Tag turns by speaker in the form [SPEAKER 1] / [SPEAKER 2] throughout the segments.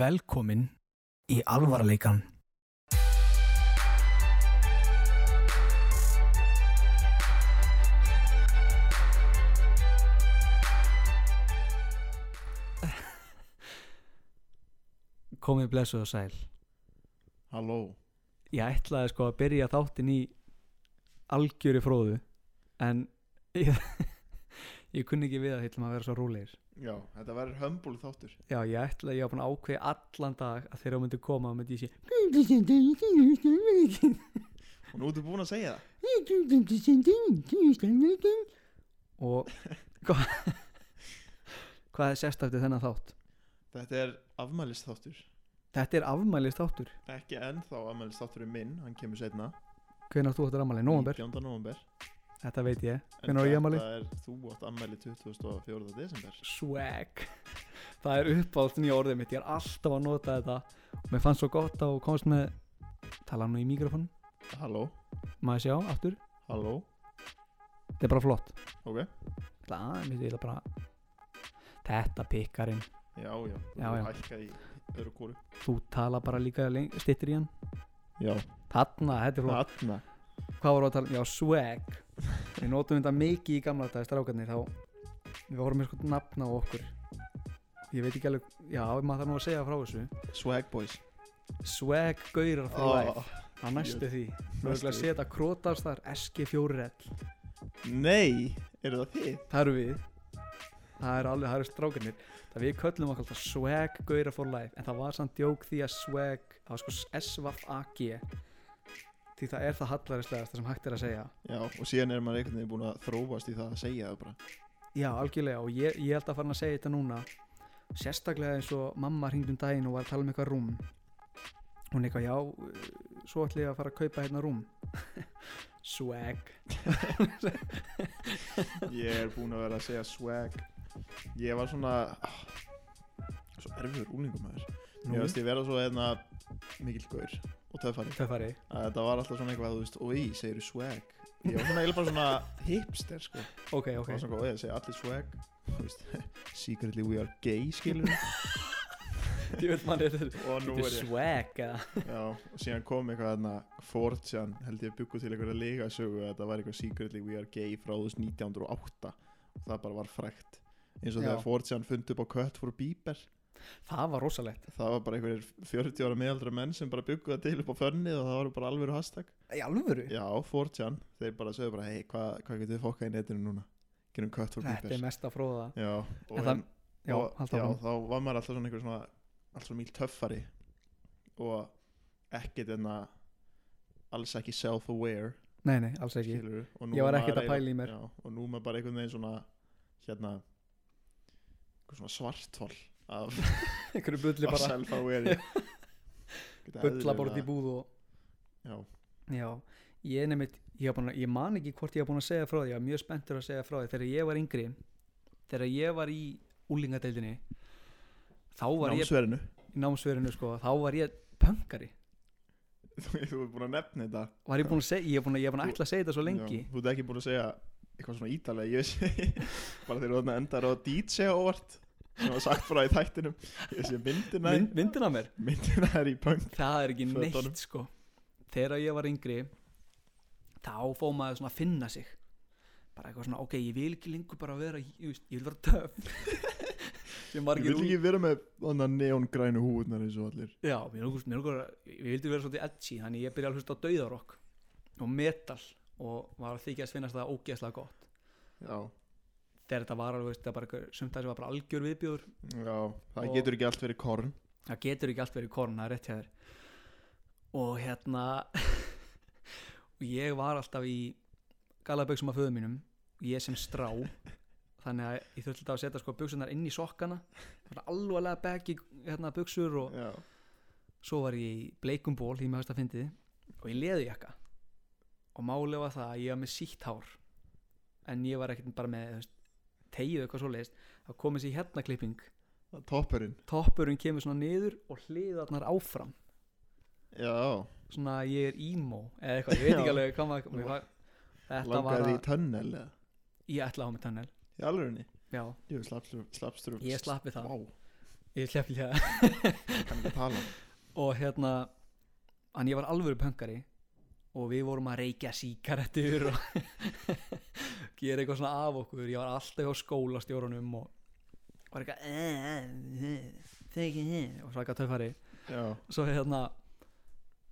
[SPEAKER 1] Velkomin í alvarleikan. Komið blessuð og sæl.
[SPEAKER 2] Halló
[SPEAKER 1] Ég ætlaði sko að byrja þáttin í algjöri fróðu en ég, ég kunni ekki við að hittum að vera svo rólegir.
[SPEAKER 2] Já, þetta verður hömbul þáttur
[SPEAKER 1] Já, ég ætla ég var búin að ákveði allan dag að þegar hún myndi koma myndi ég sé
[SPEAKER 2] Og nú ertu búin að segja það
[SPEAKER 1] og hvað hvað er sérst eftir þennan þátt?
[SPEAKER 2] Þetta er afmælist þáttur
[SPEAKER 1] Þetta er afmælist þáttur
[SPEAKER 2] Ekki ennþá afmælist þáttur er minn, hann kemur setna
[SPEAKER 1] Hvenær átt þú þetta afmæli? Nómber?
[SPEAKER 2] 19. november
[SPEAKER 1] Þetta veit ég
[SPEAKER 2] En
[SPEAKER 1] Hvenær á ég afmæli?
[SPEAKER 2] Þetta er þú átt afmæli 24. desember
[SPEAKER 1] Swag Það er uppátt nýja orðið mitt Ég er alltaf að nota þetta og mér fannst svo gott að þú komst með tala nú í mikrofon
[SPEAKER 2] Halló,
[SPEAKER 1] maður sjá aftur
[SPEAKER 2] halló,
[SPEAKER 1] Þetta er bara flott
[SPEAKER 2] ok
[SPEAKER 1] Ætla aðeins, ég ætla bara Þetta pikkarinn
[SPEAKER 2] Já, já, þú
[SPEAKER 1] Já, já.
[SPEAKER 2] hækka í öru kóru
[SPEAKER 1] Þú tala bara líka stittir í hann
[SPEAKER 2] Já,
[SPEAKER 1] Þarna, þetta er flott
[SPEAKER 2] þarna
[SPEAKER 1] Hvað voru að tala um? Já, swag Við notum þetta mikið í gamla dag strákarnir þá við vorum með sko nafna á okkur Ég veit ekki alveg Já, maður þarf nú að segja frá þessu
[SPEAKER 2] Swag boys
[SPEAKER 1] Swag gaurar frá life Það næstu
[SPEAKER 2] jöfull.
[SPEAKER 1] því Við erum að
[SPEAKER 2] því.
[SPEAKER 1] setja krótastar SG4L
[SPEAKER 2] Nei, eru það þið?
[SPEAKER 1] Það eru við Það eru alveg, það eru strákarnir Það við köllum okkur alltaf swag gaurar for life En það var samt djók því að swag Það var sko SVAG Því það er það hallarislegasta sem hægt er að segja
[SPEAKER 2] Já, og síðan er maður einhvern veginn búin að þróast í það að segja það bara
[SPEAKER 1] Já, algjörlega og ég, ég held að fara að segja þetta núna sérstaklega eins og mamma hringd um daginn og var að tala um eitthvað rúm hún eitthvað já eh, svo ætlum ég að fara að kaupa hérna rúm swag
[SPEAKER 2] Ég er búin að vera að segja swag Ég var svona ah, Svo erfiður úlingum maður Mér veist ég vera svo hérna Mikil gaur og töffari
[SPEAKER 1] það fari
[SPEAKER 2] að Þetta var alltaf svona eitthvað að þú veist Oi, segir swag Ég var svona eiginlega bara svona hipster sko okay.
[SPEAKER 1] ok, ok,
[SPEAKER 2] Það var svona, oi, segir allir swag Þú veist, Secretly we are gay skilur
[SPEAKER 1] ég veit mann þetta
[SPEAKER 2] Og nú
[SPEAKER 1] þetta er
[SPEAKER 2] er ég
[SPEAKER 1] swag eða?
[SPEAKER 2] Já, og síðan kom eitthvað hérna Fortjan held ég að byggu til eitthvað legasögu að þetta var eitthvað Secretly we are gay frá þess 1908 og það bara var frækt eins og
[SPEAKER 1] Já.
[SPEAKER 2] þegar Fortjan fundi upp á kött for Bieber
[SPEAKER 1] það var rosalegt
[SPEAKER 2] það var bara einhverjir 40 ára meðaldra menn sem bara bygguðu það til upp á fönnið og það var bara alveg hashtag
[SPEAKER 1] í alvöru?
[SPEAKER 2] já, 4chan, þeir bara sögðu bara hei, hvað hva getur við fokkað í netinu núna gerum cut for
[SPEAKER 1] þetta er
[SPEAKER 2] beepers
[SPEAKER 1] mest að fróða
[SPEAKER 2] já, og,
[SPEAKER 1] En það-
[SPEAKER 2] en-
[SPEAKER 1] já,
[SPEAKER 2] og,
[SPEAKER 1] halda
[SPEAKER 2] já,
[SPEAKER 1] áfram.
[SPEAKER 2] þá var maður alltaf svona einhver svona alltaf mjög töffari og ekkert enna alls ekki self-aware
[SPEAKER 1] nei, nei, alls ekki
[SPEAKER 2] skilurðu, og nú
[SPEAKER 1] Ég var
[SPEAKER 2] er
[SPEAKER 1] ekkert
[SPEAKER 2] maður
[SPEAKER 1] að pæla
[SPEAKER 2] eiginlega-
[SPEAKER 1] í mér.
[SPEAKER 2] já, og nú er maður bara einhvern veginn svona hérna einhver svona svartól af,
[SPEAKER 1] einhverju bulli
[SPEAKER 2] af
[SPEAKER 1] bara
[SPEAKER 2] self-aware
[SPEAKER 1] bulla bara út í búð og
[SPEAKER 2] já,
[SPEAKER 1] Já, ég nefnitt, ég, var búinn að- ég man ekki hvort ég var búin að segja frá því, ég var mjög spenntur að segja frá því þegar ég var yngri, þegar ég var í úlingadeildinni, þá var ég
[SPEAKER 2] námsverinu
[SPEAKER 1] í námsverinu sko, þá var ég pöngari,
[SPEAKER 2] þú, þú er búin að nefna þetta
[SPEAKER 1] var ég búin að segja, ég er búin að, ég er búin að ætla að segja þetta svo lengi,
[SPEAKER 2] Já, þú ert ekki búin að segja eitthvað svona ítalega ég sé, bara þegar þú þarna endar á DJ óvart sem var sagt frá í þættinum ég sé myndina,
[SPEAKER 1] Mynd, myndin af mér,
[SPEAKER 2] myndina er í punk
[SPEAKER 1] það er ekki
[SPEAKER 2] Fötunum.
[SPEAKER 1] neitt sko, þegar ég var yngri, þá fóð maður svona að finna sig, bara eitthvað svona, ok, ég vil ekki lengur bara vera, ég, veist, ég vil vera töf, sem
[SPEAKER 2] ég
[SPEAKER 1] margir
[SPEAKER 2] vil ekki vera með þarna neongrænu húðnar eins og allir
[SPEAKER 1] Já, mér langar, mér langar, ég vildi vera svolítið edgy þannig ég byrjaði að hlusta á dauðarokk og metal og var að þykja að svinnast það ógeðslega gott
[SPEAKER 2] já,
[SPEAKER 1] þegar þetta var alveg, þetta bara, sumt að þessi var bara algjör viðbjóður
[SPEAKER 2] já það
[SPEAKER 1] Og-
[SPEAKER 2] getur ekki allt verið korn
[SPEAKER 1] það getur ekki allt verið korn, það er rétt hjá þér og hérna og ég var alltaf í galaböksum af föðu mínum ég sem strá þannig að ég þurfti alltaf að setja sko buksunar inn í sokkana bara alvarlega baggy hérna buksur og
[SPEAKER 2] já,
[SPEAKER 1] svo var ég í bleikum ból því mér hafðist að fyndið og ég leði jakka og málið var það að ég var með sítt hár en ég var ekkert bara með þú veist, tegið eitthvað svo leiðist þá komið sér hérna klipping
[SPEAKER 2] það er toppurinn
[SPEAKER 1] toppurinn kemur svona niður og hliðarnar áfram
[SPEAKER 2] já,
[SPEAKER 1] svona að ég er emo eða eitthvað, ég veit ekki
[SPEAKER 2] Já.
[SPEAKER 1] alveg hvað maður mér var, þetta var
[SPEAKER 2] langaði í
[SPEAKER 1] að
[SPEAKER 2] tönnel eða
[SPEAKER 1] ég ætlaði á mig tannel
[SPEAKER 2] í alvörinni
[SPEAKER 1] já,
[SPEAKER 2] Jú, slappstur, slappstur,
[SPEAKER 1] ég slapp við það
[SPEAKER 2] Vá,
[SPEAKER 1] ég hljá hljá
[SPEAKER 2] kann ekki tala
[SPEAKER 1] og hérna en ég var alvöru pöngari og við vorum að reykja síkaretur og gera eitthvað svona af okkur ég var alltaf hjá skólastjórunum og var eitthvað "Eh, eh, eh, þegi, eh," og svaka töfari
[SPEAKER 2] Já,
[SPEAKER 1] svo hérna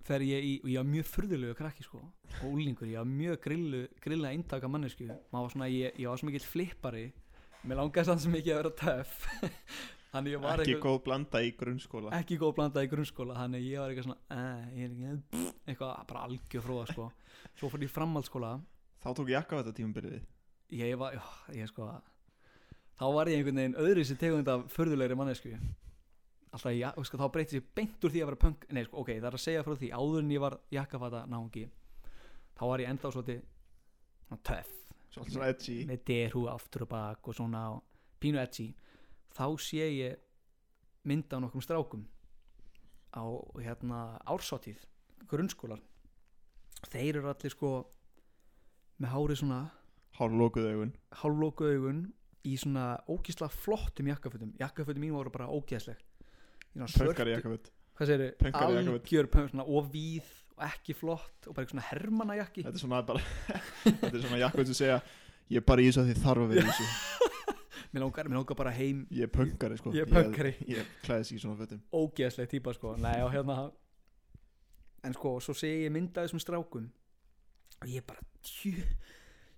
[SPEAKER 1] fer ég í, og ég var mjög furðulegu krakki sko, og úlingur, ég var mjög grillu, grilla eintaka mannesku, maður var svona ég, ég var svo mikill flippari mér langaði sann sem ekki að vera töff þannig ég var
[SPEAKER 2] ekki góð blanda í grunnskóla
[SPEAKER 1] ekki góð blanda í grunnskóla þannig að ég var eitthvað svona eh, ég er ekki, eitthvað bara algjör fróða sko. svo fór ég í framhaldsskóla
[SPEAKER 2] Þá tók ég akka á þetta tímabilið
[SPEAKER 1] ég var, já, ég sko þá var ég einhvern veginn öðru sér tegund af förðulegri mannesku alltaf, já, sko, þá breytist ég beint úr því að vera punk nei, sko, ok, það er að segja frá því áður en ég var jakkafata náungi þá var ég ennþá svolítið svona töff
[SPEAKER 2] Svolítið svona edgy
[SPEAKER 1] með derhú aftur og bak og svona og pínu edgy þá sé ég mynd af nokkrum strákum á hérna ársáttíð grunnskólar þeir eru allir sko með hárið svona
[SPEAKER 2] Hár lókuð augun
[SPEAKER 1] hálflóku augun í svona ógísla flottum jakkafötum jakkafötum mín voru bara ógæsleg Í svona
[SPEAKER 2] Pökkar
[SPEAKER 1] svörtu-
[SPEAKER 2] jakka veit
[SPEAKER 1] hvað segir
[SPEAKER 2] Pönkari jakkaföt.
[SPEAKER 1] algjör pönk svona og víð og ekki flott og bara eitthvað svona hermana jakki
[SPEAKER 2] Þetta er svona bara Þetta er svona jakka veit sem segja Ég er bara í þessu að því þarf að vera í þessu
[SPEAKER 1] mér langar, mér langar bara heim
[SPEAKER 2] Ég er pökkari sko
[SPEAKER 1] ég er pönkari
[SPEAKER 2] Ég klæðis ekki í svona fötum
[SPEAKER 1] ógeðsleg típa sko Nei, og hérna en sko, svo segi ég mynda þessum strákum og ég bara tjú,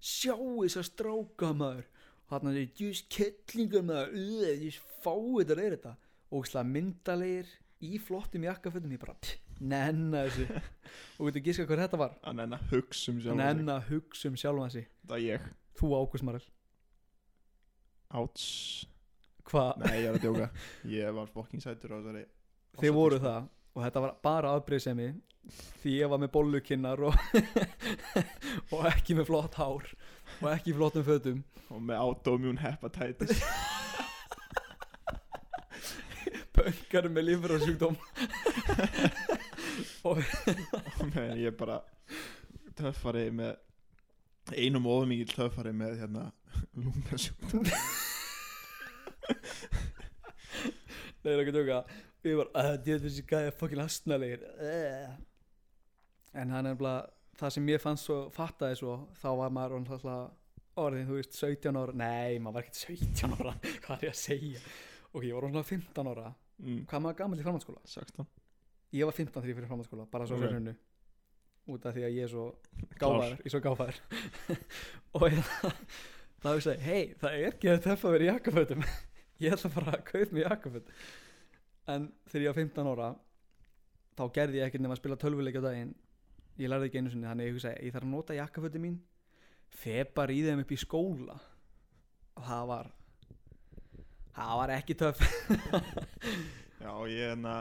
[SPEAKER 1] sjá þessar stráka maður og þarna er djús kettlingar maður uð, djús fáið er þetta og slag myndalegir í flottum jakkafötum ég bara pff, nenna þessu og veitu gíska hvað þetta var
[SPEAKER 2] Að nenna hugsa um sjálf
[SPEAKER 1] nenna að hugsa um sjálfan sig
[SPEAKER 2] Það er ég
[SPEAKER 1] þú Ágúst Marel,
[SPEAKER 2] Áts
[SPEAKER 1] hvað
[SPEAKER 2] Nei, ég er að djóka Ég var fucking sætur á þessari sko.
[SPEAKER 1] þið voru það og þetta var bara afbreyðsemi því ég var með bollukinnar og, og ekki með flott hár og ekki í flottum fötum
[SPEAKER 2] Og með autoimmune hepatitis
[SPEAKER 1] pönkar með lífrasjúkdóm
[SPEAKER 2] Nei, sko, ég er bara Töffari með Einum ofur mikið töffari með hérna Lungasjúk
[SPEAKER 1] það er ekki að tjóka ég var, að þetta er þessi gæja fokkin astnalegir uh. en hann er nefnilega það sem ég fannst svo, fattaði svo þá var maður orðinn alltaf orðin, þú veist, 17 ára nei, maður var ekkert 17 ára hvað er ég að segja ok, ég var orðin svona 15 ára
[SPEAKER 2] mm.
[SPEAKER 1] hvað maður gamall í framhaldsskóla
[SPEAKER 2] 16
[SPEAKER 1] ég var 15 þegar ég fyrir framhaldsskóla bara svo
[SPEAKER 2] Ok.
[SPEAKER 1] okay. hrunu út af því að ég er svo gáfaður ég er svo gáfaður og hérna, ég, það hefur segið hei það er ekki að teffa verið jakkafötum ég ætla bara að kaupa mig jakkaföt en þegar ég var 15 ára þá gerði ég ekkert nema að spila tölvuleik á daginn ég lærði ekki einu sinni þannig ég hugsaði ég þarf að nota jakkafötum mín feb bara í þeim upp í skóla og það var það var ekki töff
[SPEAKER 2] Já, ég hérna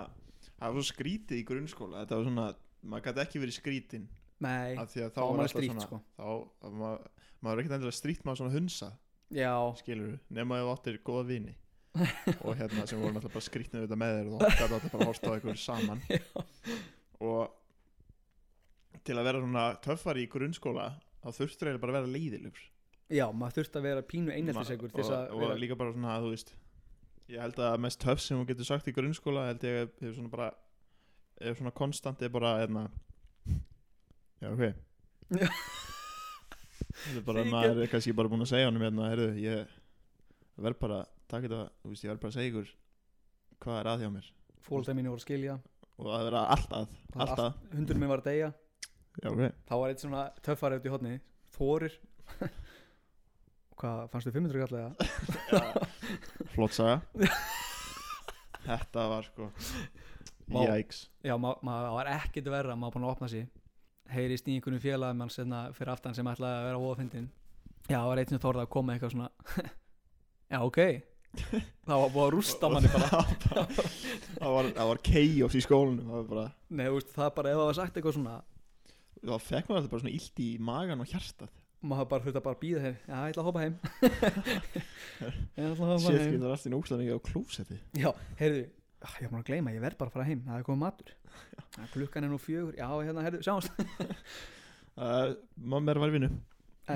[SPEAKER 2] Það var svo skrítið í grunnskóla Þetta var svona Maður gæti ekki verið skrítin
[SPEAKER 1] nei,
[SPEAKER 2] af Því að þá
[SPEAKER 1] þá var maður
[SPEAKER 2] alltaf
[SPEAKER 1] strítt,
[SPEAKER 2] svona
[SPEAKER 1] sko.
[SPEAKER 2] Þá að maður Maður er ekkert endilega strýtt maður svona hunsa
[SPEAKER 1] já
[SPEAKER 2] Skilur við Nefn að þú áttir góða vini Og hérna sem voru náttúrulega bara skrýtnið auðvitað með þér Og þá gæti alltaf bara að horta á ykkur saman Og Til að vera svona töffari í grunnskóla Þá þurftur eiginlega bara að vera leiðilur
[SPEAKER 1] Já, maður þurfti að vera pínu einheltisegur til þess að
[SPEAKER 2] og,
[SPEAKER 1] vera...
[SPEAKER 2] og líka bara svona að þú veist ég held að mest töff sem hún getur sagt í grunnskóla held ég að hefur svona bara hefur svona konstant er bara hérna já ok
[SPEAKER 1] Já.
[SPEAKER 2] þetta er bara
[SPEAKER 1] Því
[SPEAKER 2] maður er kannski bara búin að segja honum hérna herru ég verð bara takk þetta þú veist ég verð bara að segja ykkur hvað er að hjá mér
[SPEAKER 1] fólta mínu voru að skilja
[SPEAKER 2] og að vera allt að
[SPEAKER 1] Það
[SPEAKER 2] allt að
[SPEAKER 1] hundur minn var að deyja
[SPEAKER 2] já ok
[SPEAKER 1] þá var eitt svona töffari út í hotni Þórir Hvað, fannstu 500 kallega?
[SPEAKER 2] flott saga þetta var sko
[SPEAKER 1] Vá.
[SPEAKER 2] jæks
[SPEAKER 1] Já, ma- maður var ekkert verra maður var búin að opna sig heyrist í einhvernum félagum hans hérna fyrir aftan sem ætlaði að vera óafindin Já, það var eitt sem þorði að koma eitthvað svona Já, ok Það var búið að rústa manni bara
[SPEAKER 2] bara það var, það var chaos í skólanum það var bara
[SPEAKER 1] Nei, þú veist, það bara ef það var sagt eitthvað svona
[SPEAKER 2] þá fekk maður alltaf bara svona illt í magan og hjartað
[SPEAKER 1] maður bara þurfti að bara býða hér Já, ég ætla að hoppa heim Ég ætla að hoppa
[SPEAKER 2] sér
[SPEAKER 1] heim
[SPEAKER 2] getur allt í núkslega mikið á klósetti
[SPEAKER 1] Já, heyrðu, ah, ég er búin að gleyma, ég verð bara að fara heim, það er komið matur Já, Klukkan er nú fjögur, já, hérna, heyrðu, sjáumst
[SPEAKER 2] uh, mamma er að vera í vinnu
[SPEAKER 1] En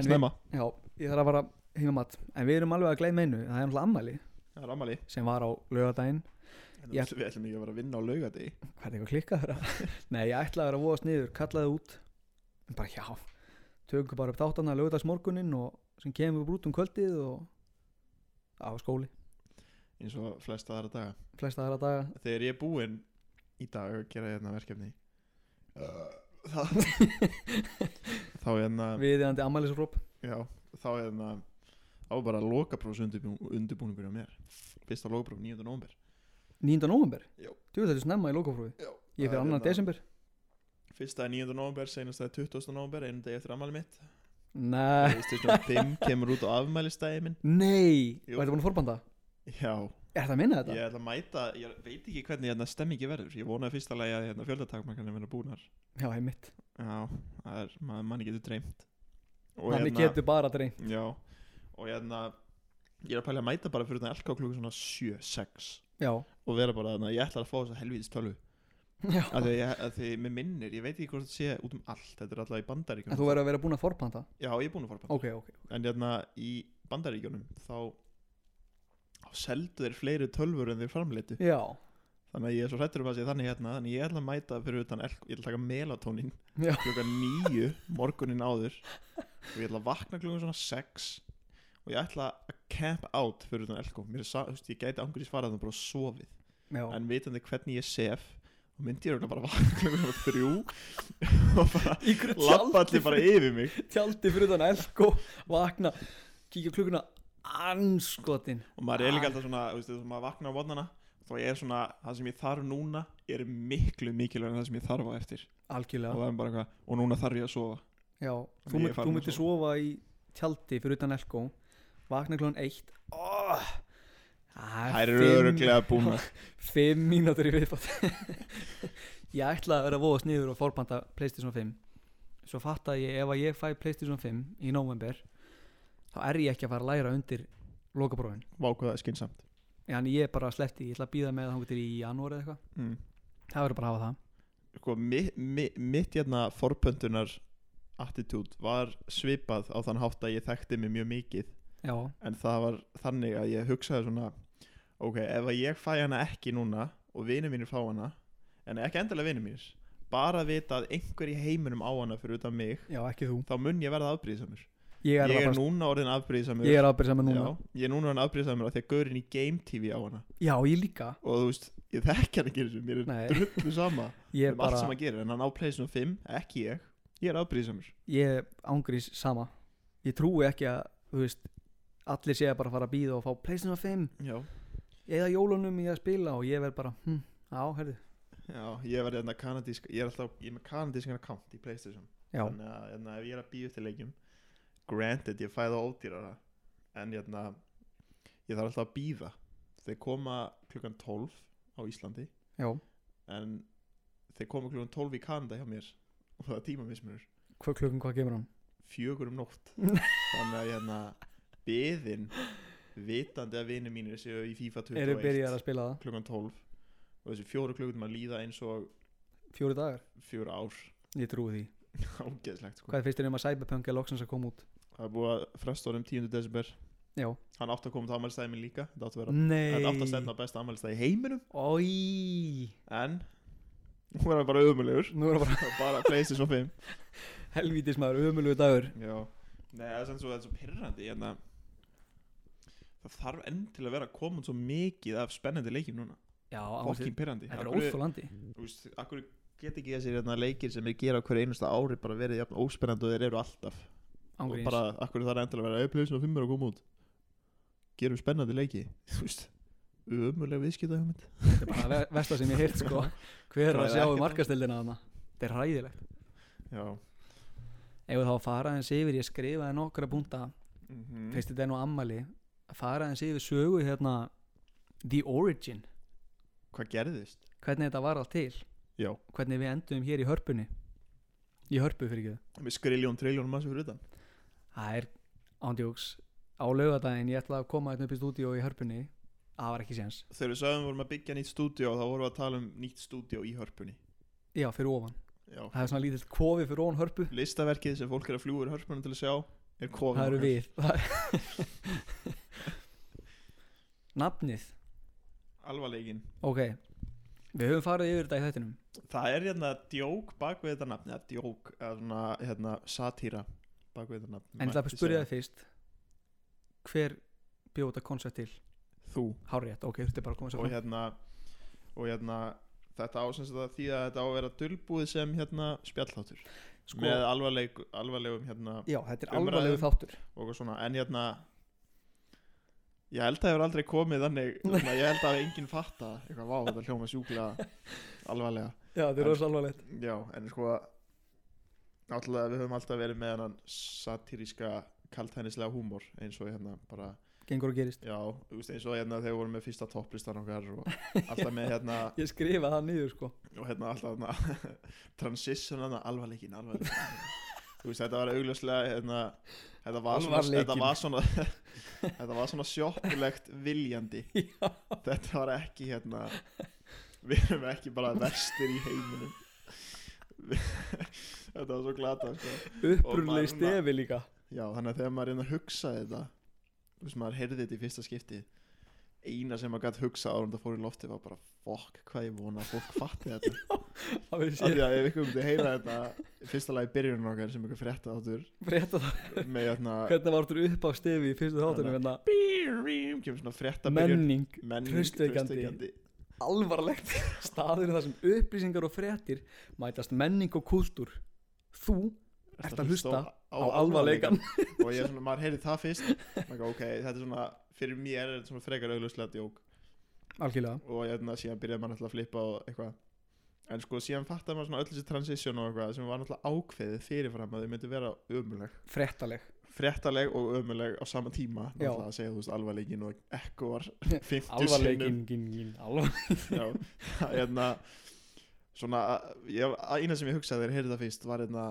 [SPEAKER 1] við,
[SPEAKER 2] snemma
[SPEAKER 1] Já, ég þarf að fara heim að mat En við erum alveg að gleyma einu, það er náttúrulega ammæli
[SPEAKER 2] það er ammali
[SPEAKER 1] sem var á laugardaginn
[SPEAKER 2] Þannig
[SPEAKER 1] Já.
[SPEAKER 2] að Við ætlum ekki að vera að vinna á laugati
[SPEAKER 1] hvað er eitthvað klikkað þeirra nei, ég ætlaði að vera að voðast niður, kallaði út en bara já, tökum bara upp þáttana lögðast morguninn og sem kemum við út um kvöldið og á skóli,
[SPEAKER 2] eins og flesta aðra daga
[SPEAKER 1] flesta aðra daga
[SPEAKER 2] Þegar ég er búinn í dag að gera hérna verkefni uh, þá, þá hérna
[SPEAKER 1] viðiðandi ammælisróp
[SPEAKER 2] já, þá hérna þá var bara lokaprófs undirbú, undirbúningur á mér fyrsta lokapróf 9. november
[SPEAKER 1] 9. november,
[SPEAKER 2] Já.
[SPEAKER 1] þú veist þetta er snemma í lokafrúi
[SPEAKER 2] já,
[SPEAKER 1] ég fyrir
[SPEAKER 2] hérna.
[SPEAKER 1] 2. desember,
[SPEAKER 2] fyrsta er 9. november, senast er 20. november einu deg eftir afmæli mitt
[SPEAKER 1] nei
[SPEAKER 2] Playstation 5 kemur út á afmælistæði minn
[SPEAKER 1] nei,
[SPEAKER 2] Jú.
[SPEAKER 1] værið búin að forbanda
[SPEAKER 2] já,
[SPEAKER 1] er þetta að minna þetta?
[SPEAKER 2] ég ætla að mæta ég veit ekki hvernig hérna stemmingi verður ég vonaði fyrsta lagi að hérna, fjöldatakmarkanir verða búnar
[SPEAKER 1] já, ég mitt,
[SPEAKER 2] já, það er, maður manni getur dreymt Og hérna-
[SPEAKER 1] þannig getur bara dreyn
[SPEAKER 2] Já, og hérna ég er að pæla að mæta bara fyrir þetta elka klukku svona 7-6
[SPEAKER 1] já,
[SPEAKER 2] og vera bara þannig að ég ætla að fá þessa helvíðis tölvu
[SPEAKER 1] já
[SPEAKER 2] af því að ég- af því að mér minnir, ég veit ekki hvort þetta sé út um allt, þetta er alltaf í
[SPEAKER 1] en þú
[SPEAKER 2] bandaríkjunum
[SPEAKER 1] verður að vera búin að forbanda
[SPEAKER 2] Já, ég er búin að fara bara
[SPEAKER 1] ok, ok,
[SPEAKER 2] en hérna í bandaríkjunum þá þá seldu þeir fleiri tölvur en þeir framleitu
[SPEAKER 1] já
[SPEAKER 2] þannig að ég er svo hrættur um að sé þannig hérna þannig að ég ætla að mæta fyrir utan elk, ég ætla að taka melatonin
[SPEAKER 1] Já.
[SPEAKER 2] klukkan nýju morgunin áður og ég ætla að vakna klukkan svona sex og ég ætla að camp out fyrir utan elko mér er sa, þú veist, ég gæti angur í svarað bara sofið
[SPEAKER 1] já,
[SPEAKER 2] en vitandi hvernig ég sef þá myndi ég örugglega bara vakna klukkan svona þrjú og bara
[SPEAKER 1] í hverju
[SPEAKER 2] lappa
[SPEAKER 1] tjaldi
[SPEAKER 2] allir bara yfir mig
[SPEAKER 1] tjaldi fyrir þann elko vakna, kíkja á klukkuna anskotin
[SPEAKER 2] og maður er
[SPEAKER 1] Ah.
[SPEAKER 2] líka alltaf svona, þú veist, þú veist, maður vaknar á vonana þá ég er svona, það sem ég þarf núna er miklu mikilvæg en það sem ég þarf á eftir og
[SPEAKER 1] algjörlega,
[SPEAKER 2] það er bara eitthvað, og núna þarf ég að sofa
[SPEAKER 1] já,
[SPEAKER 2] Ég
[SPEAKER 1] þú,
[SPEAKER 2] er
[SPEAKER 1] mynd,
[SPEAKER 2] farinn
[SPEAKER 1] þú
[SPEAKER 2] að
[SPEAKER 1] myndir sofa í tjaldi fyrir utan elko vakna klón eitt oh,
[SPEAKER 2] Það eru öruglega búnar
[SPEAKER 1] fimm mínútur í viðbátt ég ætlaði að vera að voðast niður og fórbanda Playstation 5 svo fattaði ég ef að ég fæ Playstation 5 í november þá er ég ekki að fara að læra undir lokabrófin,
[SPEAKER 2] Vákuð það er skynsamt
[SPEAKER 1] en ég er bara sleppti ég ætla að býða með það til í janúar eða eitthvað
[SPEAKER 2] mm.
[SPEAKER 1] það verður bara að hafa það
[SPEAKER 2] sko, mi, mi, Mitt hérna forpöntunar attitút var svipað á þann hátt að ég þekkti mig mjög mikið
[SPEAKER 1] já,
[SPEAKER 2] en það var þannig að ég hugsaði svona ok, ef að ég fæ hana ekki núna og vinir mínir fá hana en ekki endilega vinir mínir bara vita að einhver í heiminum á hana fyrir utan mig
[SPEAKER 1] já, ekki þú
[SPEAKER 2] þá mun ég verða afbríðisamur
[SPEAKER 1] ég er,
[SPEAKER 2] ég er
[SPEAKER 1] nú,
[SPEAKER 2] núna orðin afbríðisamur
[SPEAKER 1] ég er ábyrð saman núna
[SPEAKER 2] Já, ég er núna orðin afbríðisamur af því að gaurinn í Game TV á hana
[SPEAKER 1] já, ég líka
[SPEAKER 2] og þú veist, ég þekki hann ekki eins og mér er
[SPEAKER 1] Nei.
[SPEAKER 2] drullu sama
[SPEAKER 1] ég er
[SPEAKER 2] um allt
[SPEAKER 1] bara,
[SPEAKER 2] sem hann gerir en hann á Playstation 5, ekki ég ég er afbríðisamur
[SPEAKER 1] ég ángrís sama ég trúi ekki að, þú veist allir sé að bara fara að býða og fá Playstation 5
[SPEAKER 2] já.
[SPEAKER 1] eða jólunum í að spila og ég verð bara hm, á, herðu,
[SPEAKER 2] já, ég var hérna kanadísk ég er alltaf, ég er með kanadískan account í Playstation
[SPEAKER 1] já
[SPEAKER 2] þannig að hérna, ef ég er að býja til leikjum granted, ég fæ það ódýrara en hérna ég þarf alltaf að býða þeir koma klukkan 12 á Íslandi
[SPEAKER 1] já,
[SPEAKER 2] en þeir koma klukkan 12 í Kanada hjá mér og það er tímamismunur
[SPEAKER 1] hvað klukkan hvað kemur hann
[SPEAKER 2] fjögur um nótt þannig að hérna beðin vitandi að vinir mínir séu í FIFA 21
[SPEAKER 1] eru byrjar að spila það,
[SPEAKER 2] klukkan 12 og þessi fjóru klukkutum að líða eins og
[SPEAKER 1] fjóri dagar
[SPEAKER 2] fjóru ár
[SPEAKER 1] ég trúi því,
[SPEAKER 2] ágeðslegt sko.
[SPEAKER 1] hvað er fyrstir um að Cyberpunk er loksins að koma út,
[SPEAKER 2] það er búið að fresta honum 10. desember
[SPEAKER 1] já
[SPEAKER 2] hann átti að koma til afmælstæði minn líka þetta átti að vera þetta átti að
[SPEAKER 1] nei,
[SPEAKER 2] stefna á besta afmælstæði í heiminum
[SPEAKER 1] oi
[SPEAKER 2] en hún var bara ömulugur
[SPEAKER 1] nú er það bara
[SPEAKER 2] bara pleysið svo 5
[SPEAKER 1] helvítis maður ömulugu dagur
[SPEAKER 2] já nei það er sem svo þetta er svo pirrandi hérna það þarf enn til að vera að koma út svo mikið af spennandi leikjum núna
[SPEAKER 1] já,
[SPEAKER 2] fokkin
[SPEAKER 1] áfram
[SPEAKER 2] pirrandi
[SPEAKER 1] þetta
[SPEAKER 2] Af
[SPEAKER 1] er
[SPEAKER 2] hverju-
[SPEAKER 1] óþólandi
[SPEAKER 2] þú veist, akkur get ekki þessir hérna, leikir sem er gera á hverju einusta ári bara verið jafn óspennandi og þeir eru alltaf og
[SPEAKER 1] ángríns,
[SPEAKER 2] bara akkur það er endilega að vera auðvitað og fimmur að koma út gerum spennandi leiki þú veist, umulega viðskipta hugmynd
[SPEAKER 1] þetta er bara að ve- versta sem ég heilt sko hver er
[SPEAKER 2] Það
[SPEAKER 1] að
[SPEAKER 2] er
[SPEAKER 1] sjá
[SPEAKER 2] ekkert-
[SPEAKER 1] um markastildina þarna þetta er hræðilegt
[SPEAKER 2] já
[SPEAKER 1] ef við þá að fara aðeins yfir, ég skrifaði nokkra púnta
[SPEAKER 2] mm -hmm.
[SPEAKER 1] fyrst þetta er nú ammali að fara aðeins yfir sögu hérna The Origin,
[SPEAKER 2] hvað gerðist?
[SPEAKER 1] hvernig þetta var allt til
[SPEAKER 2] já,
[SPEAKER 1] hvernig við endum hér í hörpunni í hörpu fyrir ekki
[SPEAKER 2] með skriljón, triljón massu fyrir utan
[SPEAKER 1] það er ándjóks á laugardaginn ég ætlaði að koma hérna upp í stúdíó í hörpunni það var ekki séns,
[SPEAKER 2] þegar við sagðum við vorum að byggja nýtt stúdíó þá vorum við að tala um nýtt stúdíó í hörpunni
[SPEAKER 1] já fyrir ofan
[SPEAKER 2] já
[SPEAKER 1] það er svona lítill kofi fyrir ofan hörpu
[SPEAKER 2] listaverkið sem fólk er að fljúa í hörpunni til að sjá er kofin
[SPEAKER 1] það eru
[SPEAKER 2] okkar.
[SPEAKER 1] við Það- nafnið
[SPEAKER 2] alvarlegin
[SPEAKER 1] ok, við höfum farið yfir þetta í þættinum
[SPEAKER 2] það er hérna djók bak við þetta nafn eða djók, eða svona hérna, satýra bak við þetta nafn
[SPEAKER 1] en ég ætla bara
[SPEAKER 2] mætti
[SPEAKER 1] að spyrja
[SPEAKER 2] segja.
[SPEAKER 1] það fyrst hver bjóð þetta koncept til
[SPEAKER 2] þú
[SPEAKER 1] hárétt, ok, þetta er bara að koma sér
[SPEAKER 2] og
[SPEAKER 1] fram
[SPEAKER 2] hérna, og hérna þetta ásins að því að þetta á að vera dulbúið sem hérna spjallhátur
[SPEAKER 1] sko,
[SPEAKER 2] með alvarleg, alvarlegum hérna
[SPEAKER 1] já, þetta er
[SPEAKER 2] umræðum.
[SPEAKER 1] alvarlegu þáttur
[SPEAKER 2] og eitthvað svona, en hérna ég held að það hefur aldrei komið þannig, svona, ég held að enginn fatta eitthvað, vá, þetta hljóma sjúkla alvarlega,
[SPEAKER 1] já, þetta
[SPEAKER 2] er rosa
[SPEAKER 1] alvarlegt
[SPEAKER 2] já, en sko náttúrulega við höfum alltaf verið með hennan satiríska kaltænislega húmor eins og hérna bara,
[SPEAKER 1] gengur og gerist
[SPEAKER 2] já, þú veist, eins og hérna þegar við vorum með fyrsta topplistan okkar og alltaf með hérna,
[SPEAKER 1] ég skrifa það niður sko
[SPEAKER 2] og hérna alltaf hérna, transition hérna, alvarleikin, alvarleikin þú veist, þetta var augljóslega hérna, þetta var svona,
[SPEAKER 1] Alvarleikinn.
[SPEAKER 2] þetta var svona þetta var svona sjoppulegt viljandi
[SPEAKER 1] já,
[SPEAKER 2] þetta var ekki hérna við erum ekki bara verstir í heiminum Við- þetta var svo glata sko.
[SPEAKER 1] upprunlega
[SPEAKER 2] Og maður-
[SPEAKER 1] stefi líka
[SPEAKER 2] já, þannig að þegar maður reyndi að hugsa þetta þú veist, maður heyrði þetta í fyrsta skipti eina sem maður gætt hugsa árum þetta fór í lofti var bara fokk hvað ég vona að fólk fatti þetta
[SPEAKER 1] það við
[SPEAKER 2] Af því
[SPEAKER 1] séum
[SPEAKER 2] að ef ykkur myndi heyra þetta í fyrsta lagi byrjunum okkar sem ykkur frétta áttur
[SPEAKER 1] frétta það
[SPEAKER 2] með hérna
[SPEAKER 1] hvernig var þetta upp á stefi í fyrstu þáttunum hérna,
[SPEAKER 2] bírím, kemur svona frétta byrjun
[SPEAKER 1] menning,
[SPEAKER 2] menning,
[SPEAKER 1] traustvekjandi. alvarlegt staður þar sem upplýsingar og fréttir mætast menning og kultúr þú Ertu að hlusta á alvarleikann?
[SPEAKER 2] alvarleikann? og ég er svona, maður heyrði það fyrst maður, ok, þetta er svona, fyrir mér er þetta svona frekar auglustlega djók
[SPEAKER 1] algjörlega
[SPEAKER 2] og hérna síðan byrjaði maður náttúrulega að flippa og eitthvað en sko síðan fattaði maður svona öll þessi transition og eitthvað sem var náttúrulega ákveðið fyrirfram að þau myndi vera ömuleg
[SPEAKER 1] fréttaleg
[SPEAKER 2] fréttaleg og ömuleg á sama tíma
[SPEAKER 1] Já.
[SPEAKER 2] náttúrulega að segja þú veist alvarleikin og ekkoar 50 sinnum.
[SPEAKER 1] alvarlegin, gin, gin, alvar
[SPEAKER 2] já, það er hérna svona, ég, að eina sem ég hugsaði þegar ég heyrði það fyrst var hérna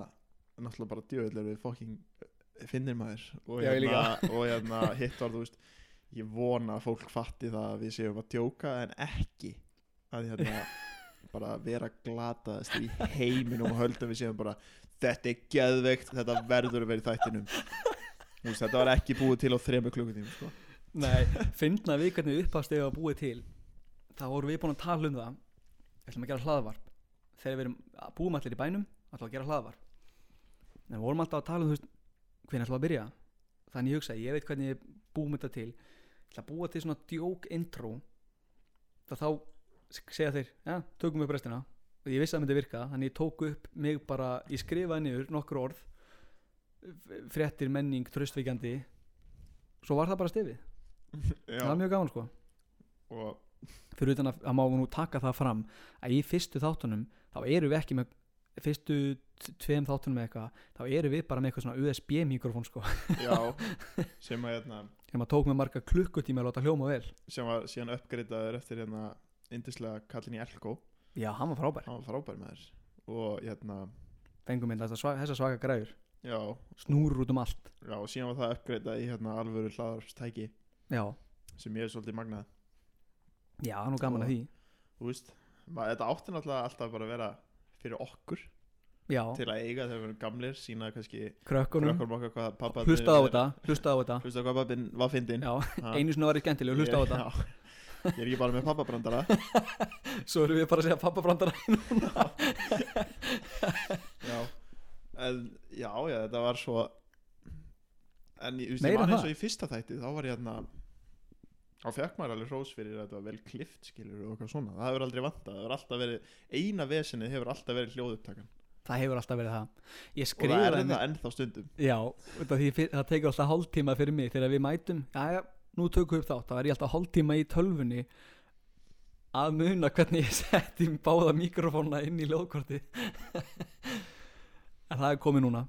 [SPEAKER 2] náttúrulega bara djöðlega við fucking finnir maður og
[SPEAKER 1] Já, ég
[SPEAKER 2] hérna, og hérna hitt var þú veist ég vona að fólk fatti það að við séum að djóka en ekki að hérna bara vera glataðast í heiminum og höldum við séum bara þetta er geðveikt, þetta verður að vera í þættinum Þú veist, þetta var ekki búið til á þremur klukkutíma sko.
[SPEAKER 1] Nei, finna við hvernig upphafstegi var búið til þá vorum við búin að tala um það við ætlum að gera hlaðvarp þegar við erum búum allir í bænum ætlum við að gera hlaðvarp en við vorum alltaf að tala um þú veist hvernig ætlum við að byrja þannig ég hugsaði, ég veit hvernig ég búum þetta til ég ætla að búa til svona djók intro það þá s- segja þeir, já, tökum upp restina og ég vissi að það myndi virka, þannig ég tók upp mig bara, ég skrifaði niður nokkur orð f- fréttir, menning, tröstvíkjandi svo var það bara stefið
[SPEAKER 2] Já,
[SPEAKER 1] það var mjög gaman sko
[SPEAKER 2] og
[SPEAKER 1] fyrir utan að, að má nú taka það fram að í fyrstu þáttunum þá eru við ekki með fyrstu t- tveim þáttunum eða eitthvað þá eru við bara með eitthvað svona USB mikrofón sko
[SPEAKER 2] já, sem að hérna,
[SPEAKER 1] sem að tók með marga klukkutíma að láta hljóma vel
[SPEAKER 2] sem var síðan uppgreitaður eftir hérna yndislega kallin í Elko
[SPEAKER 1] já, hann var frábær,
[SPEAKER 2] hann var frábær með þér og hérna,
[SPEAKER 1] fengum við þessa, þessa svaka græður
[SPEAKER 2] já,
[SPEAKER 1] snúrur út um allt
[SPEAKER 2] já og síðan var það uppgreitað í hérna alvöru hlaðarpstæki
[SPEAKER 1] já,
[SPEAKER 2] sem ég er svolítið magnað
[SPEAKER 1] já, hann var gaman að því
[SPEAKER 2] þú veist, maður, þetta átti náttúrulega alltaf bara að vera fyrir okkur
[SPEAKER 1] já,
[SPEAKER 2] til að eiga þegar við erum gamlir sína kannski
[SPEAKER 1] krökkunum,
[SPEAKER 2] krökkum okkar hvað pappa
[SPEAKER 1] hlustað á þetta hlustað á þetta,
[SPEAKER 2] hlusta hvað pappin var fyndin
[SPEAKER 1] já,
[SPEAKER 2] Ha.
[SPEAKER 1] einu sinni var ég skemmtileg hlustað á
[SPEAKER 2] Ég-
[SPEAKER 1] þetta,
[SPEAKER 2] já. ég er ekki bara með pappabrandara
[SPEAKER 1] svo erum við bara að segja pappabrandara
[SPEAKER 2] já en já, já, þetta var svo en ég veist, ég
[SPEAKER 1] Meira
[SPEAKER 2] man
[SPEAKER 1] en
[SPEAKER 2] eins
[SPEAKER 1] það?
[SPEAKER 2] og í fyrsta þætti þá var ég hérna þá fekk maður alveg hrós fyrir að þetta var vel klift skilur og eitthvað svona, það hefur aldrei vantað það hefur alltaf verið, eina vesinni hefur alltaf verið hljóðupptakan
[SPEAKER 1] það hefur alltaf verið það ég
[SPEAKER 2] og það er
[SPEAKER 1] skrifaði
[SPEAKER 2] það ennþá stundum
[SPEAKER 1] Já, út af því fyr- það tekur alltaf hálftíma fyrir mig þegar við mætum, já já, nú tökum við upp þátt þá er ég alltaf hálftíma í tölfunni að muna hvernig ég setti báða mikrofónuna inn í ljóðkorti en það er komið núna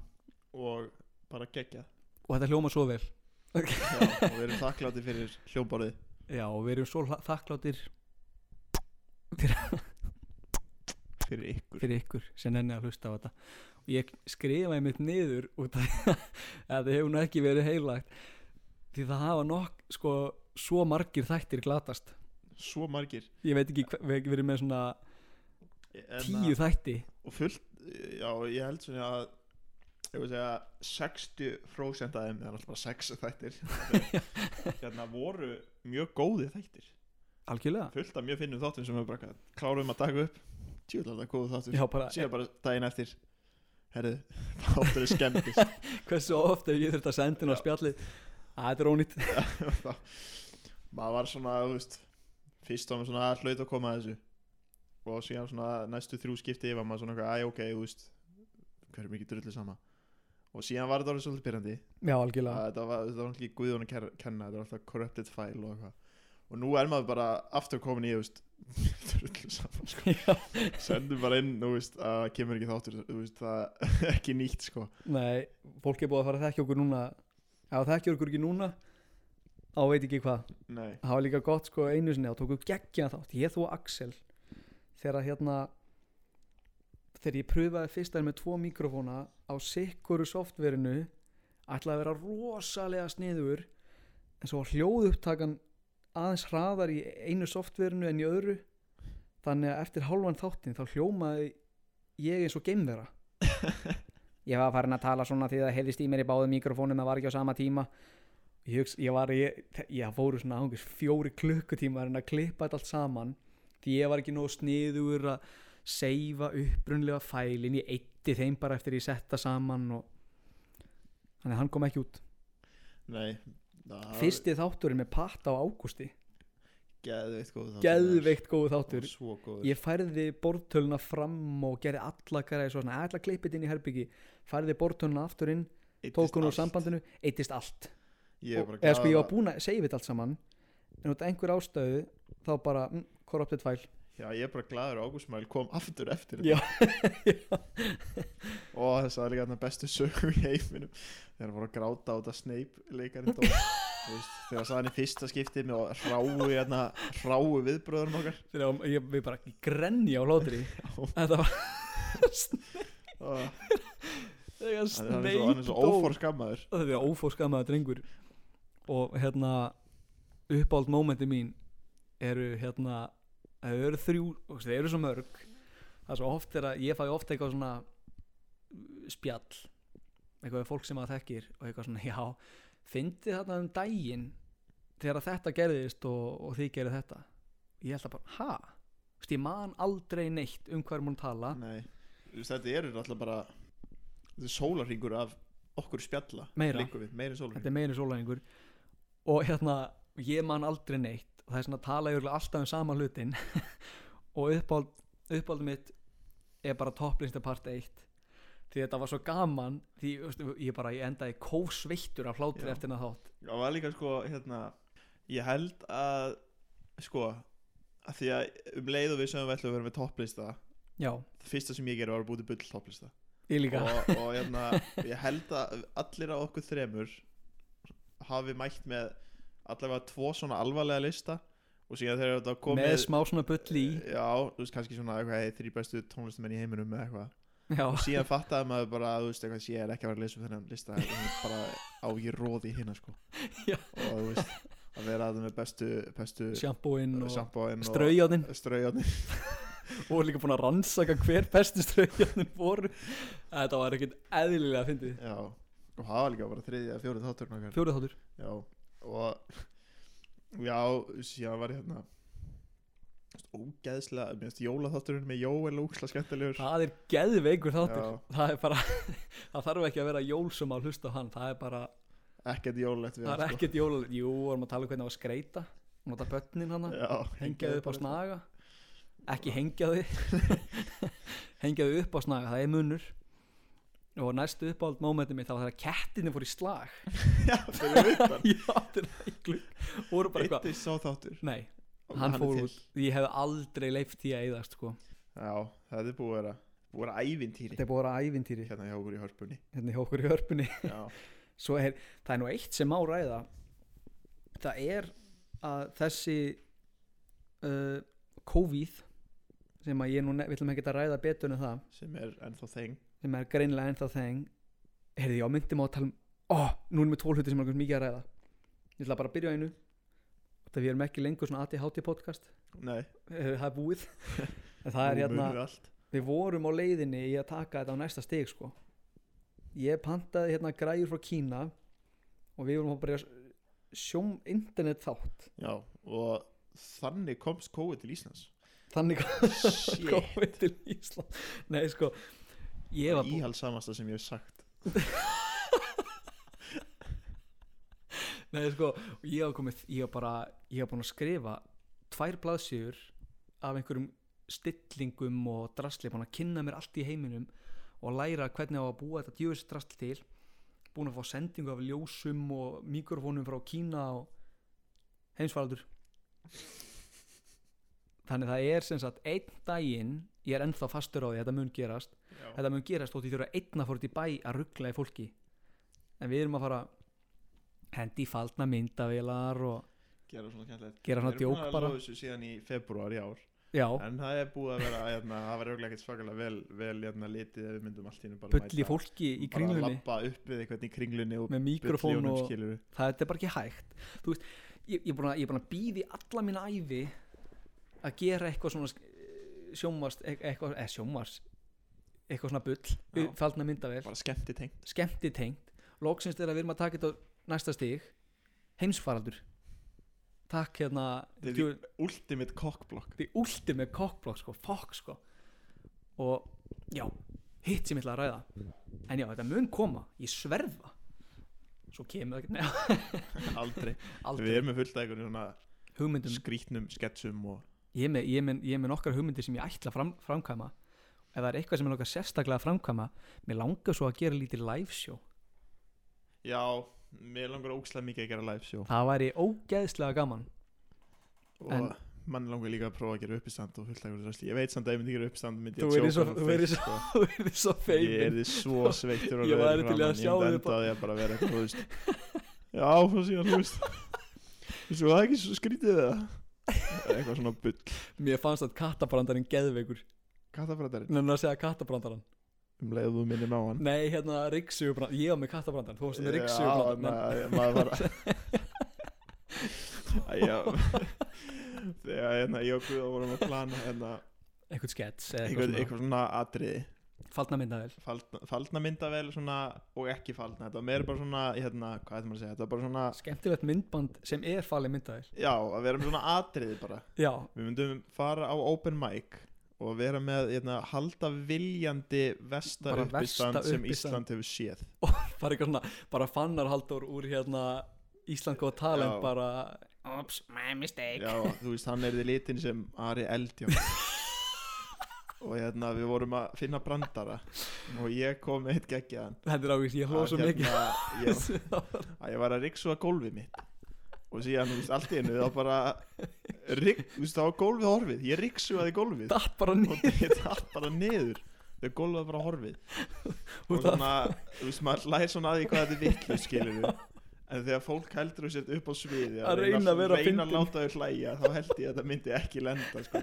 [SPEAKER 2] og bara gegja
[SPEAKER 1] og þetta hljóma svo vel
[SPEAKER 2] já, og við erum þakkláti fyrir hljómborðið
[SPEAKER 1] Já, og við erum svo hla- þakkláttir
[SPEAKER 2] fyrir ykkur
[SPEAKER 1] fyrir ykkur sem nenni að hlusta á þetta og ég skrifaði mitt niður út af því að þetta hefur nú ekki verið heilagt því það hafa nokk sko, svo margir þættir glatast
[SPEAKER 2] svo margir
[SPEAKER 1] ég veit ekki, hve- við ekki verið með svona
[SPEAKER 2] En uh,
[SPEAKER 1] tíu
[SPEAKER 2] að-
[SPEAKER 1] þætti
[SPEAKER 2] og fullt, já, ég held svona að ég vil segja 60% af þeim, það er alltaf bara 6 þættir hérna voru mjög góði þættir
[SPEAKER 1] algjörlega
[SPEAKER 2] fullt af mjög finnum þáttum sem við bara klárum að taka upp tjúðlega þetta góðu þáttur
[SPEAKER 1] já, bara,
[SPEAKER 2] síðan bara daginn eftir herðu, þáttur er skemmtist
[SPEAKER 1] hversu oft er ég þurft að senda inn á
[SPEAKER 2] Já.
[SPEAKER 1] spjallið að þetta er ónýtt
[SPEAKER 2] Þá- maður var svona, þú veist fyrst var maður svona að hlaut að koma að þessu og síðan svona næstu þrjú skipti var maður svona eitthvað, æ, ok, þú veist hver er mikið drullu sama og síðan var þetta alveg svolítið byrjandi
[SPEAKER 1] já, algjörlega
[SPEAKER 2] að þetta var, þetta var ekki guðun að ker- kenna þetta var alltaf corrupted file og eitthvað og nú er maður bara aftur komin í þú veist, drullu saman sko.
[SPEAKER 1] Já,
[SPEAKER 2] sendum bara inn, þú veist, að kemur ekki þáttur þú veist, það er ekki nýtt sko.
[SPEAKER 1] nei, fólk er búið að fara að þekkja okkur núna ef það þekkja okkur ekki núna þá veit ekki hvað
[SPEAKER 2] nei,
[SPEAKER 1] það var líka gott sko einu sinni þá tókum við geggja þátt, ég þú og Axel þegar að hérna þegar ég pröfaði fyrst þær með tvo mikrofóna á sikkuru softverinu ætlaði að vera rosalega sniður en svo var hljóðupptakan aðeins hraðar í einu softverinu en í öðru þannig að eftir hálfan þáttin þá hljómaði ég eins og geimvera ég var farin að tala svona því að heyrðist í mér í báðum mikrofónum að var ekki á sama tíma ég, hugsa, ég var ég, ég fóru svona ángust fjóri klukkutíma að reyna að klippa þetta allt saman því ég var ekki nóg sniður að seifa upprunlega fælin ég eitti þeim bara eftir ég setta saman og þannig að hann kom ekki út
[SPEAKER 2] nei það
[SPEAKER 1] fyrsti þátturinn með patta á ágústi
[SPEAKER 2] geðveikt góð þáttur
[SPEAKER 1] geðveikt góðu
[SPEAKER 2] maður.
[SPEAKER 1] þáttur
[SPEAKER 2] Og svo góð
[SPEAKER 1] ég færði bortöluna fram og gerði alla græði svona, ætla að klippa þetta inn í herbyggi færði bortöluna aftur inn, tók hún úr sambandinu eittist allt
[SPEAKER 2] ég er
[SPEAKER 1] og,
[SPEAKER 2] bara
[SPEAKER 1] eða sko ég
[SPEAKER 2] glaður
[SPEAKER 1] var búin að segja þetta allt saman en út af einhver ástöðu þá bara mm, corrupted file
[SPEAKER 2] að- já, ég er bara gladur að Ágúst Mæl kom aftur eftir
[SPEAKER 1] Já.
[SPEAKER 2] þetta og þess að líka þarna bestu sögum í heiminum þegar hann voru að gráta á þetta Snape leikarinn dó Þú veist, þegar sagði hann í fyrsta skipti með hráu, hérna, hráu viðbröðurum okkar
[SPEAKER 1] þegar ég, við bara grenni á hlótri þetta var
[SPEAKER 2] og
[SPEAKER 1] þegar
[SPEAKER 2] hann er svo, hann er svo ófór skammaður
[SPEAKER 1] þetta er ófórskamaða drengur og hérna uppáld mómenti mín eru hérna það eru þrjú, þú veist, það eru svo mörg það er svo oft er að ég fæ oft eitthvað svona uh, spjall eitthvað við fólk sem að þekkir og eitthvað svona, já, fyndi þarna um daginn þegar að þetta gerðist og, og þið gerði þetta ég held að bara, ha? Þú veist, ég man aldrei neitt um hvað er múin að tala
[SPEAKER 2] Nei, þú veist, þetta eru alltaf bara þetta er sólarringur af okkur spjalla
[SPEAKER 1] Meira.
[SPEAKER 2] liggur við, meira
[SPEAKER 1] þetta
[SPEAKER 2] sólarringur
[SPEAKER 1] er meiri sólæningur og hérna, ég man aldrei neitt og það er svona að tala ég alltaf um sama hlutin og uppáld uppáldum mitt er bara topplista part 1 því þetta var svo gaman því þú veist, ég bara, ég endaði kósveittur af hlátri
[SPEAKER 2] Já.
[SPEAKER 1] eftir hennar þátt
[SPEAKER 2] og var líka sko, hérna ég held að sko, að því að um leið og við sögum við ætlum að vera með topplista
[SPEAKER 1] já,
[SPEAKER 2] það fyrsta sem ég gerði var að búti bull topplista
[SPEAKER 1] ég líka
[SPEAKER 2] og, og hérna, ég held að allir á okkur þremur hafi mætt með allavega tvo svona alvarlega lista og síðan þegar þetta komið
[SPEAKER 1] með smá svona bull í
[SPEAKER 2] já, þú veist, kannski svona eitthvað hey, þrý bestu tónlistamenn í heiminum eða eitthvað
[SPEAKER 1] já,
[SPEAKER 2] og síðan fattaði maður bara þú veist eitthvað ég er ekki að vera að lesa um þennan lista þetta er bara á ég róði hérna sko
[SPEAKER 1] Já.
[SPEAKER 2] og þú veist að vera að það með bestu, bestu
[SPEAKER 1] sjampóinn og
[SPEAKER 2] sjampóin
[SPEAKER 1] straujáðin
[SPEAKER 2] og straujóðin
[SPEAKER 1] og líka búin að rannsaka hver bestu straujáðin voru þetta var ekkert eðlilega að fyndið
[SPEAKER 2] já og það var líka bara þriðið að fjórið þátturinn okkar
[SPEAKER 1] fjórið þáttur
[SPEAKER 2] já og já síðan var ég hérna þú veist, ógeðslega mér finnst jólaþátturinn með Jóel ógeðslega skemmtilegur
[SPEAKER 1] það er geðveikur þáttur
[SPEAKER 2] Já.
[SPEAKER 1] það er bara það þarf ekki að vera jólsum að hlusta á hann það er bara,
[SPEAKER 2] ekkert jólulegt við
[SPEAKER 1] það er
[SPEAKER 2] hann, sko.
[SPEAKER 1] ekkert jól jú, varum að tala um hvernig það var að skreita nota börnin hann,
[SPEAKER 2] já,
[SPEAKER 1] hengjaði hérna. upp á
[SPEAKER 2] bara-
[SPEAKER 1] snaga ekki hengjaði hengjaði upp á snaga, það er munur og næstu uppáhald mómentum mitt það var þegar kettinni fór í slag
[SPEAKER 2] já, fyrir utan
[SPEAKER 1] já, þetta er ekki og voru bara eitthvað,
[SPEAKER 2] eitt sá þáttur
[SPEAKER 1] nei,
[SPEAKER 2] og
[SPEAKER 1] hann
[SPEAKER 2] er
[SPEAKER 1] fór
[SPEAKER 2] til.
[SPEAKER 1] út ég hef aldrei leift því að eyðast sko.
[SPEAKER 2] Já, það er búið að vera búið að vera ævintýri
[SPEAKER 1] þetta er búið að vera ævintýri
[SPEAKER 2] hérna hjá okkur í hörpunni
[SPEAKER 1] hérna hjá okkur í hörpunni
[SPEAKER 2] Já,
[SPEAKER 1] svo er, það er nú eitt sem má ræða það er að þessi uh, COVID sem að ég nú, ne- við ætlum ekki að ræða betur en það,
[SPEAKER 2] sem er ennþá þeng
[SPEAKER 1] sem er greinilega ennþá þeng, heyrði ég á myndum á að tala um, ó, nú erum við tól hluti sem er okkur mikið að ræða, ég ætla bara að byrja á einu þetta við erum ekki lengur svona ATHT podcast,
[SPEAKER 2] Nei,
[SPEAKER 1] eh, það er búið En það er
[SPEAKER 2] nú
[SPEAKER 1] hérna,
[SPEAKER 2] munum við allt
[SPEAKER 1] við vorum á leiðinni í að taka þetta á næsta stig sko ég pantaði hérna græjur frá Kína og við vorum að byrja sjóm internet þátt
[SPEAKER 2] Já, og þannig komst COVID til Íslands
[SPEAKER 1] þannig
[SPEAKER 2] Shit,
[SPEAKER 1] komið til Ísland nei sko ég var búinn
[SPEAKER 2] íhalsamasta sem ég hef sagt
[SPEAKER 1] nei sko ég var komið ég var bara ég var búinn að skrifa tvær blaðsýður af einhverjum stillingum og drasli búinn að kynna mér allt í heiminum og læra hvernig á að búa þetta djöfis drasli til búinn að fá sendingu af ljósum og mikrofónum frá Kína og heimsfaraldur þannig það er sem sagt einn daginn ég er ennþá fastur á því þetta mun gerast
[SPEAKER 2] Já.
[SPEAKER 1] þetta mun gerast þótt ég þurfa einn að fóra út í bæ að ruggla í fólki en við erum að fara að hendi í faldna myndavélar og
[SPEAKER 2] gera svona kjæntilegt
[SPEAKER 1] gera svona djók bara
[SPEAKER 2] þessu síðan í februar í ár
[SPEAKER 1] já,
[SPEAKER 2] en það er búið að vera hérna, það var auðvitað ekkert svakalega vel, vel hérna, litið ef við myndum allt í hennu bara
[SPEAKER 1] bulli fólki í
[SPEAKER 2] bara
[SPEAKER 1] kringlunni
[SPEAKER 2] lappa upp við eitthvað í kringlunni og
[SPEAKER 1] með mikrofón
[SPEAKER 2] bulljónum
[SPEAKER 1] og
[SPEAKER 2] skilur
[SPEAKER 1] það þetta er bara ekki hægt þú veist, ég, ég er búin að, ég er búin að býði alla mín æfi að gera eitthvað svona sk- sjónvars e- eitthvað, eða sjónvars eitthvað svona bull,
[SPEAKER 2] Já.
[SPEAKER 1] faldna myndavél
[SPEAKER 2] bara skemmti tengt
[SPEAKER 1] skemmti tengt loksins þegar við erum að taka þetta á næsta stig heimsfaraldur takk hérna
[SPEAKER 2] Þetta er
[SPEAKER 1] djú-
[SPEAKER 2] ultimate cockblock
[SPEAKER 1] því últi með kokkblokk sko, fokk sko og já, hitt sem ég ætla að ræða en já, þetta mun koma, ég sverða svo kemur það ekki, neða,
[SPEAKER 2] aldrei. við
[SPEAKER 1] aldrei
[SPEAKER 2] erum með fullt af einhvern svona
[SPEAKER 1] hugmyndum,
[SPEAKER 2] skrítnum sketsum og
[SPEAKER 1] ég er með, ég er með, ég er með nokkar hugmyndir sem ég ætla að fram, framkvæma ef það er eitthvað sem ég langar sérstaklega að framkvæma mér langar svo að gera lítið live show
[SPEAKER 2] já, mér langar ógslega mikið að gera live show
[SPEAKER 1] það væri ógeðslega gaman
[SPEAKER 2] og
[SPEAKER 1] En-
[SPEAKER 2] mann langar líka að prófa að gera uppistand og fullt af einhvern ræsli ég veit samt að ef ég myndi gera uppistand myndi
[SPEAKER 1] Þú
[SPEAKER 2] ég
[SPEAKER 1] yrðir
[SPEAKER 2] tjóka
[SPEAKER 1] svo-
[SPEAKER 2] á
[SPEAKER 1] þú yrðir
[SPEAKER 2] Facebook,
[SPEAKER 1] þú
[SPEAKER 2] sko.
[SPEAKER 1] er svo
[SPEAKER 2] ég
[SPEAKER 1] feimin
[SPEAKER 2] er því svo sveittur og
[SPEAKER 1] Ég
[SPEAKER 2] rauður
[SPEAKER 1] væri til í að
[SPEAKER 2] framan.
[SPEAKER 1] sjá þig
[SPEAKER 2] ég myndi enda á því að bara vera eitthvað þú veist já, og síðan þú veist svo það er ekki svo skrítið það eitthvað svona bull
[SPEAKER 1] mér fannst að kattabrandarinn geðveikur
[SPEAKER 2] kattafrættarinn
[SPEAKER 1] nefnir að segja kattabrandarann
[SPEAKER 2] um leiðu þú minnir á hann
[SPEAKER 1] Nei, hérna Ríksjöbrand, ég var með kattabrandan Þú varst með
[SPEAKER 2] Já,
[SPEAKER 1] Ríksjöbrand
[SPEAKER 2] ma- maður var Æ, já. þegar hérna, ég og Guða vorum að plana hérna,
[SPEAKER 1] Einhvern skets eða
[SPEAKER 2] eitthvað,
[SPEAKER 1] eitthvað,
[SPEAKER 2] eitthvað svona atriði
[SPEAKER 1] svona Faldna myndavel
[SPEAKER 2] faldna, faldna myndavel svona, og ekki faldna þetta var meira bara svona hérna, hvað er maður að segja þetta var bara svona
[SPEAKER 1] Skemmtilegt myndband sem er falið myndavel
[SPEAKER 2] já að vera með svona atriði bara
[SPEAKER 1] Já,
[SPEAKER 2] við myndum fara á open mic og vera með hérna, halda viljandi vesta
[SPEAKER 1] Bara versta
[SPEAKER 2] uppistand sem
[SPEAKER 1] uppistand.
[SPEAKER 2] Ísland hefur séð
[SPEAKER 1] bara eitthvað svona Bara fannar haldur úr hérna Ísland góða talent
[SPEAKER 2] Já.
[SPEAKER 1] bara
[SPEAKER 3] Oops, my mistake.
[SPEAKER 2] Já, þú veist, hann er því litin sem Ari Eldjá og hérna, við vorum að finna brandara og ég kom með eitt geggjaðan
[SPEAKER 1] Þetta er ákveðs, ég hlóð svo
[SPEAKER 2] Að,
[SPEAKER 1] mikið
[SPEAKER 2] hérna, ég,
[SPEAKER 1] Já,
[SPEAKER 2] að ég var að riksu að gólfið mitt og síðan, þú veist, allt í einu þá bara rik, þú veist, þá var gólfið horfið ég riksu aði gólfið
[SPEAKER 1] Datt bara nýtt
[SPEAKER 2] og ég tatt bara niður þegar gólfið var bara horfið og svona, þú veist, maður læri svona að því hvað þetta er vitlu, skilur við en þegar fólk heldur þessi upp á sviði
[SPEAKER 1] Að reyna að vera
[SPEAKER 2] reyna að
[SPEAKER 1] fyndin.
[SPEAKER 2] láta þau hlæja þá held ég að þetta myndi ekki lenda sko.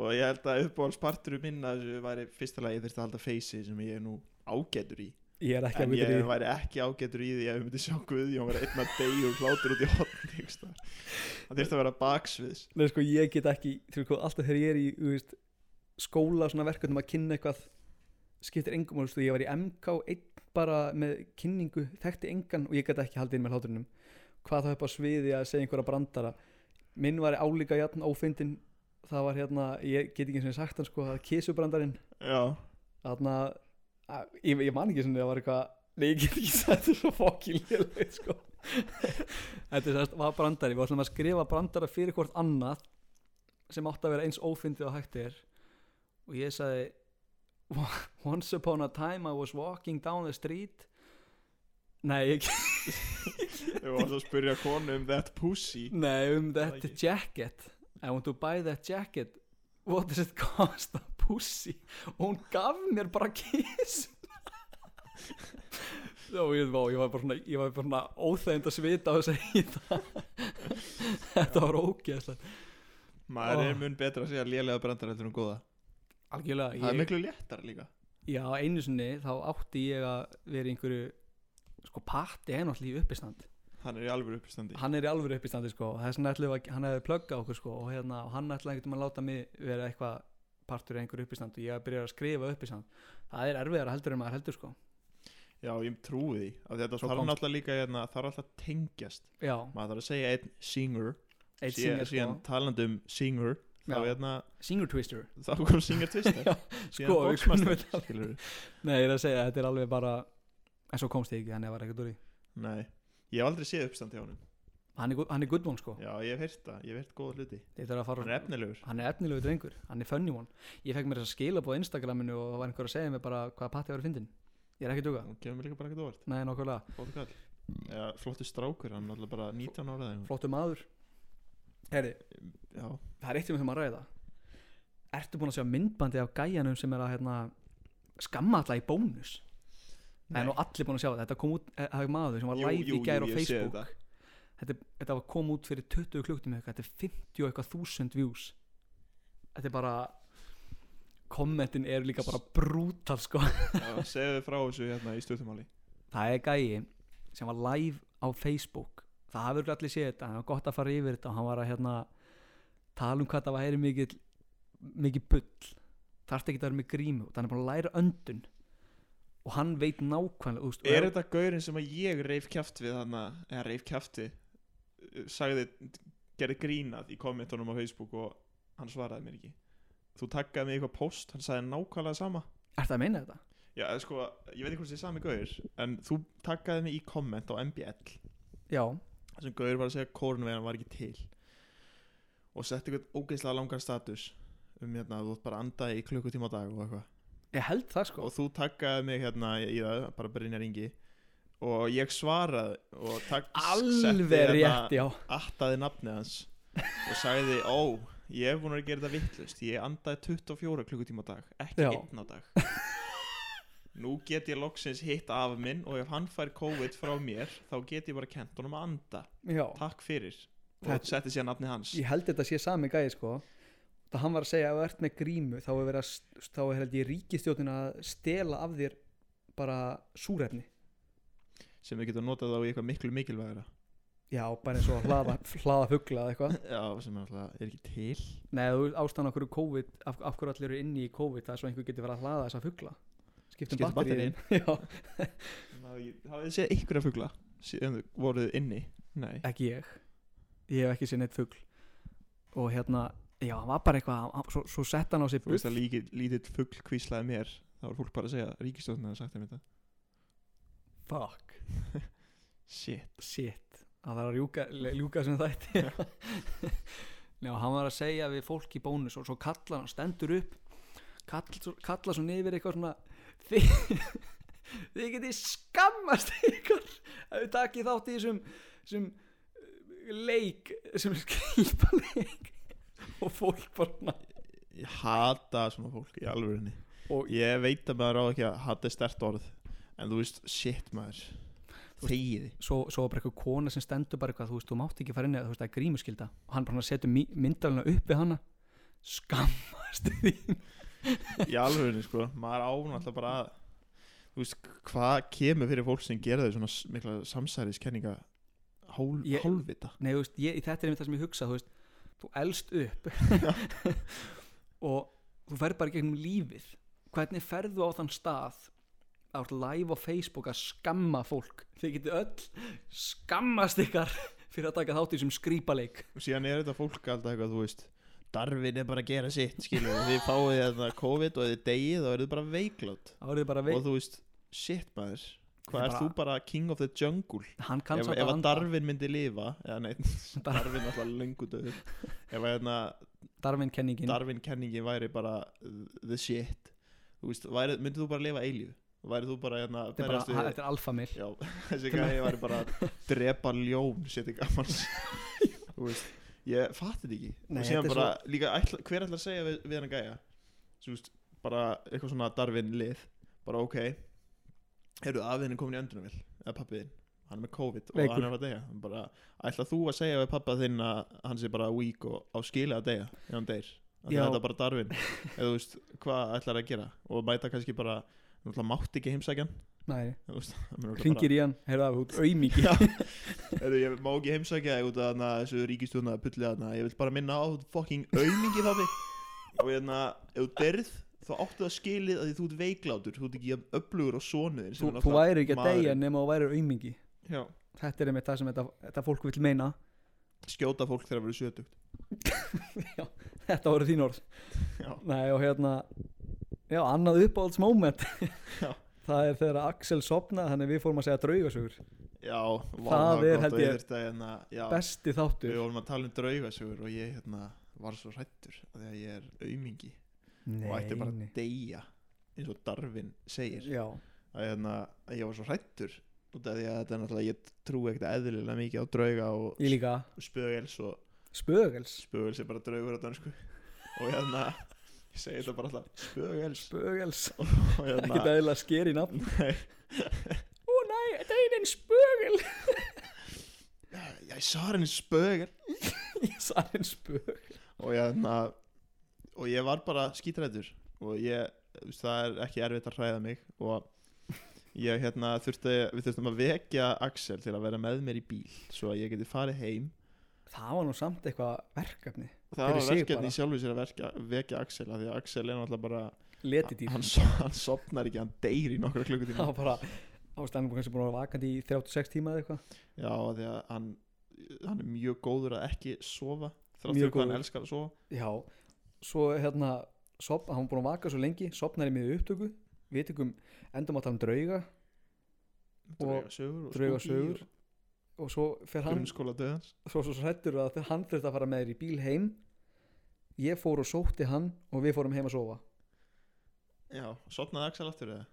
[SPEAKER 2] og ég held að uppáhaldspartur minna þessu væri fyrsta lagi þurfti að halda feysi sem ég er nú ágætur í
[SPEAKER 1] Ég er ekki að
[SPEAKER 2] en
[SPEAKER 1] mynda
[SPEAKER 2] ég
[SPEAKER 1] því
[SPEAKER 2] væri ekki ágætur í því ef við myndi sjá Guðjón vera einn að deyja og hlátur út í hotni það þurfti að vera baksviðs
[SPEAKER 1] Nei, sko, ég get ekki Þú veist, sko, alltaf þegar ég er í þú veist, skóla svona verkefnum að kynna eitthvað skiptir engum og ég var í MK einn bara með kynningu þekkti engan og ég gæti ekki haldið inn með hláturinum hvað þá upp á sviði að segja einhverja brandara minn var álíka jafn ófindin það var hérna, ég get ekki eins og sagt hann sko, það kísubrandarinn
[SPEAKER 2] já,
[SPEAKER 1] þarna, að- ég, ég man ekki sem það var eitthvað nei, ég get ekki sagt þetta er svo fokkilélega sko. þetta er sérst, var brandari við ætlum að skrifa brandara fyrir hvort annað sem átti að vera eins ófindið og hægt er og ég sagði once upon a time I was walking down the street nei, ég,
[SPEAKER 2] við varum alltaf að spyrja konu um that pussy
[SPEAKER 1] nei um
[SPEAKER 2] Það
[SPEAKER 1] þetta
[SPEAKER 2] ekki.
[SPEAKER 1] jacket I want to buy that jacket what does it cost a pussy og hún gaf mér bara kiss og ég, vá, ég var bara svona, ég var bara svona óþægind að svita og segja það þetta var ógeðslega
[SPEAKER 2] maður
[SPEAKER 1] Ó.
[SPEAKER 2] er mun betra að segja lélega brandara heldur en góða það
[SPEAKER 1] algjörlega
[SPEAKER 2] er
[SPEAKER 1] ég,
[SPEAKER 2] miklu léttar líka
[SPEAKER 1] já einu sinni þá átti ég að vera í einhverju sko patti henn allir í uppistand
[SPEAKER 2] hann er í alveg uppstandi
[SPEAKER 1] hann er í alvöru uppistandi sko og þess vegna ætlum við að, hann hefði plöggað okkur sko og hérna, og hann ætlaði einhvern veginn að láta mig vera eitthvað partur í einhverju uppistand og ég byrjaði að skrifa uppistand það er erfiðara heldur en maður heldur sko
[SPEAKER 2] Já, ég trúi því að þetta
[SPEAKER 1] Svo
[SPEAKER 2] þarf
[SPEAKER 1] komst-
[SPEAKER 2] náttúrulega líka hérna, þarf alltaf að tengjast
[SPEAKER 1] já,
[SPEAKER 2] maður þarf að segja einn singer
[SPEAKER 1] eitt
[SPEAKER 2] Síðan,
[SPEAKER 1] singer
[SPEAKER 2] síðan
[SPEAKER 1] sko.
[SPEAKER 2] talandi um Singer þá,
[SPEAKER 1] Já.
[SPEAKER 2] hérna,
[SPEAKER 1] Singer Twister
[SPEAKER 2] þá kom Singer Twister
[SPEAKER 1] Já,
[SPEAKER 2] síðan
[SPEAKER 1] sko, við kunum
[SPEAKER 2] Boxmaster,
[SPEAKER 1] þetta.
[SPEAKER 2] skilurðu.
[SPEAKER 1] Nei, ég er að segja, þetta er alveg bara en svo komst ég ekki, þannig að var ekkert úr í
[SPEAKER 2] Nei, ég hef aldrei séð uppstand hjá honum
[SPEAKER 1] hann er, gu- hann er good one sko
[SPEAKER 2] Já, ég hef heyrt það, ég hef heyrt góða hluti
[SPEAKER 1] Þetta er að fara
[SPEAKER 2] Hann er efnilegur
[SPEAKER 1] hann er efnilegu drengur, hann er funny one ég fekk mér þess að skila á Instagraminu og það var einhver að segja mér bara hvaða patti var að fyndin ég er ekki að duga,
[SPEAKER 2] Hann kemur mér líka bara ekkert óvart
[SPEAKER 1] nei nokkulega
[SPEAKER 2] Góðu kall Já, flottu strákur, hann er alltaf bara 19 ára þegar
[SPEAKER 1] flottu maður herri,
[SPEAKER 2] Já,
[SPEAKER 1] það er eitt um þum að ræða ertu búin að sjá myndbandi af gæjanum sem er að hérna, skamma alla í bónus það er
[SPEAKER 2] Nei.
[SPEAKER 1] nú allir búin að sjá það þetta kom út, eh, það er maður sem var
[SPEAKER 2] Jú,
[SPEAKER 1] live
[SPEAKER 2] jú,
[SPEAKER 1] í gær
[SPEAKER 2] jú,
[SPEAKER 1] á
[SPEAKER 2] ég sé
[SPEAKER 1] Facebook
[SPEAKER 2] þetta.
[SPEAKER 1] þetta, þetta var kom út fyrir 20 klukktum þetta er 50 og eitthvað þúsund views þetta er bara kommentin er líka bara brútal sko
[SPEAKER 2] Já, segðu frá þessu hérna í stöðumáli
[SPEAKER 1] það er gæi sem var live á Facebook það hafur allir séð þetta, það var gott að fara yfir þetta og hann var að hérna tala um hvað það væri mikið mikið bull, þarf ekki að vera með grímu og hann er bara að læra öndun og hann veit nákvæmlega úst,
[SPEAKER 2] Er þetta gaurinn sem að ég reif kjaft við hann eða reif kjaft við uh, sagði, gerði grínað í kommentunum á Facebook og hann svaraði mér ekki Þú takkaði mig í eitthvað post, hann sagði nákvæmlega sama
[SPEAKER 1] er það að meina þetta?
[SPEAKER 2] Já, eða sko, ég veit ekki hvort það er sami gaur en þú takkaði mig í komment á MBL
[SPEAKER 1] Já,
[SPEAKER 2] þar sem Gaur var að segja að kórnveiðan var ekki til og setti eitthvað ógeðslega langan status um hérna að þú ætti bara að anda í klukkutíma á dag og eitthvað
[SPEAKER 1] ég held það sko
[SPEAKER 2] og þú takkaði mig hérna í það bara Brynjar Ingi og ég svaraði og takk hérna
[SPEAKER 1] alveg rétt, já
[SPEAKER 2] attaði nafni hans og sagði ó ég hef búin að gera þetta vittlust ég andaði 24 klukkutíma á dag ekki
[SPEAKER 1] Já.
[SPEAKER 2] einn á dag nú get ég loksins hitt af minn og ef hann fær COVID frá mér þá get ég bara kent honum að anda
[SPEAKER 1] já,
[SPEAKER 2] takk fyrir og
[SPEAKER 1] Þetta-
[SPEAKER 2] setti sér nafni hans
[SPEAKER 1] ég held þetta sé sami gæi sko það hann var að segja að ef þú ert með grímu þá er verið að, st- þá er held ég ríkistjótin að stela af þér bara súrefni
[SPEAKER 2] sem við getum notað á í eitthvað miklu mikilvægara
[SPEAKER 1] Já, bara eins og að hlaða, hlaða fugla eða eitthvað.
[SPEAKER 2] já, sem er alltaf, er ekki til
[SPEAKER 1] Nei, þú ástæðan okkur COVID, af, af hverju allir eru inni í COVID, það er svo einhver getur verið að hlaða þessa fugla. Skiptum,
[SPEAKER 2] Skiptum
[SPEAKER 1] Skiptum batteríin. Já,
[SPEAKER 2] hafið þið séð einhverja fugla síðan þau voruð inni nei,
[SPEAKER 1] ekki ég. Ég hef ekki séð neitt fugl. Og hérna, já, hann var bara eitthvað, hann- svo, svo sett hann á sig
[SPEAKER 2] þú veist
[SPEAKER 1] buff.
[SPEAKER 2] að líkið, lítill fugl kvíslaði mér þá var fólk bara að segja ríkistjóðin að sagt þeim þetta
[SPEAKER 1] Fuck,
[SPEAKER 2] shit,
[SPEAKER 1] shit. Það þarf að ljúka, ljúka sem þætti. Já, hann var að segja við fólk í bónus og svo kallar hann, stendur upp, kall, svo- kallar svo neyfir eitthvað svona, þið, þið getið skammast ykkur að við takið þátt í þessum, þessum eh, leik, þessum skýpa leik og fólk bara svona,
[SPEAKER 2] ég hata svona fólk í alvörinni
[SPEAKER 1] og
[SPEAKER 2] ég veit að maður á ekki að hata er stert orð en þú veist, shit maður
[SPEAKER 1] Þú veist-
[SPEAKER 2] þegiði
[SPEAKER 1] svo, svo var bara eitthvað kona sem stendur bara eitthvað, þú veist, þú mátt ekki fara inn eða þú veist, það er grímuskylda og hann bara setur myndalina upp við hana, skammast þín.
[SPEAKER 2] í alvörinni sko, maður án alltaf bara að þú veist, hvað kemur fyrir fólk sem gera þau svona s- mikla samsæriskenninga hál,
[SPEAKER 1] Ég-
[SPEAKER 2] hálfvita
[SPEAKER 1] Nei, þú veist, ég, þetta er einmitt það sem ég hugsa, þú veist, þú elst upp og þú ferð bara í gegnum lífið. Hvernig ferðu á þann stað að ert live á Facebook að skamma fólk? Þið getið öll skammast ykkar fyrir að taka þátt í sem skrýpaleik.
[SPEAKER 2] og síðan er þetta fólk alltaf eitthvað, þú veist Darfin er bara að gera sitt, skilur við þið fáið þetta COVID og þið degið þá er þið bara veiklátt
[SPEAKER 1] Það verður bara veik.
[SPEAKER 2] og þú veist, shit maður
[SPEAKER 1] Þetta
[SPEAKER 2] hvað
[SPEAKER 1] er
[SPEAKER 2] er þú bara king of the jungle
[SPEAKER 1] Hann kann
[SPEAKER 2] ef,
[SPEAKER 1] samt
[SPEAKER 2] ef
[SPEAKER 1] að
[SPEAKER 2] að
[SPEAKER 1] anda.
[SPEAKER 2] Darwin myndi lifa eða neitt, Darwin er alltaf lengur döður ef að hérna,
[SPEAKER 1] Darvin kenningin.
[SPEAKER 2] Darwin kenningi væri bara uh, the shit þú veist, væri, myndið þú bara lifa eilíf værið þú bara hérna
[SPEAKER 1] þetta er bara,
[SPEAKER 2] berjast við-
[SPEAKER 1] ha- þetta er alfamil.
[SPEAKER 2] Já, þessi gæði væri bara að drepa ljón séti gamans Þú veist, ég fatti þetta ekki
[SPEAKER 1] Nei,
[SPEAKER 2] og síðan
[SPEAKER 1] þetta er
[SPEAKER 2] bara, líka, ætla, hver ætlar að segja við, við hann gæja Svo, veist, bara eitthvað svona darfin lið bara ok heyrðu, afiðin er komin í öndunum vil eða pappiðin, hann er með COVID
[SPEAKER 1] Veikur.
[SPEAKER 2] og hann er að deyja Hann bara, ætla þú að segja við pappa þinn að hann sé bara weak og á skila að deyja ef hann deyr, Af því
[SPEAKER 1] Já.
[SPEAKER 2] að þetta er bara darfin eða þú veist, hvað ætlar að gera og mæta kannski bara, náttúrulega mátt ekki heimsækjan
[SPEAKER 1] Nei,
[SPEAKER 2] þú veist, hann mun örugglega bara-
[SPEAKER 1] hringir í hann, heyrðu af hút, auðmiki.
[SPEAKER 2] Já, Heru, ég má ekki heimsækja þig út af hana, þessu ríkistjóna pulli hana. Ég vil bara minna á þú ert fucking aumingi pabbi Og hérna, ef þú derð þá áttu það skilið að því þú ert veiklátur Þú ert ekki jafn öflugur á sonu þinn
[SPEAKER 1] Þú,
[SPEAKER 2] sem er
[SPEAKER 1] þú
[SPEAKER 2] náttúrulega
[SPEAKER 1] væri ekki að
[SPEAKER 2] maðurinn.
[SPEAKER 1] deyja nema þú væri auðmingi.
[SPEAKER 2] Já,
[SPEAKER 1] Þetta er einmitt það sem þetta, þetta fólk vil meina.
[SPEAKER 2] skjóta fólk þegar það verður sjötugt
[SPEAKER 1] þetta voru þín orð
[SPEAKER 2] Já.
[SPEAKER 1] Nei, og hérna já, annað uppáhaldsmoment
[SPEAKER 2] Já.
[SPEAKER 1] það er þegar Axel sopnaði þannig við fórum að segja draugasögur
[SPEAKER 2] Já, vá,
[SPEAKER 1] Það
[SPEAKER 2] var
[SPEAKER 1] er,
[SPEAKER 2] gott
[SPEAKER 1] held ég,
[SPEAKER 2] og yfirleitt að, hérna, já,
[SPEAKER 1] besti þáttur
[SPEAKER 2] Við vorum að tala um draugasögur og ég hérna, var svo hrættur þegar ég er aumingi
[SPEAKER 1] Nei,
[SPEAKER 2] og ætti bara
[SPEAKER 1] nei.
[SPEAKER 2] að deyja eins og Darvin segir
[SPEAKER 1] já,
[SPEAKER 2] að hérna, að ég var svo hrættur út af því að þetta er náttúrulega ég trúi ekkert eðlilega mikið á drauga og
[SPEAKER 1] ég líka
[SPEAKER 2] spögels og
[SPEAKER 1] spögels
[SPEAKER 2] spögels er bara draugur á dansku og hérna ég segi þetta bara alltaf spögels
[SPEAKER 1] spögels,
[SPEAKER 2] og
[SPEAKER 1] ekki
[SPEAKER 2] hérna
[SPEAKER 1] dæðilega sker í nafn
[SPEAKER 2] nei,
[SPEAKER 1] ó nei, þetta er einn spögel
[SPEAKER 2] ég svar henni spögel
[SPEAKER 1] ég sagði einn spögel
[SPEAKER 2] og hérna og ég var bara skítrættur og ég, þú veist, það er ekki erfitt að hræða mig og ég hérna þurfti, við þurftum að vekja Axel til að vera með mér í bíl svo að ég geti farið heim
[SPEAKER 1] það var nú samt eitthvað verkefni
[SPEAKER 2] og það
[SPEAKER 1] Fyrir
[SPEAKER 2] var
[SPEAKER 1] sig
[SPEAKER 2] verkefni
[SPEAKER 1] bara.
[SPEAKER 2] í sjálfu sér að verka, vekja Axel af því að Axel er náttúrulega bara
[SPEAKER 1] letidýr
[SPEAKER 2] hann, so- hann sopnar ekki, hann deyr í nokkra klukkutíma
[SPEAKER 1] það var bara þá var stannum kannski búin að vera vakandi í 36 tíma eða eitthvað
[SPEAKER 2] já, af því að hann hann er mjög góður að ekki sofa þrátt
[SPEAKER 1] Mjög
[SPEAKER 2] fyrir hvað hann
[SPEAKER 1] góður.
[SPEAKER 2] elskar að sofa
[SPEAKER 1] já, svo hérna sop, hann var búin að vaka svo lengi, sopnaði með upptöku við tegum endum að tala um drauga Og
[SPEAKER 2] drauga sögur og
[SPEAKER 1] drauga
[SPEAKER 2] spooky
[SPEAKER 1] sögur og svo fer
[SPEAKER 2] og
[SPEAKER 1] hann
[SPEAKER 2] grunnskóla döðans
[SPEAKER 1] svo svo hrættur að þegar hann þurfti að fara með þér í bíl heim ég fór og sótti hann og við fórum heim að sofa
[SPEAKER 2] já, sopnaði Axel aftur eða?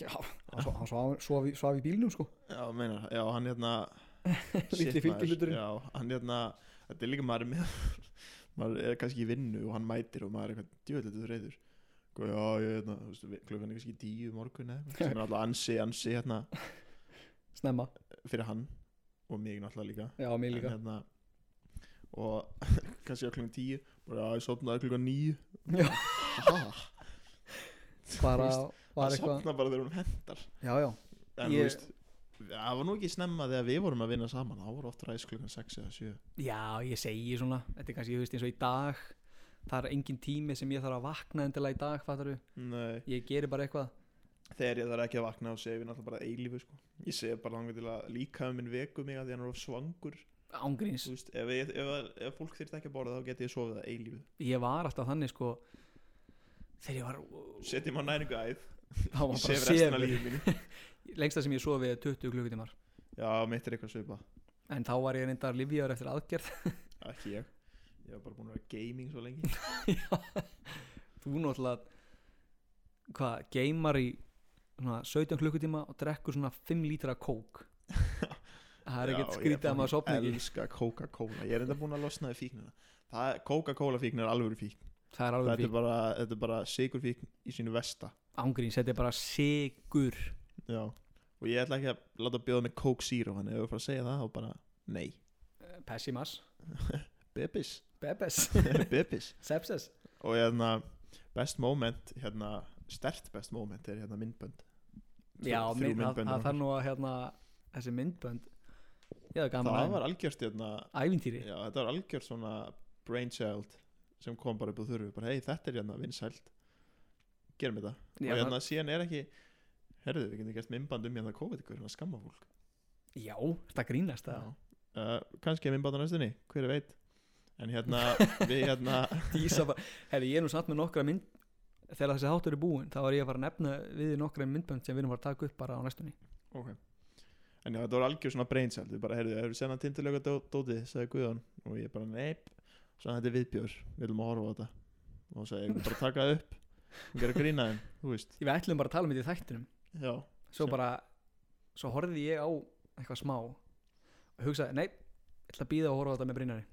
[SPEAKER 1] já, hann, svo, hann svaf, svaf, í- svaf í bílnum sko
[SPEAKER 2] Já, meinar, já, hann hérna
[SPEAKER 1] Litli
[SPEAKER 2] shit, maður,
[SPEAKER 1] fylgihluturinn.
[SPEAKER 2] Já, hann hérna, þetta er líka maður er með maður er kannski í vinnu og hann mætir og maður er eitthvað djöðlega reyður og já, ég hérna, þú veist, við- klukkan er kannski tíu í morgun eða, eitthvað, sem er alltaf ansi, ansi hérna,
[SPEAKER 1] snemma,
[SPEAKER 2] fyrir hann og mig náttúrulega líka,
[SPEAKER 1] já, mig líka
[SPEAKER 2] En, hérna, og kannski á klukkan tíu bara, já, ég sopnaði klukkan níu
[SPEAKER 1] Já.
[SPEAKER 2] ha,
[SPEAKER 1] bara
[SPEAKER 2] þú
[SPEAKER 1] var
[SPEAKER 2] hann
[SPEAKER 1] eitthvað
[SPEAKER 2] sopna bara þegar hún hendar
[SPEAKER 1] já, já,
[SPEAKER 2] en
[SPEAKER 1] Ég-
[SPEAKER 2] þú veist, það var nú ekki snemma þegar við vorum að vinna saman, þá voru oft ræs klukkan 6 eða 7
[SPEAKER 1] já, ég segi svona þetta er kannski, þú veist, eins og í dag það er engin tími sem ég þarf að vakna endilega í dag, fattar
[SPEAKER 2] Nei,
[SPEAKER 1] ég geri bara eitthvað
[SPEAKER 2] þegar ég þarf ekki að vakna og segja við náttúrulega bara eilífu sko. ég segja bara langar til að líka um minn veku mig að því hann er of svangur
[SPEAKER 1] ángríns,
[SPEAKER 2] Þú veist, ef, ég, ef, ef fólk þyrfti ekki að borða þá geti ég sofið það eilífu
[SPEAKER 1] ég var alltaf þannig sko þegar ég var
[SPEAKER 2] setjum á næringu æð,
[SPEAKER 1] þá var
[SPEAKER 2] ég
[SPEAKER 1] bara
[SPEAKER 2] sef restina
[SPEAKER 1] sefur
[SPEAKER 2] lífið mínu
[SPEAKER 1] lengsta sem ég sofi er 20 klukkutímar
[SPEAKER 2] já, mitt er eitthvað svipa,
[SPEAKER 1] en þá var ég reyndar livjaður eftir aðgerð
[SPEAKER 2] ekki ég ég var bara búin að vera gaming svo lengi
[SPEAKER 1] þú náttúrulega hvað, geymar í svona, 17 klukkutíma og drekkur svona 5 lítra kók það er ekkert skrítið að maður sopna
[SPEAKER 2] ég
[SPEAKER 1] ekki
[SPEAKER 2] elska Coca-Cola, ég er enda búin að losna við fíknina Það- Coca-Cola fíkn er alvöru fíkn
[SPEAKER 1] það er alveg
[SPEAKER 2] þetta er
[SPEAKER 1] fyrir
[SPEAKER 2] bara, þetta er bara sigur fíkn í sínu vesta
[SPEAKER 1] ángríns, þetta er bara sigur
[SPEAKER 2] já. og ég ætla ekki að láta bjóða með Coke Zero hann ef ég var að segja það þá bara nei,
[SPEAKER 1] Eh, pessimas,
[SPEAKER 2] bebis
[SPEAKER 1] bebes
[SPEAKER 2] bebis
[SPEAKER 1] sepsis,
[SPEAKER 2] og hérna best moment hérna, stert best moment er hérna myndbönd
[SPEAKER 1] já,
[SPEAKER 2] mynd,
[SPEAKER 1] mynd, það, það þarf nú að hérna, þessi myndbönd já, gaman
[SPEAKER 2] það
[SPEAKER 1] að
[SPEAKER 2] var algjört hérna,
[SPEAKER 1] ævintýri
[SPEAKER 2] já, þetta var algjört svona brainchild sem kom bara upp á þurru bara hei þetta er hérna vinsælt gerum þetta
[SPEAKER 1] já,
[SPEAKER 2] og
[SPEAKER 1] hérna,
[SPEAKER 2] hérna síðan er ekki herðu við getum gert myndband um hérna COVID ykkur hérna skamma fólk
[SPEAKER 1] já þetta grínast það
[SPEAKER 2] uh, kannski er minnbátt á næstunni, hver veit en hérna, við hérna
[SPEAKER 1] Dísa bara, herri ég er nú satt með nokkra mynd þegar þessi hátur er búinn þá var ég að fara að nefna við þig nokkra myndbönd sem við erum að fara að taka upp bara á næstunni
[SPEAKER 2] okay. en já, þetta voru algjör svona brainsæld við bara, heyrðu, hefur sennað tindulega dó, dótið sagði Guðan, og ég bara, neip svo þetta er viðbjör, við viljum að horfa á þetta og hún sagði, ég vil bara taka það upp og gera grína þeim, þú veist
[SPEAKER 1] Við ætlum bara að tala um þetta í þættinum
[SPEAKER 2] já,
[SPEAKER 1] svo
[SPEAKER 2] Sem-
[SPEAKER 1] bara, svo horfði ég á eitthvað smá og hugsaði, nei, ég ætla að býða og horfa á þetta með Brynari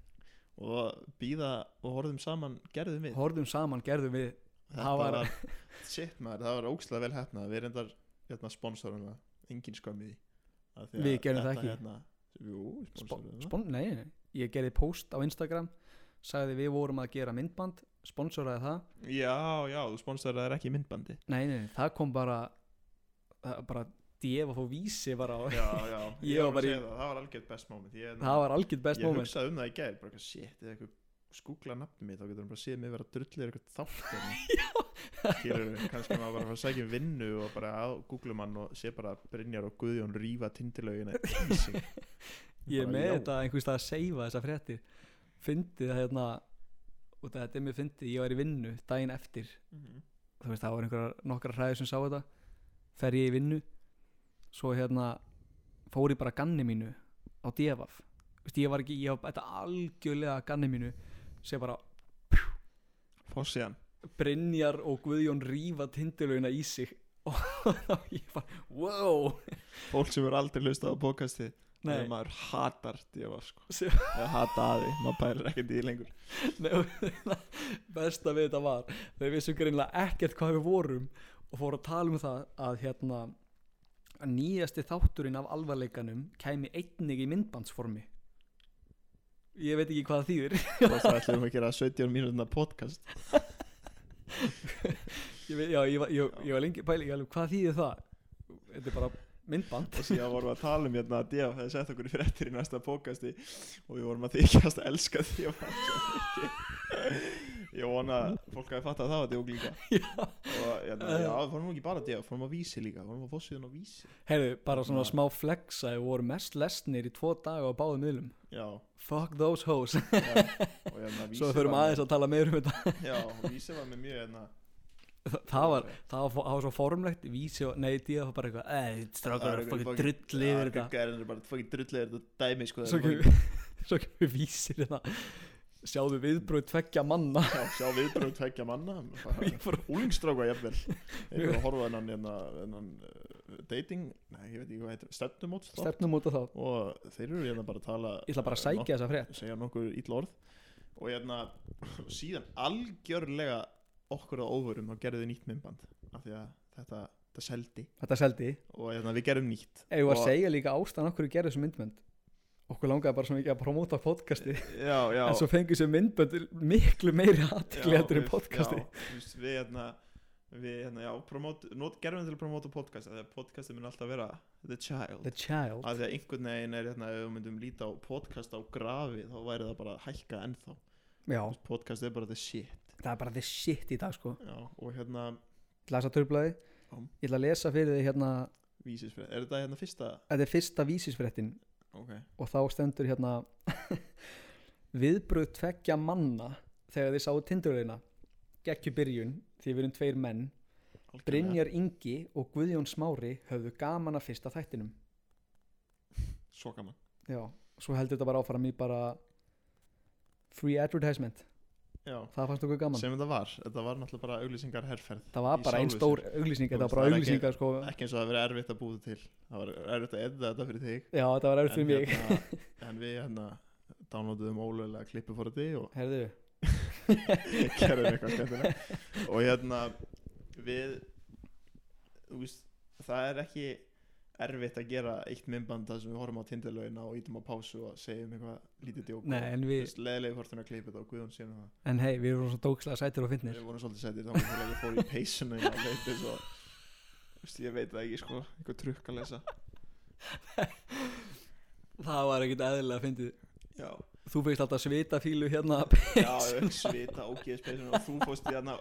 [SPEAKER 2] og býða og horfðum saman, gerðum við
[SPEAKER 1] Horfðum saman, gerðum við
[SPEAKER 2] þetta
[SPEAKER 1] það var-
[SPEAKER 2] var, shit maður, það var ókslega vel hefnað við reyndar, hérna, sponsoruna engin skömmið
[SPEAKER 1] Við gerðum það ekki.
[SPEAKER 2] hérna, jú, sponsorum það
[SPEAKER 1] spon, nei, nei, ég gerði post á Instagram sagði við vorum að gera myndband sponsoraði það,
[SPEAKER 2] Já, já, þú sponsorar þær ekki í myndbandi
[SPEAKER 1] nei, nei, nei það kom bara það bara djef og vísi var á
[SPEAKER 2] Já, já,
[SPEAKER 1] Ég
[SPEAKER 2] ég
[SPEAKER 1] var
[SPEAKER 2] var
[SPEAKER 1] bara
[SPEAKER 2] að
[SPEAKER 1] í-
[SPEAKER 2] segja það, það var algjört best moment Ég, hérna-
[SPEAKER 1] það var algjörð best
[SPEAKER 2] ég
[SPEAKER 1] moment
[SPEAKER 2] hugsaði um það í gær, bara eitthvað shit eða eitthvað skúkla nafnum mitt, þá getur hann bara séð mig vera drullir eitthvað þátt Skilur, kannski maður bara fara að sækja um vinnu og bara á Google mann og sé bara Brynjar og Guðjón rífa tindilögin
[SPEAKER 1] ég er
[SPEAKER 2] Bara
[SPEAKER 1] með
[SPEAKER 2] já.
[SPEAKER 1] þetta einhvers stað að seifa þessa fréttir fyndið að hérna út af þetta er mér fyndið, ég var í vinnu daginn eftir, þú veist það var einhverjar nokkrar hræður sem sá þetta fer ég í vinnu svo hérna fór ég bara að ganni mínu á devaf, veist ég var ekki ég var þetta algjörlega að ganni mínu sem bara
[SPEAKER 2] Fossiðan
[SPEAKER 1] Brynjar og Guðjón rífa tindilögina í sig og ég bara, wow
[SPEAKER 2] Fólk sem er aldrei hlustað á podcasti
[SPEAKER 1] Nei,
[SPEAKER 2] Þegar maður hatar djöfa sko
[SPEAKER 1] Sem-
[SPEAKER 2] Eða hata aði, maður bærir ekkert í því lengur
[SPEAKER 1] Nei, og besta við þetta var þeir vissum greinlega ekkert hvað við vorum og fóru að tala um það að hérna að nýjasti þátturinn af alvarleikanum kæmi einnig í myndbandsformi ég veit ekki hvað það þýðir
[SPEAKER 2] Og það ætlum við að gera 17 mínútina podcast
[SPEAKER 1] ég, veit, já, ég, var- ég, ég var lengi pæli alveg, hvað þýðir það þetta er bara myndband
[SPEAKER 2] Og síðan vorum við að tala um hérna að djöfa hefði sett okkur í fréttir í næsta podcasti Og við vorum að þykjast að elska djöfa Ég vona að fólk hafi fattað það að djók líka Og hérna, já,
[SPEAKER 1] Eh.
[SPEAKER 2] við fórum nú ekki bara að djöfa, fórum að vísi líka Fórum að fossiðan á vísi
[SPEAKER 1] heyrðu, bara svona smá flexa við vorum mest lesnir í tvo daga á báðum miðlum
[SPEAKER 2] Já,
[SPEAKER 1] fuck those hoes
[SPEAKER 2] já Og hérna, vísi
[SPEAKER 1] svo þurfum
[SPEAKER 2] var með-
[SPEAKER 1] aðeins að tala meir um þetta
[SPEAKER 2] Já, og vísi var með mjög hérna
[SPEAKER 1] Þa- það var, það var, það var svo formlegt vísi og neyti það var bara eitthvað "Æ,
[SPEAKER 2] Það
[SPEAKER 1] strákar
[SPEAKER 2] eru
[SPEAKER 1] að fokki
[SPEAKER 2] fucking-
[SPEAKER 1] drulli
[SPEAKER 2] Já,
[SPEAKER 1] yfir
[SPEAKER 2] gaukur
[SPEAKER 1] þetta
[SPEAKER 2] er bara fucking drulli yfir þetta dæmi sko
[SPEAKER 1] svo
[SPEAKER 2] það er
[SPEAKER 1] kemur svo kemur vísir þetta sjáðu viðbröð tveggja manna
[SPEAKER 2] fucking- Já, sjá viðbröð tveggja manna
[SPEAKER 1] Ég fór-
[SPEAKER 2] Úlingstráka jafnvel Ég er að horfa á þennan hérna- þennan uh, dating, nei ég veit ekki hvað heitir stefnumót
[SPEAKER 1] stefnum út af þá
[SPEAKER 2] og þeir eru hérna bara að tala
[SPEAKER 1] ég ætla bara að sækja þessa frétt
[SPEAKER 2] segja nokkur ítla orð og hérna síðan algjörlega okkur að óvörum þá gerðu þau nýtt myndband af því að þetta, þetta seldi
[SPEAKER 1] þetta seldi
[SPEAKER 2] og hérna við gerum nýtt
[SPEAKER 1] ef ég var
[SPEAKER 2] Og-
[SPEAKER 1] að segja líka ástæðan okkur við gerðum þessu myndbönd okkur langaði bara svo mikið að promóta podcasti
[SPEAKER 2] já, já,
[SPEAKER 1] en svo fengið þessu myndbönd miklu meiri
[SPEAKER 2] Já,
[SPEAKER 1] aðtikli heldur
[SPEAKER 2] við-
[SPEAKER 1] en podcasti
[SPEAKER 2] já, þú veist, við hérna við hérna, já, promót, not, gerum við til að promóta podcast af því að podcasti mun alltaf vera the child
[SPEAKER 1] the child
[SPEAKER 2] af því að einhvern veginn er hérna ef við myndum líta á podcast á grafi þá væri það bara að hækka ennþá
[SPEAKER 1] já
[SPEAKER 2] podcast er bara the shit
[SPEAKER 1] það er bara the shit í dag sko
[SPEAKER 2] já, og hérna
[SPEAKER 1] ég ætla að lesa törblæði
[SPEAKER 2] Já.
[SPEAKER 1] ég ætla að lesa fyrir þig hérna
[SPEAKER 2] vísisfrið, er þetta hérna fyrsta
[SPEAKER 1] þetta er fyrsta vísisfréttin
[SPEAKER 2] ok,
[SPEAKER 1] og þá stendur hérna viðbröð tveggja manna þegar þið sáu tindurleina gekkju byrjun því við erum tveir menn
[SPEAKER 2] algjörlega.
[SPEAKER 1] Brynjar Ingi og Guðjón Smári höfðu gaman að fyrsta þættinum
[SPEAKER 2] svo gaman
[SPEAKER 1] já, svo heldur þetta bara áfram í bara free advertisement
[SPEAKER 2] já,
[SPEAKER 1] það fannst okkur gaman
[SPEAKER 2] sem þetta var, þetta var náttúrulega bara auglýsingar herrferð
[SPEAKER 1] það var
[SPEAKER 2] í
[SPEAKER 1] bara einn
[SPEAKER 2] sjálfu
[SPEAKER 1] stór auglýsing þetta
[SPEAKER 2] Þú
[SPEAKER 1] var
[SPEAKER 2] veist,
[SPEAKER 1] bara
[SPEAKER 2] það er ekki-
[SPEAKER 1] auglýsingar sko
[SPEAKER 2] ekki eins og það verið erfitt að búið til það var erfitt að edda þetta fyrir þig
[SPEAKER 1] já, þetta var erfitt fyrir mig
[SPEAKER 2] En, hérna, en við hérna downloaduðum ólega klippu fór þetta og
[SPEAKER 1] herðu,
[SPEAKER 2] gerðum eitthvað skemmtilega og hérna við þú veist, það er ekki erfitt að gera eitt myndband þar sem við horfum á tindalögina og ítum á pásu og segjum eitthvað lítið djók
[SPEAKER 1] nei, en við
[SPEAKER 2] leðilegi fórtun að klippa þetta og Guðjón síðan það
[SPEAKER 1] en hei, við erum svo dókslega sætir og finnir
[SPEAKER 2] við vorum svolítið sættir þá að ég fór í peysuna og leiti svo Þú veist, ég veit það ekki sko eitthvað trukk að lesa
[SPEAKER 1] það var ekkit eðlilega fyndið
[SPEAKER 2] já,
[SPEAKER 1] þú fegst alltaf svitafílu hérna
[SPEAKER 2] já ég veit, svita ógeðis peysuna og þú fórst í hérna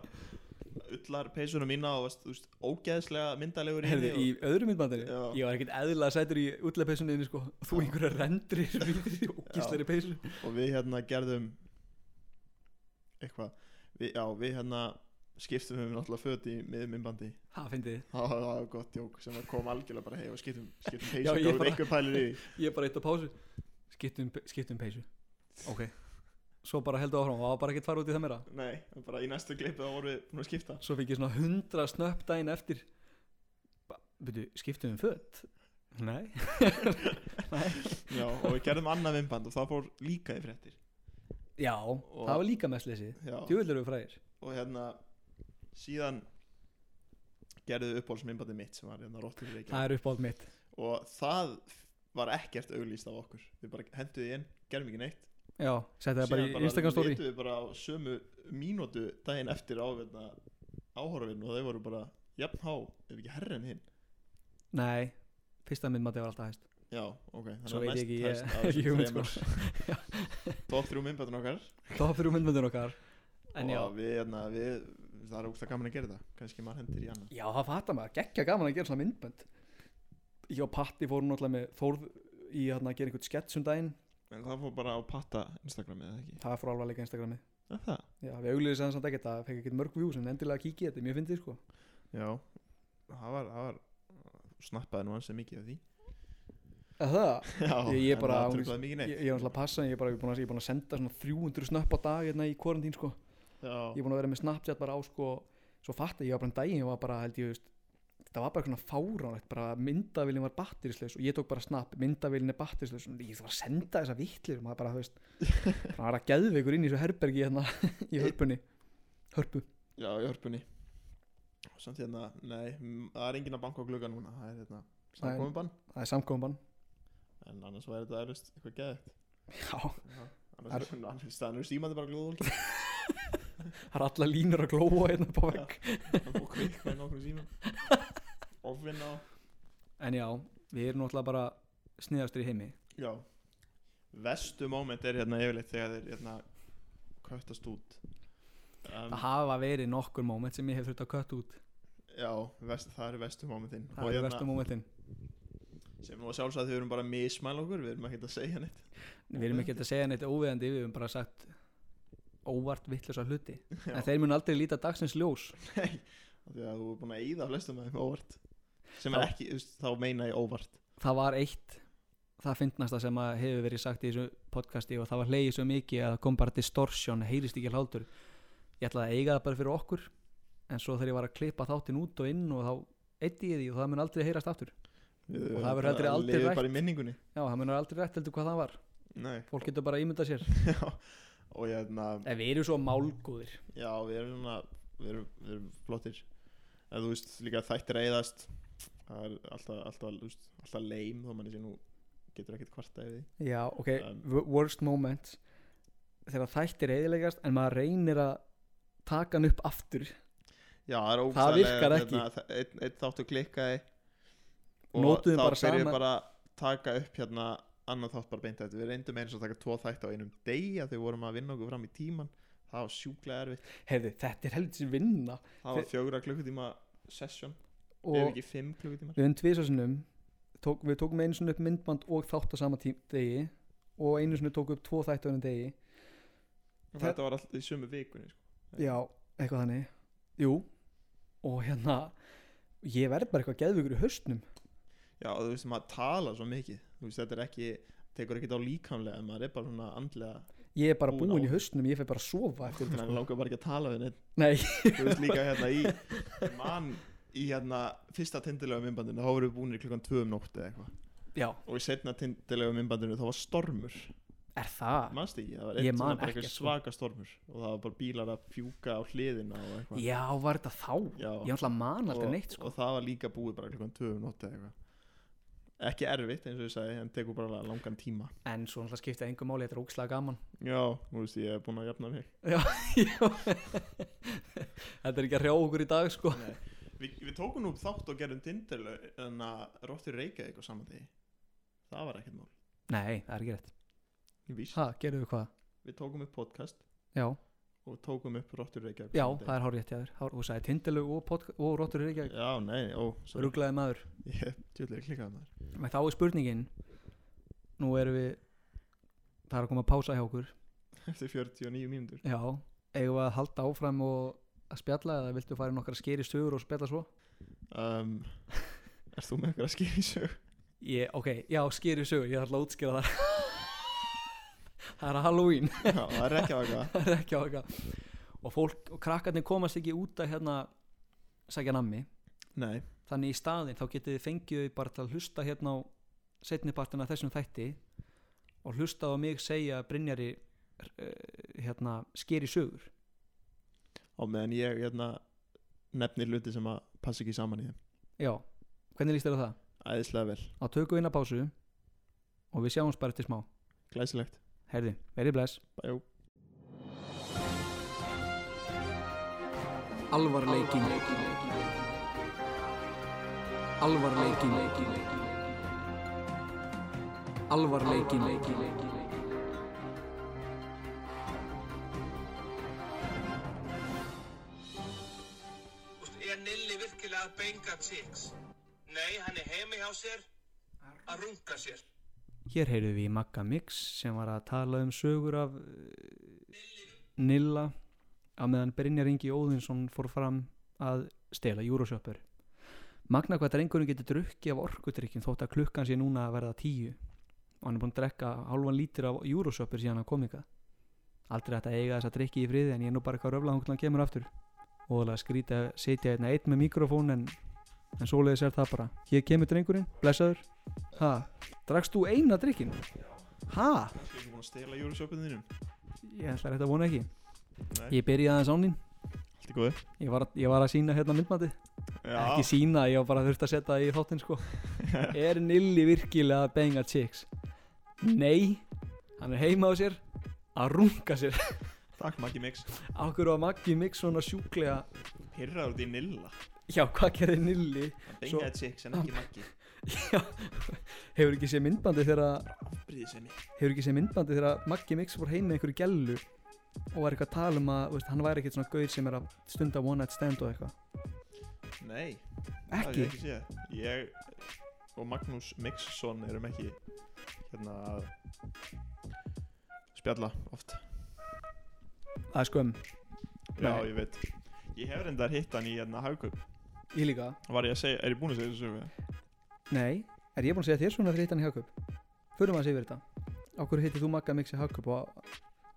[SPEAKER 2] ullar peysuna mína og varst, þú veist, ógeðslega myndalegur í
[SPEAKER 1] Herði,
[SPEAKER 2] henni
[SPEAKER 1] í
[SPEAKER 2] og-
[SPEAKER 1] öðru myndbandinu
[SPEAKER 2] Já.
[SPEAKER 1] Ég var ekkert eðlilega sætur í útleipeysuninni sko. Þú
[SPEAKER 2] Já.
[SPEAKER 1] einhverja rendrir Vítri og gíslari peysu
[SPEAKER 2] og við hérna gerðum eitthvað við, já, við hérna skiptum við náttúrulega föt í miðmyndbandi
[SPEAKER 1] Það fyndi þið
[SPEAKER 2] það var- það var gott jók sem að kom algjörlega bara heið og skiptum, skiptum
[SPEAKER 1] Já,
[SPEAKER 2] peysu
[SPEAKER 1] ég
[SPEAKER 2] og
[SPEAKER 1] bara-
[SPEAKER 2] einhver pælir í því.
[SPEAKER 1] Ég er bara eitt á pásu Skiptum, skiptum peysu Ok Svo bara heldur áfram Það var bara ekkert fara út í það meira
[SPEAKER 2] nei, bara í næstu klippu þá vorum við búin að skipta
[SPEAKER 1] Svo fikk ég svona hundra snöpp daginn eftir Byrju, skiptum við um fött? Nei Nei
[SPEAKER 2] já, og við gerðum annað myndband og það fór líka í fréttir
[SPEAKER 1] Já,
[SPEAKER 2] Og-
[SPEAKER 1] það var líka mest lesið
[SPEAKER 2] já,
[SPEAKER 1] Djúvill eru við fræðir
[SPEAKER 2] og hérna síðan gerðum við uppáhaldsmyndbandi mitt sem var hérna Rottur í Reykjavík
[SPEAKER 1] Það er uppáld mitt
[SPEAKER 2] og það var ekkert auglýst af okkur við bara henduðu því inn, gerðum ekki neitt
[SPEAKER 1] Já, setja það bara
[SPEAKER 2] Síðan
[SPEAKER 1] í Instagram story
[SPEAKER 2] litum við bara á sömu mínútu daginn eftir áverna áhorfin og þau voru bara jafn há, ef ekki herren hinn
[SPEAKER 1] Nei, fyrsta myndbandi var alltaf hæst
[SPEAKER 2] já, ok, þannig
[SPEAKER 1] Svo
[SPEAKER 2] að
[SPEAKER 1] veit ég ekki,
[SPEAKER 2] hæst
[SPEAKER 1] ég-
[SPEAKER 2] af
[SPEAKER 1] ég sko.
[SPEAKER 2] þessum
[SPEAKER 1] hugmynd,
[SPEAKER 2] þremur top 3 myndbættin okkar
[SPEAKER 1] Top fyrir myndmyndin okkar En já
[SPEAKER 2] og við, hérna, við, það er ógst gaman að gera það kannski maður hendir í annað
[SPEAKER 1] Já, það fattar maður, geggja gaman að gera svona myndbönd Ég og Patti fórum náttúrulega með Þórð í hérna, að gera einhvern skets um daginn
[SPEAKER 2] En það fór bara á patta Instagramið eða ekki
[SPEAKER 1] það fór alveg að leika Instagrami
[SPEAKER 2] Er það?
[SPEAKER 1] já, við auglýðum sem samt ekki það fekk ekki mörg views en endilega kíkja þetta, er mjög fyndið sko
[SPEAKER 2] Já Það var, það var Snappaði nú hans mikið af því
[SPEAKER 1] að það,
[SPEAKER 2] Já
[SPEAKER 1] Ég- ég
[SPEAKER 2] en
[SPEAKER 1] bara-
[SPEAKER 2] Það truflaði mikið
[SPEAKER 1] ég,
[SPEAKER 2] neitt
[SPEAKER 1] ég var alltaf að passa en ég er bara ég er búin að, ég er búin að senda svona 300 snöpp á dag hérna í kvarantín sko ég
[SPEAKER 2] Já
[SPEAKER 1] er búin að vera með Snapchat bara á sko svo fatt að ég var bara en daginn ég var bara held ég veist það var bara svona fáránlegt bara myndavillin var batterislaus og ég tók bara snap myndavillin er batterislaus og ég þarf að senda þessa vittlir maður bara þú veist það var að geðveikur inn í þessu herbergi hérna í hörpunni hörpu
[SPEAKER 2] Já, í hörpunni Samt hérna Nei, m- það er enginn að banka á glugga núna Það er hérna Samkomubann
[SPEAKER 1] það er samkomin
[SPEAKER 2] En annars væri þetta eflust eitthvað geðið
[SPEAKER 1] já
[SPEAKER 2] Annars er svona allir staðan er símandi bara glóðvólki
[SPEAKER 1] það er alla línur að glóa hérna upp á vegg
[SPEAKER 2] Það fór kvikk með nokkrum símum Ofvinna á
[SPEAKER 1] en já við erum náttúrulega bara sniðastur í heimi
[SPEAKER 2] Já Vestu moment er hérna yfirleitt þegar þeir hérna köttast út um,
[SPEAKER 1] það hafa verið nokkur moment sem ég hef þurft að kött út
[SPEAKER 2] Já, vest, það eru vestu momentin hérna-
[SPEAKER 1] það er verstu momentin
[SPEAKER 2] Sem nú að sjálfsagt þau erum bara að mismæla okkur Við erum ekki að segja neitt
[SPEAKER 1] Við erum ekki að segja neitt óviðandi, við erum bara sagt óvart vittlösa hluti en þeir mun aldrei líta dagsins ljós
[SPEAKER 2] Nei, af því að þú er búin að eyða flestum af þeim óvart Sem er
[SPEAKER 1] Já.
[SPEAKER 2] ekki, þú veist, þá meina ég óvart
[SPEAKER 1] Það var eitt, það fyndnasta sem að hefur verið sagt í þessu podcasti og það var hlegið svo mikið að það kom bara distortion, heyrist ekki hlátur Ég ætlaði að eiga það bara fyrir okkur en svo þegar ég var að klippa þáttinn út og inn og þá eitti ég því og það mun aldrei heyrast aftur
[SPEAKER 2] Við,
[SPEAKER 1] Og það verður heldur aldrei
[SPEAKER 2] lifum
[SPEAKER 1] rætt.
[SPEAKER 2] bara í minningunni
[SPEAKER 1] Já, það mun aldrei rétt heldur hvað það var
[SPEAKER 2] Nei,
[SPEAKER 1] Fólk getur bara að ímynda sér
[SPEAKER 2] já Og hérna,
[SPEAKER 1] En við erum svo málgóðir
[SPEAKER 2] já, við erum svona Við erum, við erum flottir En þú veist, líka þættir að eyðast Það er alltaf, alltaf, þú veist, alltaf leim Þó manni sé nú getur ekkert kvarta yfir því
[SPEAKER 1] Já, ok,
[SPEAKER 2] Um.
[SPEAKER 1] w- worst moment þegar þættir eðilegast en maður reynir að taka hann upp aftur
[SPEAKER 2] Já, það er
[SPEAKER 1] Það virkar
[SPEAKER 2] ógeðslega,
[SPEAKER 1] ekki.
[SPEAKER 2] hérna, þa- Einn einn þáttur klikkaði
[SPEAKER 1] Nótuðum bara
[SPEAKER 2] Þá fyrir
[SPEAKER 1] saman-
[SPEAKER 2] bara að taka upp hérna annan þátt bara beint eftir Við reyndum eins og taka tvo þætt á einum degi að Þegar við vorum að vinna okkur fram í tíman Það var sjúklega erfitt
[SPEAKER 1] heyrðu, þetta er heldur sem vinna
[SPEAKER 2] Það var
[SPEAKER 1] Þi-
[SPEAKER 2] fjögra klukkutíma session
[SPEAKER 1] og
[SPEAKER 2] Ef
[SPEAKER 1] við
[SPEAKER 2] ekki fimm klukkutíma
[SPEAKER 1] höfum tvisasunum tók, við tókum einu sinni upp myndband og þátt á sama tí- degi og einu sinni tókum upp tvo þættu á einu degi
[SPEAKER 2] Þetta var alltaf í sömu vikunni sko. Nei.
[SPEAKER 1] já, eitthvað þannig jú, og hérna ég verð bara eitthvað geðvögur í haustnum
[SPEAKER 2] Já, og þú veist, maður tala svo mikið Þú veist, þetta er ekki Tekur ekkert á líkamlega en Maður er bara svona andlega
[SPEAKER 1] ég er bara
[SPEAKER 2] Búin á.
[SPEAKER 1] búinn í haustnum, ég fer bara að sofa eftir
[SPEAKER 2] Þannig
[SPEAKER 1] þetta
[SPEAKER 2] að
[SPEAKER 1] sko.
[SPEAKER 2] langar bara ekki að tala við neitt
[SPEAKER 1] nei,
[SPEAKER 2] Þú veist líka hérna í ég Man í hérna Fyrsta tindilega myndbandinu Þá vorum við búinir klukkan tvö um nótt eða eitthvað
[SPEAKER 1] já,
[SPEAKER 2] Og í setna tindilega myndbandinu Þá var stormur
[SPEAKER 1] er það
[SPEAKER 2] Manst ekki? Það var
[SPEAKER 1] Ah. Ég
[SPEAKER 2] eitt
[SPEAKER 1] man
[SPEAKER 2] svona bara eitthvað
[SPEAKER 1] ekkert, sko.
[SPEAKER 2] svaka stormur Og það var bara bílar að fjúka á hliðina og eitthvað
[SPEAKER 1] já, var þetta þá
[SPEAKER 2] Já.
[SPEAKER 1] ég ætla að man aldrei
[SPEAKER 2] og,
[SPEAKER 1] neitt sko.
[SPEAKER 2] og það var líka búið bara klukkan 2 um nótt eða eitthvað ekki erfitt eins og ég sagði en tekur bara langan tíma
[SPEAKER 1] en svo náttúrulega skiptið engum máli, þetta er ógislega gaman
[SPEAKER 2] já, þú veist ég er búin að jafna mig
[SPEAKER 1] þetta er ekki að hrjá okkur í dag sko.
[SPEAKER 2] Vi, við tókum nú upp þátt og gerðum tindirlaug en að Róttur Reykjavík á saman degi það var ekkert mál
[SPEAKER 1] nei, það er ekki rétt
[SPEAKER 2] Ég víst.
[SPEAKER 1] ha, gerðu við hvað?
[SPEAKER 2] við tókum upp podcast
[SPEAKER 1] Já,
[SPEAKER 2] og tókum upp Róttur Reykjavík á
[SPEAKER 1] já
[SPEAKER 2] sama degi.
[SPEAKER 1] það er hár rétt hjá þér Hár- Þú sagði tindilög og, podca- og róttur er ekki
[SPEAKER 2] já, nei, ó, sorry.
[SPEAKER 1] Ruglaði maður
[SPEAKER 2] ég tjóðlega klikkaði um maður
[SPEAKER 1] Men þá er spurningin Nú erum við Það er að koma að pása hjá okkur
[SPEAKER 2] eftir 49 mínútur
[SPEAKER 1] Já, eigum við að halda áfram og að spjalla eða viltu fara í nokkra skeri sögur og spjalla svo?
[SPEAKER 2] um, er þú með eitthvað að skýra í sög
[SPEAKER 1] Ég, ok, já, skeri sögur, ég ætla að útskýra það Það er Halloween
[SPEAKER 2] já, það er ekki að
[SPEAKER 1] það er ekki á eitthvað og fólk og krakkarnir komast ekki út að hérna sækja nammi
[SPEAKER 2] nei,
[SPEAKER 1] þannig í staðinn þá getið þið fengið þau bara til að hlusta hérna á setnipartina þessum þætti og hlusta á mig segja Brynjari eh, hérna skeri sögur
[SPEAKER 2] á meðan ég hérna, nefnir hluti sem að passa ekki saman í þeim
[SPEAKER 1] já, hvernig líst þér á það?
[SPEAKER 2] æðislega vel
[SPEAKER 1] á tökum við inn að pásu og við sjáumst bara eftir smá
[SPEAKER 2] Glæsilegt.
[SPEAKER 1] herði, verið bless
[SPEAKER 2] Bæjó.
[SPEAKER 1] Alvarleikin Alvarleikin Alvarleikin
[SPEAKER 4] Er Nilli virkilega að benga chicks? Nei, hann er heimi hjá sér að runga sér.
[SPEAKER 1] Hér heyrðum við í Magga Mix sem var að tala um sögur af eh, Nilla á meðan Brynjar Ingi Óðinsson fór fram að stela júrósjöppur. Magna hvað drengurinn getur drukkið af orkudrykkjum þótt að klukkan sé núna að verða tíu og hann er búinn að drekka hálfan lítur af júrósjöppur síðan að komika. Aldrei hægt að eiga þess að drikki í friði en ég er nú bara eitthvað röfla hún kemur aftur. Óðalega skrítið að setja hérna einn með mikrofón en, en svoleiðis er það bara. Hér kemur drengurinn, blessaður. Ha, Drakst þú eina drikkin? Ha?
[SPEAKER 2] Ég er búin að stela júrisjópinu þínum
[SPEAKER 1] Ég ætla þetta að vona ekki
[SPEAKER 2] Nei,
[SPEAKER 1] Ég byrjaði aðeins án þín
[SPEAKER 2] allt í góðu
[SPEAKER 1] Ég var, ég var að sína hérna myndmati Ekki
[SPEAKER 2] Já,
[SPEAKER 1] sína, ég var bara þurft að setja það í þáttinn sko Er Nilli virkilega að benga chicks? Nei Hann er heima á sér Að runga sér
[SPEAKER 2] takk Maggi Mix
[SPEAKER 1] Akkur á Maggi Mix svona sjúklega
[SPEAKER 2] Hirraður út í Nilla
[SPEAKER 1] Já, hvað gerði Nilli?
[SPEAKER 2] Hann
[SPEAKER 1] Svo-
[SPEAKER 2] bengaði chicks en ekki Maggi
[SPEAKER 1] Já, hefur ekki séð myndbandi þegar
[SPEAKER 2] Bríði senni
[SPEAKER 1] hefur ekki séð myndbandi þegar Maggi Mix fór heim með einhverju gellu og var eitthvað að tala um að þú veist, hann væri ekkert svona gauð sem er að stunda one night stand og eitthvað
[SPEAKER 2] Nei, það hef
[SPEAKER 1] ekki,
[SPEAKER 2] ég ekki séð Ég og Magnús Mixson erum ekki hérna að spjalla oft
[SPEAKER 1] það er skömm
[SPEAKER 2] Já,
[SPEAKER 1] Nei.
[SPEAKER 2] ég veit Ég hef reyndar hitt hann í hérna hagkaup
[SPEAKER 1] ég líka,
[SPEAKER 2] Var ég að segja, er ég búin að segja þessu sögu?
[SPEAKER 1] nei, er ég búin að segja þér svona fyrir hittan í Hagkaup förum að segja yfir þetta á hverju hittir þú Magga Mix í Hagkaup og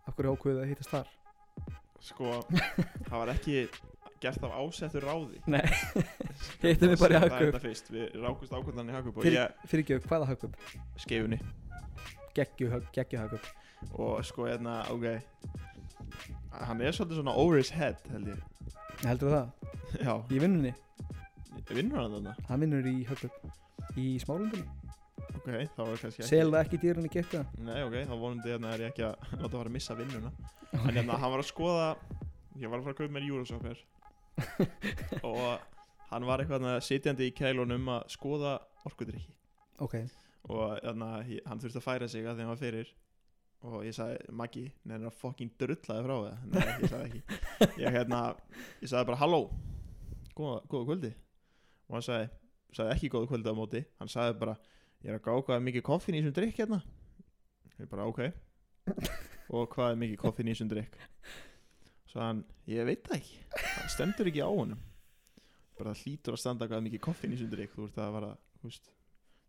[SPEAKER 1] á hverju ákveðu að hittast þar
[SPEAKER 2] Sko, það var ekki gert af ásettu ráði
[SPEAKER 1] Nei. Hittum við bara í
[SPEAKER 2] Segðu það
[SPEAKER 1] Hagkaup.
[SPEAKER 2] hérna fyrst, Við rákumst ákvöndan í hagkaup og
[SPEAKER 1] Fyrir-
[SPEAKER 2] ég
[SPEAKER 1] fyrir ekki hvaða Hagkaup,
[SPEAKER 2] skeifunni
[SPEAKER 1] geggju, Hag- geggju Hagkaup
[SPEAKER 2] og sko hérna, ok hann er svolítið svona over his head held ég
[SPEAKER 1] heldur það,
[SPEAKER 2] já,
[SPEAKER 1] í vinnunni
[SPEAKER 2] vinnur hann þarna
[SPEAKER 1] hann vinnur í Hagkaup í smálundinni,
[SPEAKER 2] ok, þá var kannski ekki
[SPEAKER 1] selða ekki dýrunni geggja
[SPEAKER 2] nei, ok, þá vonandi hérna er ég ekki að láta fara að missa vinnuna en hérna, hann var að skoða ég var að fara að kaupa mér júrasókar og hann var eitthvað þarna sitjandi í kælunum að skoða orkudrykki
[SPEAKER 1] ok,
[SPEAKER 2] og hérna, ég- hann þurfti að færa sig að því hann var fyrir og ég sagði, Maggi, neður að fucking drullaði frá það nei, ég sagði ekki ég, hérna, ég sagði bara, halló góða, góða kvöldi og hann sagði, sagði ekki góða kvöldi á móti hann sagði bara, ég er að gá hvað er mikið koffin í þessum drikk hérna ég bara, ok og hvað er mikið koffin í þessum drikk svo hann, ég veit það ekki það stendur ekki á honum bara það hlýtur að standa hvað er mikið koffin í þessum drikk þú ert að vara, þú veist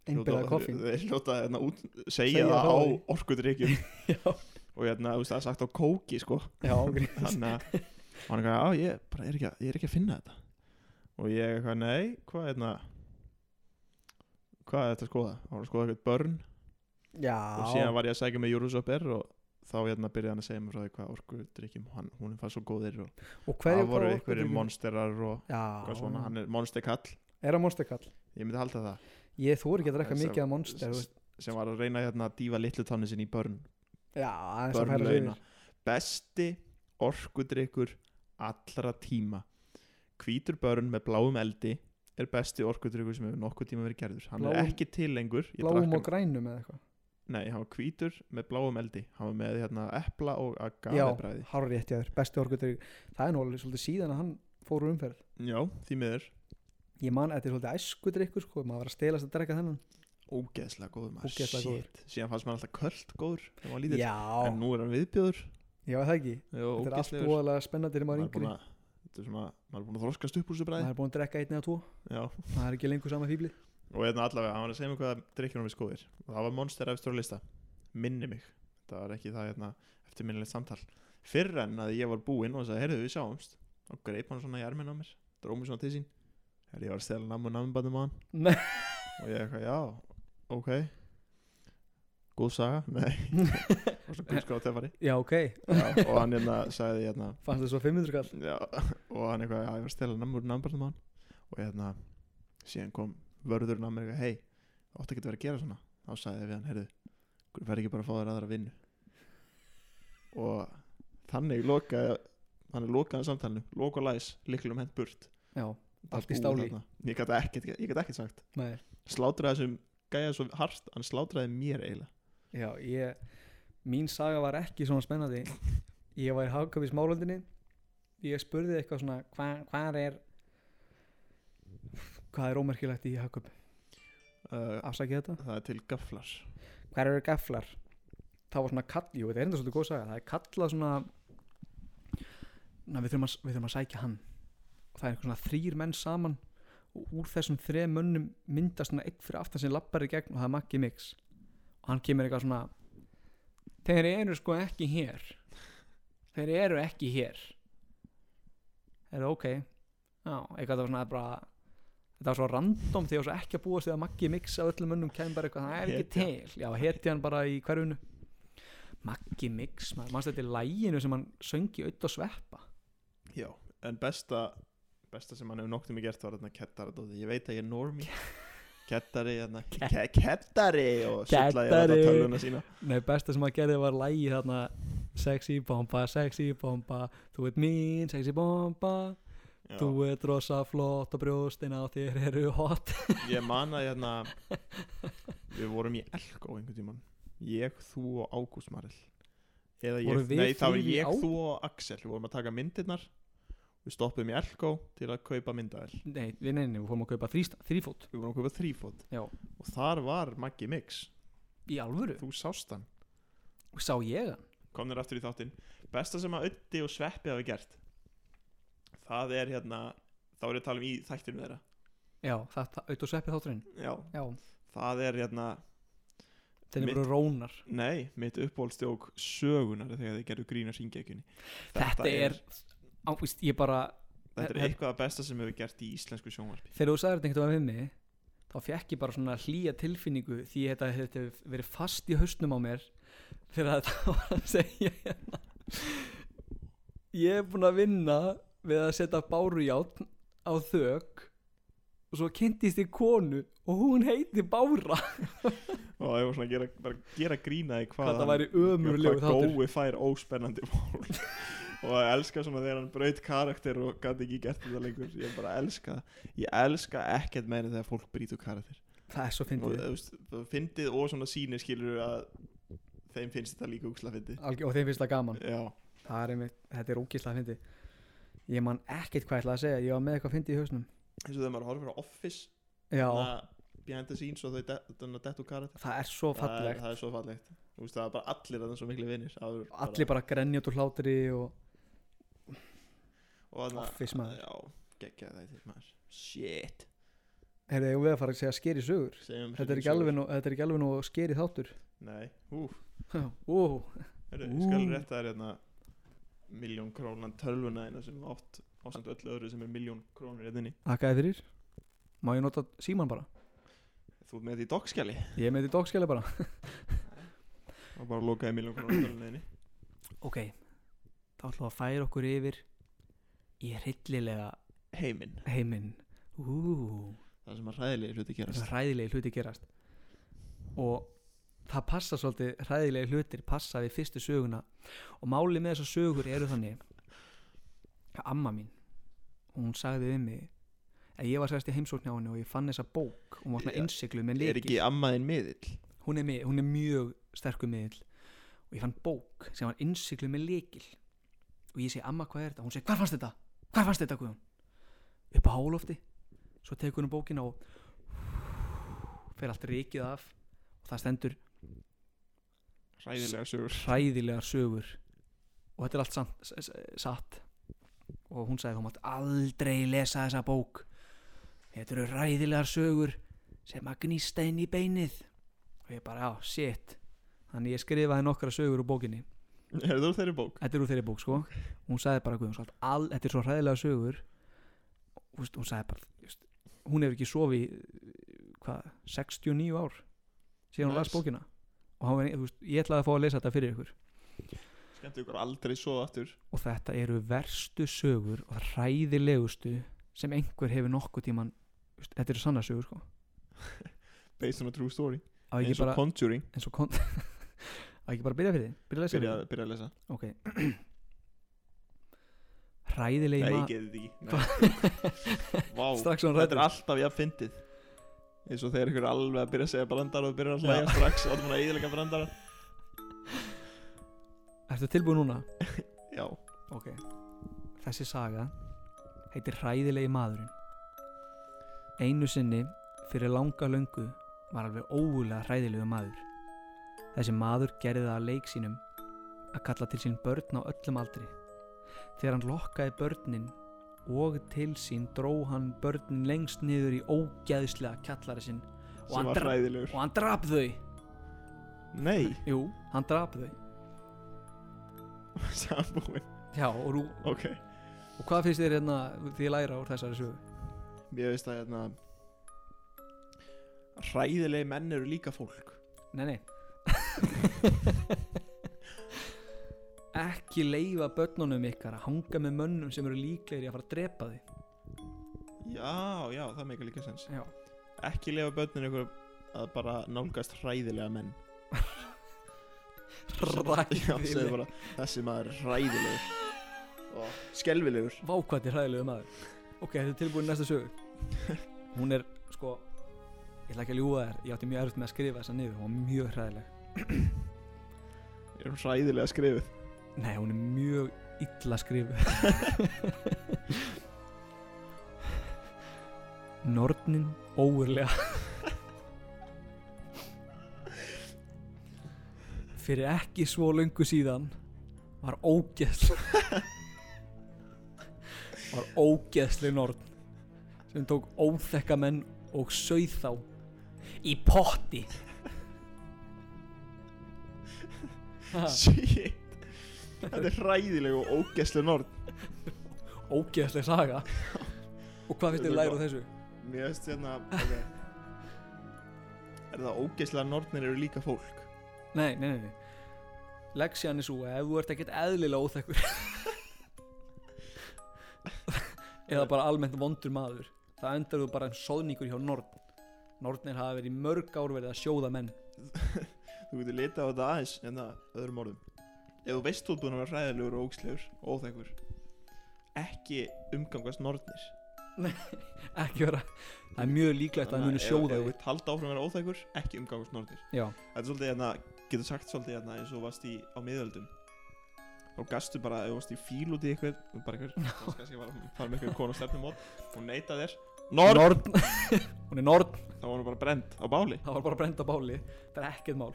[SPEAKER 1] einbyrða koffín
[SPEAKER 2] Þeir hljóta hérna út segja,
[SPEAKER 1] Segja
[SPEAKER 2] það
[SPEAKER 1] frá
[SPEAKER 2] á
[SPEAKER 1] því.
[SPEAKER 2] orkudrykkjum
[SPEAKER 1] já,
[SPEAKER 2] og hérna, þú veist, það er sagt á kóki sko
[SPEAKER 1] já, ok
[SPEAKER 2] þannig að og hann eitthvað, á ég bara er ekki, að, ég er ekki að finna þetta og ég eitthvað, nei, hvað hérna hvað er þetta að skoða hann var að skoða eitthvað börn og síðan
[SPEAKER 1] já,
[SPEAKER 2] var ég að um segja með Júrusopper og þá hérna byrjaði hann að segja mér frá því hvað orkudrykkjum hann, hún fann svo góðir og
[SPEAKER 1] og hverju
[SPEAKER 2] það voru einhverjir monsterar og
[SPEAKER 1] já,
[SPEAKER 2] hvað svona, hann er monsterkall
[SPEAKER 1] er það monsterkall
[SPEAKER 2] ég myndi halda það
[SPEAKER 1] Ég þóri ekki að drekka
[SPEAKER 2] Þessar-
[SPEAKER 1] mikið af Monster þú veist.
[SPEAKER 2] sem var að reyna hérna að dífa litlu tannin sinni í börn
[SPEAKER 1] Já, aðeins að færa sig
[SPEAKER 2] Börnlauna
[SPEAKER 1] yfir
[SPEAKER 2] Besti orkudrykkur allra tíma Hvítur börn með bláum eldi er besti orkudrykkur sem hefur nokkuð tíma verið gerður Hann er
[SPEAKER 1] Bláum-
[SPEAKER 2] ekki til lengur Ég drakk um-
[SPEAKER 1] Bláum
[SPEAKER 2] hann-
[SPEAKER 1] og grænum eða eitthvað
[SPEAKER 2] Nei, hann var hvítur með bláum eldi Hann var með hérna epla og
[SPEAKER 1] Já,
[SPEAKER 2] agavebræði
[SPEAKER 1] hárið rétt jáður, besti orkudrygg Það er nú alveg svolítið síðan að hann fór úr umferð
[SPEAKER 2] Já, því miður
[SPEAKER 1] Ég man, þetta er svolítið æskudryggur sko maður var að stelast að drekka þennan
[SPEAKER 2] Ógeðslega góður maður
[SPEAKER 1] Ógeðslega góður.
[SPEAKER 2] Shit. Síðan fannst maður alltaf köld góður þegar maður var lítill. En
[SPEAKER 1] Já,
[SPEAKER 2] nú er hann viðbjóður
[SPEAKER 1] já er það ekki
[SPEAKER 2] Jó,
[SPEAKER 1] Þetta er allt
[SPEAKER 2] ógeðslegur
[SPEAKER 1] búðalega spennandi þegar maður
[SPEAKER 2] Maður
[SPEAKER 1] er yngri
[SPEAKER 2] er búinn að- Þetta er svona, maður er búin að þroskast upp úr þessu bræði
[SPEAKER 1] Maður er búin að drekka einn eða tvo
[SPEAKER 2] Já
[SPEAKER 1] Það er ekki lengur sama fíbli
[SPEAKER 2] og hérna allavega, hann var að segja mig hvað drikkjunum við skoðir og það var Monster eftir á lista minni mig, það var ekki það hérna, eftir minnilegt samtal fyrr en að ég var búinn og sagði, heyrðu við sjáumst og greip hann svona í arminn á mér dróð mig svona til sín, heyrðu ég var að stela namn og namnbandum á hann
[SPEAKER 1] Nei.
[SPEAKER 2] og ég eitthvað, já, ok góð saga, nei og svona guðskráð tefari
[SPEAKER 1] Já, ok,
[SPEAKER 2] já, og hann hérna sagði hérna,
[SPEAKER 1] fannst það svo 500 kall
[SPEAKER 2] já, og hann eitthvað, já, ég var að stela namn úr namnbarnum hann og hérna, síðan kom vörðurinn að mér eitthvað, hei, átti ekki að vera að gera svona þá sagði ég við hann, heyrðu hverju fær ekki bara að fá þér aðra vinnu og þannig lokaði, þannig lokaði samtalinu loka og læs, liklum hent burt
[SPEAKER 1] Já,
[SPEAKER 2] Það
[SPEAKER 1] Allt í
[SPEAKER 2] búið
[SPEAKER 1] stáli.
[SPEAKER 2] þarna. ég gæti ekkert, ég gat ekkert sagt
[SPEAKER 1] nei
[SPEAKER 2] slátraði þessum gæja svo hart hann slátraði mér eiginlega
[SPEAKER 1] Já, ég, mín saga var ekki svona spennandi Ég var í hagkaup í smálöndinni Ég spurði eitthvað svona hva, Hvað er Hvað er ómerkilegt í hagkaup?
[SPEAKER 2] uh,
[SPEAKER 1] Afsakið þetta
[SPEAKER 2] það er til gaflar
[SPEAKER 1] hver eru gaflar það var svona kall, jú, þetta er enda svolítið góð saga það er kallað svona na, við, þurfum að, við þurfum að sækja hann og það er eitthvað svona þrýr menn saman og úr þessum þrem mönnum myndast svona einn fyrir aftan sem lappar í gegn og það er Maggi Mix og hann kemur eitthvað svona þeir eru sko ekki hér þeir eru ekki hér er það ok já, eitthvað það var svona bara þetta var svo random þegar svo ekki að búast því að Maggi Mix af öllum mönnum kemur bara eitthvað, það er ekki til já, heti hann bara í hverfinu Maggi Mix, maður mannst þetta í læginu sem hann söngi auð og sveppa
[SPEAKER 2] Já, en besta besta sem hann hefur noktum í gert var þarna kettari dóti. ég veit að ég er normi kettari, þarna, ke kettari og sullaði þarna
[SPEAKER 1] Kettari.
[SPEAKER 2] tölvuna sína
[SPEAKER 1] Nei, besta sem að gerði var lægi þarna Sexy bomba, sexy bomba Þú ert mín, sexy bomba
[SPEAKER 2] Já.
[SPEAKER 1] Þú ert rosa flott og brjóstin á þér eru hot
[SPEAKER 2] ég man að hérna við vorum í Elko einhvern tímann ég, þú og Ágúst Marell eða
[SPEAKER 1] Voru
[SPEAKER 2] ég,
[SPEAKER 1] við
[SPEAKER 2] nei það var
[SPEAKER 1] þrír í
[SPEAKER 2] ég,
[SPEAKER 1] Á-
[SPEAKER 2] þú og Axel við vorum að taka myndirnar við stoppum í Elko til að kaupa myndavel
[SPEAKER 1] Nei, við neini, við fórum að kaupa þrýsta, þrýfót
[SPEAKER 2] við vorum að kaupa þrífót
[SPEAKER 1] Já.
[SPEAKER 2] og þar var Maggi Mix,
[SPEAKER 1] Í alvöru,
[SPEAKER 2] þú sást hann
[SPEAKER 1] sá ég hann
[SPEAKER 2] komnir aftur í þáttinn besta sem að Öddi og Sveppi hafi gert það er hérna þá er ég að tala um í þættinu þeirra
[SPEAKER 1] Já, þetta, auðvitað sveppi þátturinn
[SPEAKER 2] já,
[SPEAKER 1] Já,
[SPEAKER 2] það er hérna
[SPEAKER 1] þeir
[SPEAKER 2] Mitt-
[SPEAKER 1] eru rónar
[SPEAKER 2] nei, mitt uppbólstjók sögunar er þegar þið gerðu grína syngeikunni
[SPEAKER 1] Þetta, er, á, víst, ég bara
[SPEAKER 2] þetta er
[SPEAKER 1] Þetta-
[SPEAKER 2] eitthvað að besta sem hefur gert í íslensku sjónvarpi
[SPEAKER 1] Þegar þú sagði þetta einhvern veginn við mig þá fekk ég bara svona hlýja tilfinningu því þetta hefði verið fast í hausnum á mér fyrir að þetta var að segja hérna Ég er búin að vinna við að setja bárujátn á þök og svo kynntist ég konu og hún heiti Bára
[SPEAKER 2] og það var svona að gera, bara gera grína í hvað
[SPEAKER 1] hvað það væri
[SPEAKER 2] hvað
[SPEAKER 1] ömurlegu þáttur
[SPEAKER 2] gói fær óspennandi mál og að elska svona þegar hann braut karakter og gæti ekki gert þetta lengur ég bara elska það ég elska ekkert meira þegar fólk brýtur karakter
[SPEAKER 1] Það er svo
[SPEAKER 2] og
[SPEAKER 1] fyndið
[SPEAKER 2] þú veist, það fyndið og svona síni skilur að þeim finnst þetta líka úksla fyndið
[SPEAKER 1] Alg- og þeim finnst það gaman
[SPEAKER 2] já,
[SPEAKER 1] Það er einmitt, þetta er ógislega fyndið Ég man ekkert hvað ég ætla að segja ég var með eitthvað fyndið í hausnum
[SPEAKER 2] eins og þegar maður horfir á Office
[SPEAKER 1] Já,
[SPEAKER 2] þarna behind the scenes og þau de- þarna dettu karakter
[SPEAKER 1] það er svo
[SPEAKER 2] það
[SPEAKER 1] fallegt
[SPEAKER 2] er, það er svo fallegt Þú veist, það er bara allir að það er svo miklu vinnir
[SPEAKER 1] allir bara grenjat úr hlátri og
[SPEAKER 2] og þarna-
[SPEAKER 1] Office, maður.
[SPEAKER 2] já, geggja það maður shit
[SPEAKER 1] heyrðu, eigum við að fara að segja skeri sögur
[SPEAKER 2] Segjum
[SPEAKER 1] þetta er ekki alveg nú, þetta er ekki alveg nú skeri þáttur
[SPEAKER 2] Nei, hú,
[SPEAKER 1] Ó,
[SPEAKER 2] herru,
[SPEAKER 1] Ú.
[SPEAKER 2] ég skal rétta þér hérna miljón krónan tölvuna eina sem þú átt ásamt öllu öðru sem er miljón krónur hérna inni
[SPEAKER 1] þakkaði fyrir má ég nota síman bara
[SPEAKER 2] Þú ert með þetta í dokkskjali
[SPEAKER 1] ég er með þetta dokkskjæli bara
[SPEAKER 2] og bara lokaði miljón krónan tölvuna inni
[SPEAKER 1] ok, þá ætlum við að færa okkur yfir í hryllilega
[SPEAKER 2] Heiminn,
[SPEAKER 1] heiminn ú,
[SPEAKER 2] það sem að ræðilegi hluti gerast
[SPEAKER 1] hræðilegi hluti gerast og það passa svolítið hræðilegi hlutir passa við fyrstu söguna og máli með þessar sögur eru þannig að amma mín hún sagði við mig að ég var sérst í heimsókn hjá henni og ég fann þessa bók hún var svona
[SPEAKER 2] Já,
[SPEAKER 1] innsiklu með
[SPEAKER 2] Er
[SPEAKER 1] leiki
[SPEAKER 2] ekki ammaðin miðill?
[SPEAKER 1] hún er, mi- hún er mjög sterkur miðill og ég fann bók sem var innsiklu með leikil og ég segi amma hvað er þetta hún segi hvað fannst þetta, hvað fannst þetta Guðjón upp á hálofti svo tekur hún bókina og fer allt reikið af og það stendur
[SPEAKER 2] Ræðilega sögur
[SPEAKER 1] hræðilegar sögur og þetta er allt sant, s- s- satt og hún sagði þú mátt aldrei lesa þessa bók þetta eru hræðilegar sögur sem að gnýsta inn í beinið og ég bara, já, shit þannig ég skrifaði nokkra sögur úr bókinni
[SPEAKER 2] Er þú þeirri bók?
[SPEAKER 1] þetta er úr þeirri bók, sko og hún sagði bara, Guðjón, salt, all, þetta er svo hræðilegar sögur og þú veist, hún sagði bara þú veist, hún hefur ekki sofið eh, hvað, 69 ár síðan hún
[SPEAKER 2] Nice.
[SPEAKER 1] las bókina og hann, var- þú veist, ég ætlaði að fá að lesa þetta fyrir ykkur
[SPEAKER 2] Skemmtu ykkur aldrei svo aftur
[SPEAKER 1] og þetta eru verstu sögur og hræðilegustu sem einhver hefur nokkuð tíman þetta eru sanna sögur sko
[SPEAKER 2] Based on a true story
[SPEAKER 1] á ekki
[SPEAKER 2] Eins og
[SPEAKER 1] bara,
[SPEAKER 2] Conjuring
[SPEAKER 1] eins og kon á ekki bara byrja fyrir því byrja að lesa
[SPEAKER 2] Byrja,
[SPEAKER 1] fyrir
[SPEAKER 2] byrja að lesa
[SPEAKER 1] því ok hræðilegi
[SPEAKER 2] Nei, ég
[SPEAKER 1] maður
[SPEAKER 2] geti þetta ekki Nei. Vá,
[SPEAKER 1] strax hún
[SPEAKER 2] þetta
[SPEAKER 1] rættur
[SPEAKER 2] er alltaf ég að fyndið eins og þegar ykkur er alveg að byrja að segja brandara og byrja að hlæja
[SPEAKER 1] Já.
[SPEAKER 2] strax og það er að eðilega brandara
[SPEAKER 1] ertu tilbúið núna?
[SPEAKER 2] Já,
[SPEAKER 1] ok þessi saga heitir hræðilegi maðurinn einu sinni fyrir langa löngu var alveg ógulega hræðilegu maður Þessi maður gerði það að leik sínum að kalla til sín börn á öllum aldri. Þegar hann lokkaði börnin og til sín dró hann börnin lengst niður í ógeðslega kjallari sinn og
[SPEAKER 2] sem
[SPEAKER 1] hann,
[SPEAKER 2] var
[SPEAKER 1] dra
[SPEAKER 2] fræðilegur
[SPEAKER 1] og hann drap þau.
[SPEAKER 2] Nei,
[SPEAKER 1] Jú, hann drap þau.
[SPEAKER 2] sambúin,
[SPEAKER 1] Já, og, rú,
[SPEAKER 2] ok
[SPEAKER 1] og hvað finnst þér hérna því læra úr þessari sögu?
[SPEAKER 2] Mér veist að hérna Hræðilegi menn eru líka fólk
[SPEAKER 1] Nei, nei Ekki leifa börnunum ykkar að hanga með mönnum sem eru líklegir í að fara að drepa þig
[SPEAKER 2] Já, já, það meikar líka sens
[SPEAKER 1] Já,
[SPEAKER 2] Ekki lefa börnin ykkur að bara nálgast hræðilega menn Já, segðu
[SPEAKER 1] ræðileg
[SPEAKER 2] bara, Þessi maður er hræðilegur og Skelvilegur
[SPEAKER 1] Vákvætti ræðilegu maður Ok, þetta er tilbúin í næsta sögu Hún er, sko Ég ætla ekki að ljúga þér, ég átti mjög erfitt með að skrifa þessa niður Hún var mjög hræðileg
[SPEAKER 2] Er hún hræðilega skrifuð
[SPEAKER 1] Nei, hún er mjög illa skrifu Nornin óurlega Fyrir ekki svo löngu síðan var ógeðsl var ógeðsli norn sem tók óþekka menn og sauð þá í potti Ha,
[SPEAKER 2] Shit Þetta er hræðileg og ógeslu norn
[SPEAKER 1] ógeðsli saga og hvað finnst þið læra á þessu?
[SPEAKER 2] Mér veist hérna okay. Er það ógeslega nornir eru líka fólk
[SPEAKER 1] Nei, nei, nei, nei. Leksjan er svo að ef þú ert ekkert eðlilega óþekkur eða bara almennt vondur maður það endar þú bara um soðningur hjá Norn Nornir hafa verið í mörg ár verið að sjóða menn
[SPEAKER 2] Þú getur litað á þetta aðeins en það öðrum orðum Ef þú veist þú ert búin að vera hræðilegur og ógeslegur og óþekkur Ekki umgangast nornir
[SPEAKER 1] ekki vera, það er mjög líklegt að það muni sjóða
[SPEAKER 2] Ef þú
[SPEAKER 1] þig
[SPEAKER 2] vilt halda áfram að vera óþekkur, ekki umgangast nornir
[SPEAKER 1] Já,
[SPEAKER 2] Þetta er svolítið hérna, getur sagt svolítið hérna eins og þú varst í á miðöldum og gastu bara, ef þú varst í fíl út í eitthvað bara eitthvað, þú varst kannski að fara með eitthvað konu stefnum mót, hún neita þér Norn!
[SPEAKER 1] Norn Hún er Norn,
[SPEAKER 2] Þá var hún bara brend á báli
[SPEAKER 1] það var bara að brenda báli það er ekkert mál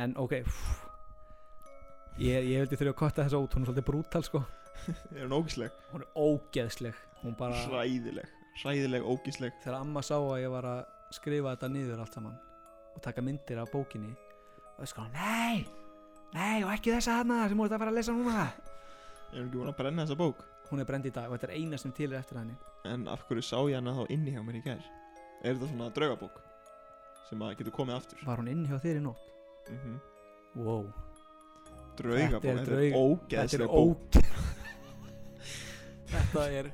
[SPEAKER 1] en ok pff. ég, ég vildi þurfa að kotta þessa út hún er svolítið brútal sko
[SPEAKER 2] er hún ógisleg,
[SPEAKER 1] hún er ógeðsleg hún bara
[SPEAKER 2] hræðileg hræðileg, ógisleg
[SPEAKER 1] þegar amma sá að ég var að skrifa þetta niður allt saman og taka myndir af bókinni og það sko, nei, nei og ekki þessa hana sem múið að fara að lesa núna
[SPEAKER 2] ég er hún ekki búin að brenna þessa bók
[SPEAKER 1] hún er brend í dag og þetta er eina sem til er eftir henni
[SPEAKER 2] en af hverju sá ég hana þá inni hjá mér í gær er þetta svona draugabók sem að getur komið aftur
[SPEAKER 1] var hún inn hjá þér í nótt?
[SPEAKER 2] mm
[SPEAKER 1] wow,
[SPEAKER 2] draugabók,
[SPEAKER 1] Þetta er
[SPEAKER 2] þetta
[SPEAKER 1] draug-
[SPEAKER 2] er
[SPEAKER 1] þetta
[SPEAKER 2] ógeðsleg
[SPEAKER 1] er
[SPEAKER 2] bók
[SPEAKER 1] óge þetta er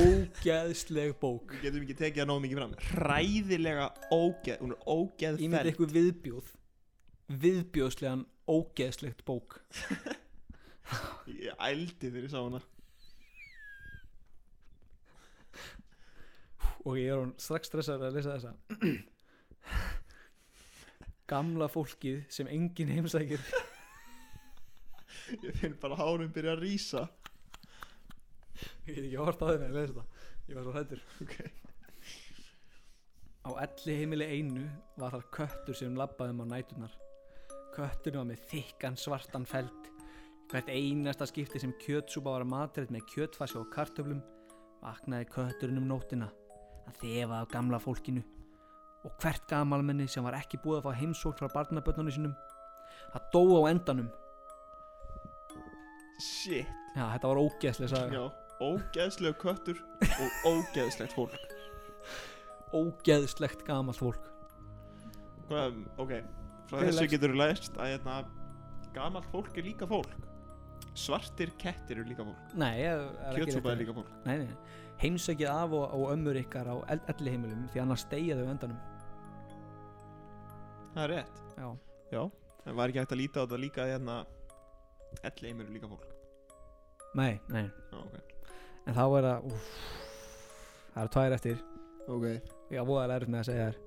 [SPEAKER 1] ógeðsleg bók
[SPEAKER 2] við getum ekki tekið það nóg mikið fram hræðilega ógeð, hún er ógeð
[SPEAKER 1] ég myndi eitthvað viðbjóð viðbjóðslegan ógeðslegt bók
[SPEAKER 2] Ég ældi þegar ég sá hana
[SPEAKER 1] og ég er hún strax stressaður að lesa þessa gamla fólkið sem enginn heimsækir
[SPEAKER 2] Ég finn bara hárun byrja að rýsa
[SPEAKER 1] ég get ekki hort á þeim að lesa þetta ég var svo hættur
[SPEAKER 2] okay.
[SPEAKER 1] á elli heimili einu var þar köttur sem labbaði um á nætunar kötturinn var með þykkan svartan feld hvert einasta skipti sem kjötsúpa var matrætt með kjötfasi og kartöflum vaknaði kötturinn um nótina að þefa af gamla fólkinu og hvert gamalmenni sem var ekki búið að fá heimsókn frá barnabönnunum sínum það dó á endanum
[SPEAKER 2] Shit
[SPEAKER 1] Já, þetta var ógeðslega saga
[SPEAKER 2] Já, ógeðslega köttur og ógeðslegt fólk
[SPEAKER 1] Ógeðslegt gamalt fólk
[SPEAKER 2] Hvað, ok Frá
[SPEAKER 1] Hver
[SPEAKER 2] þessu
[SPEAKER 1] leggst-
[SPEAKER 2] getur þú læst að hérna, gamalt fólk er líka fólk Svartir kettir eru líka fólk
[SPEAKER 1] Nei, ég er ekki
[SPEAKER 2] Kjötsúpa er
[SPEAKER 1] rétt.
[SPEAKER 2] líka fólk
[SPEAKER 1] Nei, nei, nei. heimsækið af og, og ömmur ykkar á elli heimilum því annars deyja þau á endanum
[SPEAKER 2] Það er rétt
[SPEAKER 1] Já,
[SPEAKER 2] Já En var ekki hægt að líta á þetta líka að hérna Elleim eru líka fólk
[SPEAKER 1] nei, nei
[SPEAKER 2] Já, ok
[SPEAKER 1] En þá er það, úff Það eru tvær eftir
[SPEAKER 2] Ok
[SPEAKER 1] Já, voðalega erfitt með að segja þér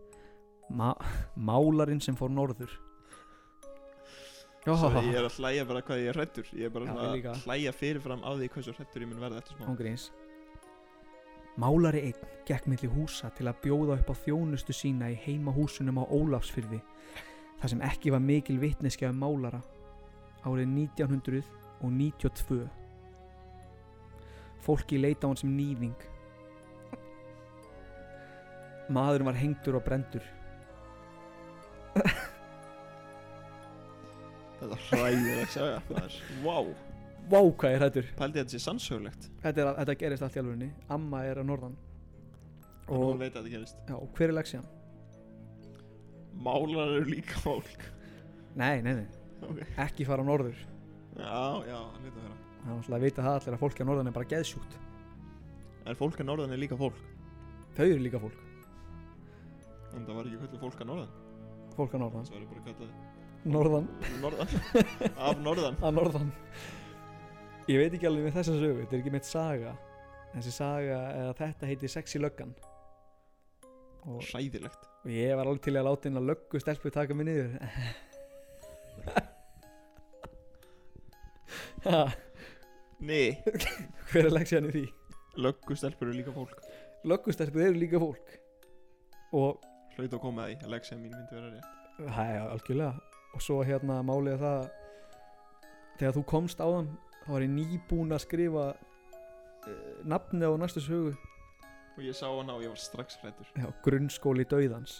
[SPEAKER 1] Ma Málarinn sem fór norður Já,
[SPEAKER 2] Svo ég er að hlæja bara hvað ég er hrættur Ég er bara
[SPEAKER 1] Já,
[SPEAKER 2] svona
[SPEAKER 1] ég líka.
[SPEAKER 2] að hlæja fyrirfram á því hversu hrættur ég mun verða eftir smá
[SPEAKER 1] ángríns Málari einn gekk milli húsa til að bjóða upp á þjónustu sína í heimahúsunum á Ólafsfyrði þar sem ekki var mikil vitneskja um málara árið 1992 fólki leita á hann sem nýðing maðurinn var hengdur og brendur
[SPEAKER 2] Þetta er hræðileg saga maður. Vá,
[SPEAKER 1] Vá hvað er hættur
[SPEAKER 2] pældi þetta sé sannsögulegt
[SPEAKER 1] þetta, er, þetta gerist allt í alvörinni Amma er að norðan
[SPEAKER 2] og hún
[SPEAKER 1] og,
[SPEAKER 2] veit að þetta gerist
[SPEAKER 1] já, og hver er leksjan?
[SPEAKER 2] Málar eru líka fólk
[SPEAKER 1] Nei, nei, nei,
[SPEAKER 2] okay.
[SPEAKER 1] ekki fara á norður
[SPEAKER 2] Já, já, hann lítið að
[SPEAKER 1] Það er
[SPEAKER 2] vera
[SPEAKER 1] náttúrulega að vita það allir að fólki á norðan er bara geðsjúkt
[SPEAKER 2] En fólk að norðan er líka fólk
[SPEAKER 1] Þau eru líka fólk,
[SPEAKER 2] En það var ekki kallið fólk að norðan
[SPEAKER 1] fólk á norðan
[SPEAKER 2] Það var bara kallið
[SPEAKER 1] Norðan,
[SPEAKER 2] norðan Af norðan
[SPEAKER 1] að norðan Ég veit ekki alveg með þessa sögu, þetta er ekki meitt saga Þessi saga, eða þetta heiti Sexy Löggan og,
[SPEAKER 2] Hræðilegt
[SPEAKER 1] og ég var alveg til að láta inn að löggu stelpu taka mig niður Ha,
[SPEAKER 2] Nei,
[SPEAKER 1] Hver er leksjan í því?
[SPEAKER 2] löggustelpur eru líka fólk
[SPEAKER 1] löggustelpur eru líka fólk og
[SPEAKER 2] Hlaut að koma að því, Alexia mín myndi vera rétt
[SPEAKER 1] það er algjörlega og svo hérna málið er það að þegar þú komst á þann þá var ég nýbúin að skrifa uh, nafnið á næstu sögu
[SPEAKER 2] Og ég sá hana og ég var strax hrættur
[SPEAKER 1] Já, grunnskóli dauðans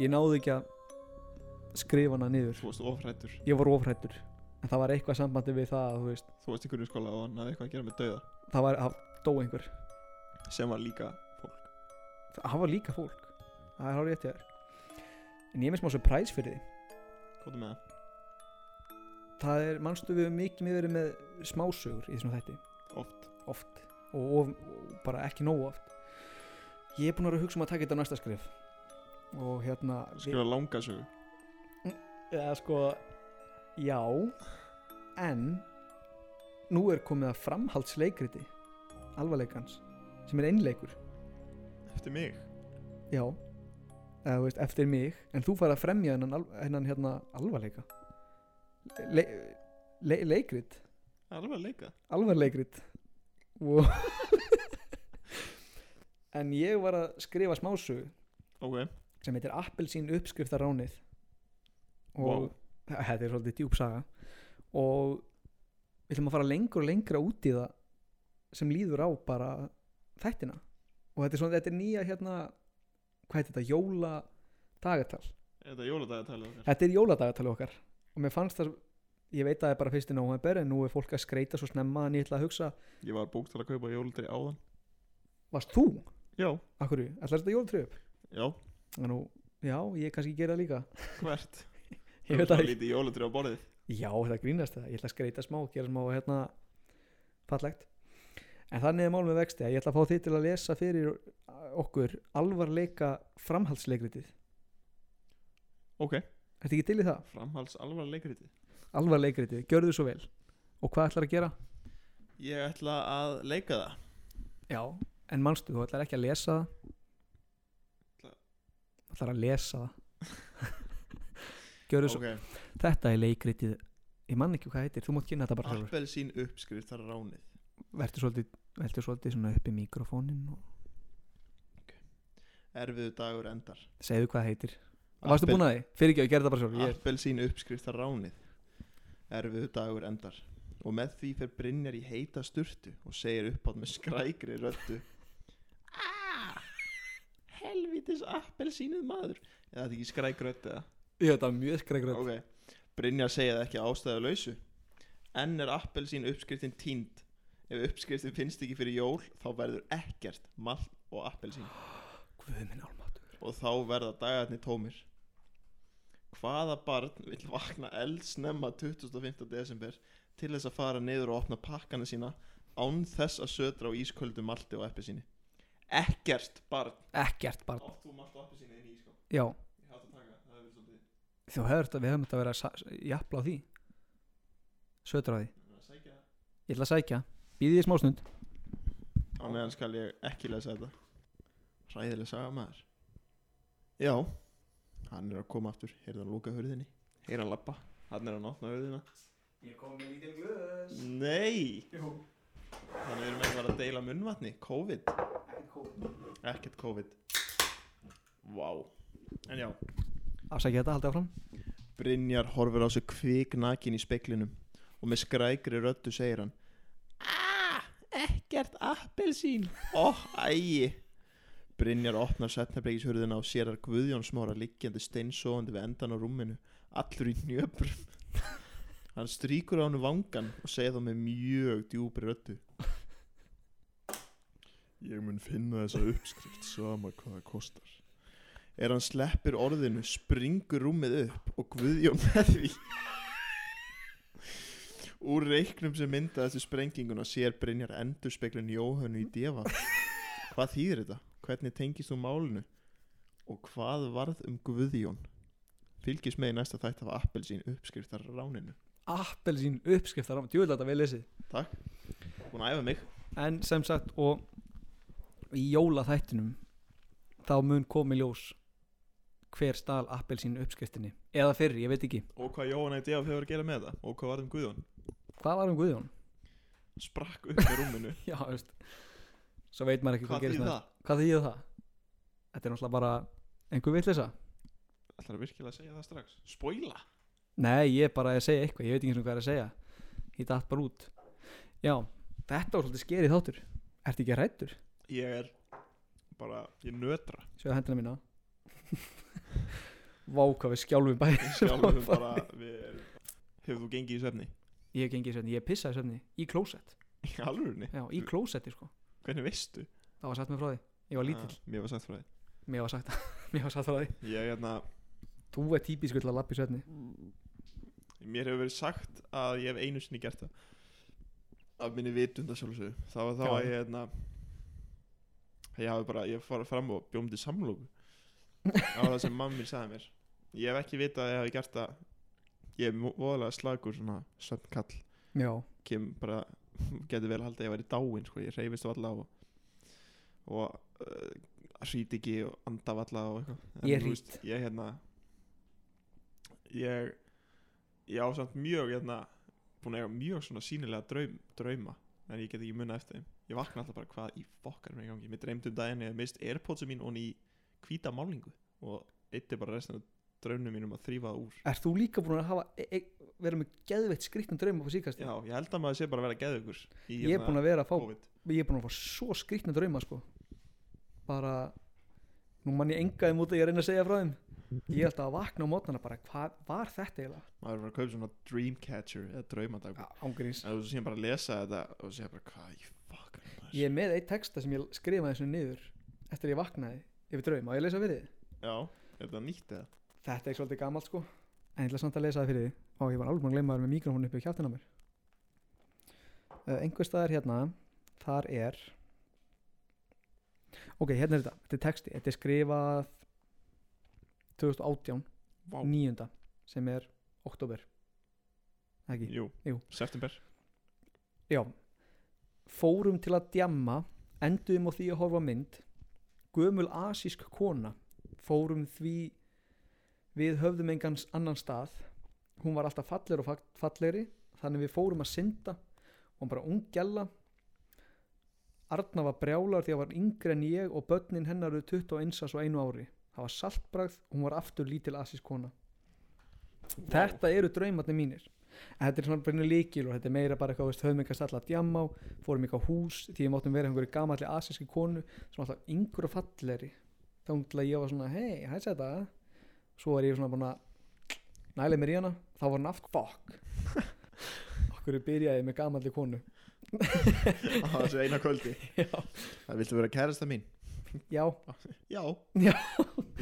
[SPEAKER 1] ég náði ekki að skrifa hana niður
[SPEAKER 2] Þú varst ofrættur
[SPEAKER 1] ég var ofrættur en það var eitthvað sambandi við það að þú veist
[SPEAKER 2] Þú varst í grunnskóla og hann hafði eitthvað að gera með dauða
[SPEAKER 1] það var að dó einhver
[SPEAKER 2] Sem var líka fólk
[SPEAKER 1] það var líka fólk það er hárið eftir þér en ég er með smá surprise fyrir því
[SPEAKER 2] Kóta með það
[SPEAKER 1] það er, mannstu við höfum mikið við verið með smásögur í þessum þætti
[SPEAKER 2] Oft
[SPEAKER 1] oft og, of, og bara ekki nógu oft ég er búin að vera að hugsa um að taka þetta næsta skrif og hérna
[SPEAKER 2] Skrifa langa sögu
[SPEAKER 1] eða sko já en nú er komið að framhaldsleikriti alvarleikans sem er einleikur
[SPEAKER 2] Eftir mig
[SPEAKER 1] já eða þú veist eftir mig en þú fara að fremja hennan, al- hennan hérna alvarleika le, le, leikrit
[SPEAKER 2] Það er alveg að leika
[SPEAKER 1] alvarleikrit og en ég var að skrifa smásögu
[SPEAKER 2] Ok,
[SPEAKER 1] sem heitir Appelsín uppskriftaránið og
[SPEAKER 2] Vá.
[SPEAKER 1] þetta er svolítið djúp saga og við ætlum að fara lengur og lengra út í það sem líður á bara þættina og þetta er svona, þetta er nýja hérna hvað heitir þetta, jóla dagatal
[SPEAKER 2] þetta er jóladagatælið okkar
[SPEAKER 1] Þetta er jóladagatali okkar og mér fannst það, ég veit að það er bara fyrst í nóvember en nú er fólk að skreita svo snemma en ég ætla að hugsa,
[SPEAKER 2] Ég var búkt að kaupa jóladri áðan
[SPEAKER 1] varst þú?
[SPEAKER 2] Já,
[SPEAKER 1] Akkur, ætlar þetta jólatröð upp?
[SPEAKER 2] já,
[SPEAKER 1] Nú, já, ég kannski gera það líka
[SPEAKER 2] hvert
[SPEAKER 1] Ég veit það ekki
[SPEAKER 2] Lítið jóladri á borðið
[SPEAKER 1] Já, þetta grínast það, ég ætla að skreita smá og gera smá hérna fallegt En þannig er mál með vexti að ég ætla að fá þið til að lesa fyrir okkur alvarleika framhaldsleikritið
[SPEAKER 2] Ok,
[SPEAKER 1] Ertu ekki til í það?
[SPEAKER 2] framhalds alvar leikriti
[SPEAKER 1] Alvarleikritið, gjörðu svo vel Og hvað ætlar að gera?
[SPEAKER 2] Ég ætla að leika það
[SPEAKER 1] Já, en manstu, þú ætlar ekki að lesa það
[SPEAKER 2] Ætla-
[SPEAKER 1] Þú ætlar að lesa það Gjörðu svo Þetta er leikritið Ég man ekki hvað það heitir, þú mátt kynna þetta
[SPEAKER 2] Ah.
[SPEAKER 1] bara sjálfur.
[SPEAKER 2] Appelsín uppskrift þar ránið
[SPEAKER 1] Vertu svolítið, vertu svolítið svona upp í mikrofónin og
[SPEAKER 2] Erfiðu dagur endar
[SPEAKER 1] segðu hvað það heitir Varstu búin að því? Fyrir ekki að gera það bara sjálfur. Ég er-
[SPEAKER 2] Appelsín uppskrift þar ránið Erfiðu dagur endar Og með því fer Brynjar í heita sturtu og segir uppátt með skrækri röddu Ah, helvitis appelsínuð maður Eða þetta er ekki skrækröddu eða
[SPEAKER 1] Ég þetta var mjög skrækröð
[SPEAKER 2] Ok, Brynjar segja það ekki ástæðu lausu Enn er appelsín uppskriftin tínd Ef uppskriftin finnst ekki fyrir jól þá verður ekkert malt og appelsín
[SPEAKER 1] Guð minn álmáttur
[SPEAKER 2] og þá verða dagarnir tómir Hvaða barn vil vakna eldsnemma 25. desember til þess að fara niður og opna pakkana sína án þess að södra á ísköldu malti og appelsíni Ekkert barn
[SPEAKER 1] Ekkert barn
[SPEAKER 2] Átt þú malt og appelsíni inn í ískáp?
[SPEAKER 1] Já,
[SPEAKER 2] Ég hætti að taka, það hefur svolítið
[SPEAKER 1] þú hefur þetta, við höfum þetta að vera sa- Japla á því Sötra á því
[SPEAKER 2] að segja
[SPEAKER 1] Ég ætla að sækja Býðið í smástund
[SPEAKER 2] Á meðan skal ég ekki lesa þetta Ræðileg saga maður Já Hann er að koma aftur, heyrði hann lúka hurðinni Heyrði hann labba, hann er að opna hurðina
[SPEAKER 1] Ég kom með lítið glöðs
[SPEAKER 2] Nei,
[SPEAKER 1] Jú,
[SPEAKER 2] þannig erum við bara að deila munnvatni COVID,
[SPEAKER 1] ekkert kóð
[SPEAKER 2] ekkert COVID Vá En já,
[SPEAKER 1] afsækja þetta, haldið áfram
[SPEAKER 2] Brynjar horfir á sig kviknakin í speklinum og með skrækri röddu segir hann Ah, ekkert appelsín Ó, oh, ægi Brynjar opnar setnabreikishurðina og sér að Guðjón smára liggjandi steinsóandi við endan á rúminu allur í njöbrum Hann strýkur á hann vangan og segir þá með mjög djúpri röddu Ég mun finna þessa uppskrift sama hvað það kostar Er hann sleppir orðinu, springur rúmið upp og Guðjón með því Úr reiknum sem mynda þessu sprenginguna sér Brynjar endurspeglun Jóhannu í defa Hvað þýðir þetta? Hvernig tengist þú málinu? Og hvað varð um Guðjón? Fylgis með í næsta þætt af appelsín uppskriftar ráninu
[SPEAKER 1] Appelsín uppskriftar á, djúvel þetta vel lesið
[SPEAKER 2] Takk, búin að æfa mig
[SPEAKER 1] en sem sagt og í jólaþættinum þá mun komi ljós hver stal appelsín uppskriftinni eða fyrr, ég veit ekki
[SPEAKER 2] Og hvað Jóhanna í defa hefur að gera með það? Og hvað varð um Guðjón?
[SPEAKER 1] hvað var um Guðjón?
[SPEAKER 2] Sprakk upp með rúminu
[SPEAKER 1] já, veist svo veit maður ekki hvað,
[SPEAKER 2] Hvað
[SPEAKER 1] gerist
[SPEAKER 2] þýð
[SPEAKER 1] með
[SPEAKER 2] það?
[SPEAKER 1] hvað þýðir það? þetta er náttúrulega bara einhver vitleysa
[SPEAKER 2] Ætlar að virkilega segja það strax? Spoila?
[SPEAKER 1] nei, ég er bara að segja eitthvað, ég veit ekki eins og hvað er að segja ég datt bara út já, þetta var svolítið skerið þáttur ertu ekki hrættur?
[SPEAKER 2] Ég er bara, ég nötra
[SPEAKER 1] sjáðu hendina mína vá hvað við skjálfum bæði
[SPEAKER 2] Sjálfum bara, við erum Hefur þú gengið í svefni?
[SPEAKER 1] ég hef gengið í svefni, ég pissaði í svefni í klósett,
[SPEAKER 2] Í alvörunni?
[SPEAKER 1] já, í klósetti sko
[SPEAKER 2] Hvernig veistu?
[SPEAKER 1] það var sagt mér frá því, ég var lítill
[SPEAKER 2] Ah, mér var sagt frá því
[SPEAKER 1] mér var sagt, mér var sagt frá því
[SPEAKER 2] Ég, hérna,
[SPEAKER 1] þú er típisku til að lappa í svefni
[SPEAKER 2] Mm. mér hefur verið sagt að ég hef einu sinni gert það Af minni vitund að sjálfsögðu Það var þá
[SPEAKER 1] Já.
[SPEAKER 2] að ég, hérna Ég hafi bara, ég fara fram og bjómdi samlóku Það var það sem mamma mín sagði mér Ég hef ekki vitað að ég hafi gert það Ég er voðalega slagur svona svefnkall
[SPEAKER 1] já,
[SPEAKER 2] kem bara getur vel haldið að ég væri dáin sko. ég reyfist valla og, og uh, hrýt ekki og anda valla og eitthvað En
[SPEAKER 1] Ég
[SPEAKER 2] þú
[SPEAKER 1] hrýt.
[SPEAKER 2] veist, ég hérna ég ég á samt mjög hérna búin að eiga mjög svona sínilega draum, drauma en ég get ekki munna eftir þeim ég vakna alltaf bara hvað í fokkar með gangi mér dreymdi um daginn ég mist airpodsa mín og í hvíta málingu og eitt er bara restina af draunum mínum að þrýfa það úr
[SPEAKER 1] er þú líka búin að hafa e e vera með geðveitt skriktum drauma á síkast
[SPEAKER 2] já, hérna ég held að maður sé bara að vera geðugur
[SPEAKER 1] ég er búin að vera að fá
[SPEAKER 2] COVID
[SPEAKER 1] ég er búin að fá svo skrikna drauma sko bara nú mann ég engaði mútið ég er að reyna að segja frá þeim ég er alltaf að vakna á mótnana bara hvað var þetta eiginlega
[SPEAKER 2] maður er bara að kaupa svona Dreamcatcher eða Draumadag
[SPEAKER 1] ángurins
[SPEAKER 2] en þú séum bara að lesa þetta og segja bara hvað í fuck er maður?"
[SPEAKER 1] ég er með eitt texta sem ég skrifaði svona niður eftir ég vaknaði yfir draum og ég lesa fyrir þið
[SPEAKER 2] já, er þetta nýtt eða?
[SPEAKER 1] þetta er svolítið gamalt sko en ég ætla samt að lesa það fyrir þið og ég var alveg búin að glemma það með mikrofónu uppi á kjáttina á mér uh, einhver staðar hérna þar er ok, hérna er þetta, þetta er texti þetta er skrifað 2018,
[SPEAKER 2] Vá.
[SPEAKER 1] 9. sem er oktober ekki,
[SPEAKER 2] jú,
[SPEAKER 1] Jú.
[SPEAKER 2] september
[SPEAKER 1] já fórum til að djamma enduðum á því að horfa á mynd gömul asísk kona fórum því við höfðum engan s- annan stað hún var alltaf fallegri og fag- fallegri þannig við fórum að synda og bara ung gælla Arna var brjálar því að var yngri en ég og börnin hennar eru 21 svo einu ári það var saltbragð og hún var aftur lítil asísk kona þetta eru draumarnir mínir En þetta er svona bara líkil og þetta er meira bara eitthvað þú veist, höfðum eitthvað alltaf að djamma á fórum eitthvað á hús því við máttum vera einhverju gamalli asíski konu sem var alltaf yngur og falleri þá til að ég var svona hei, hæ þetta svo var ég svona búin að næla mér í hana þá var hann aftur fuck okkur byrjaði ég með gamalli konu
[SPEAKER 2] á þessu eina kvöldi
[SPEAKER 1] já,
[SPEAKER 2] það viltu vera kærasta mín?
[SPEAKER 1] já,
[SPEAKER 2] já,
[SPEAKER 1] Já.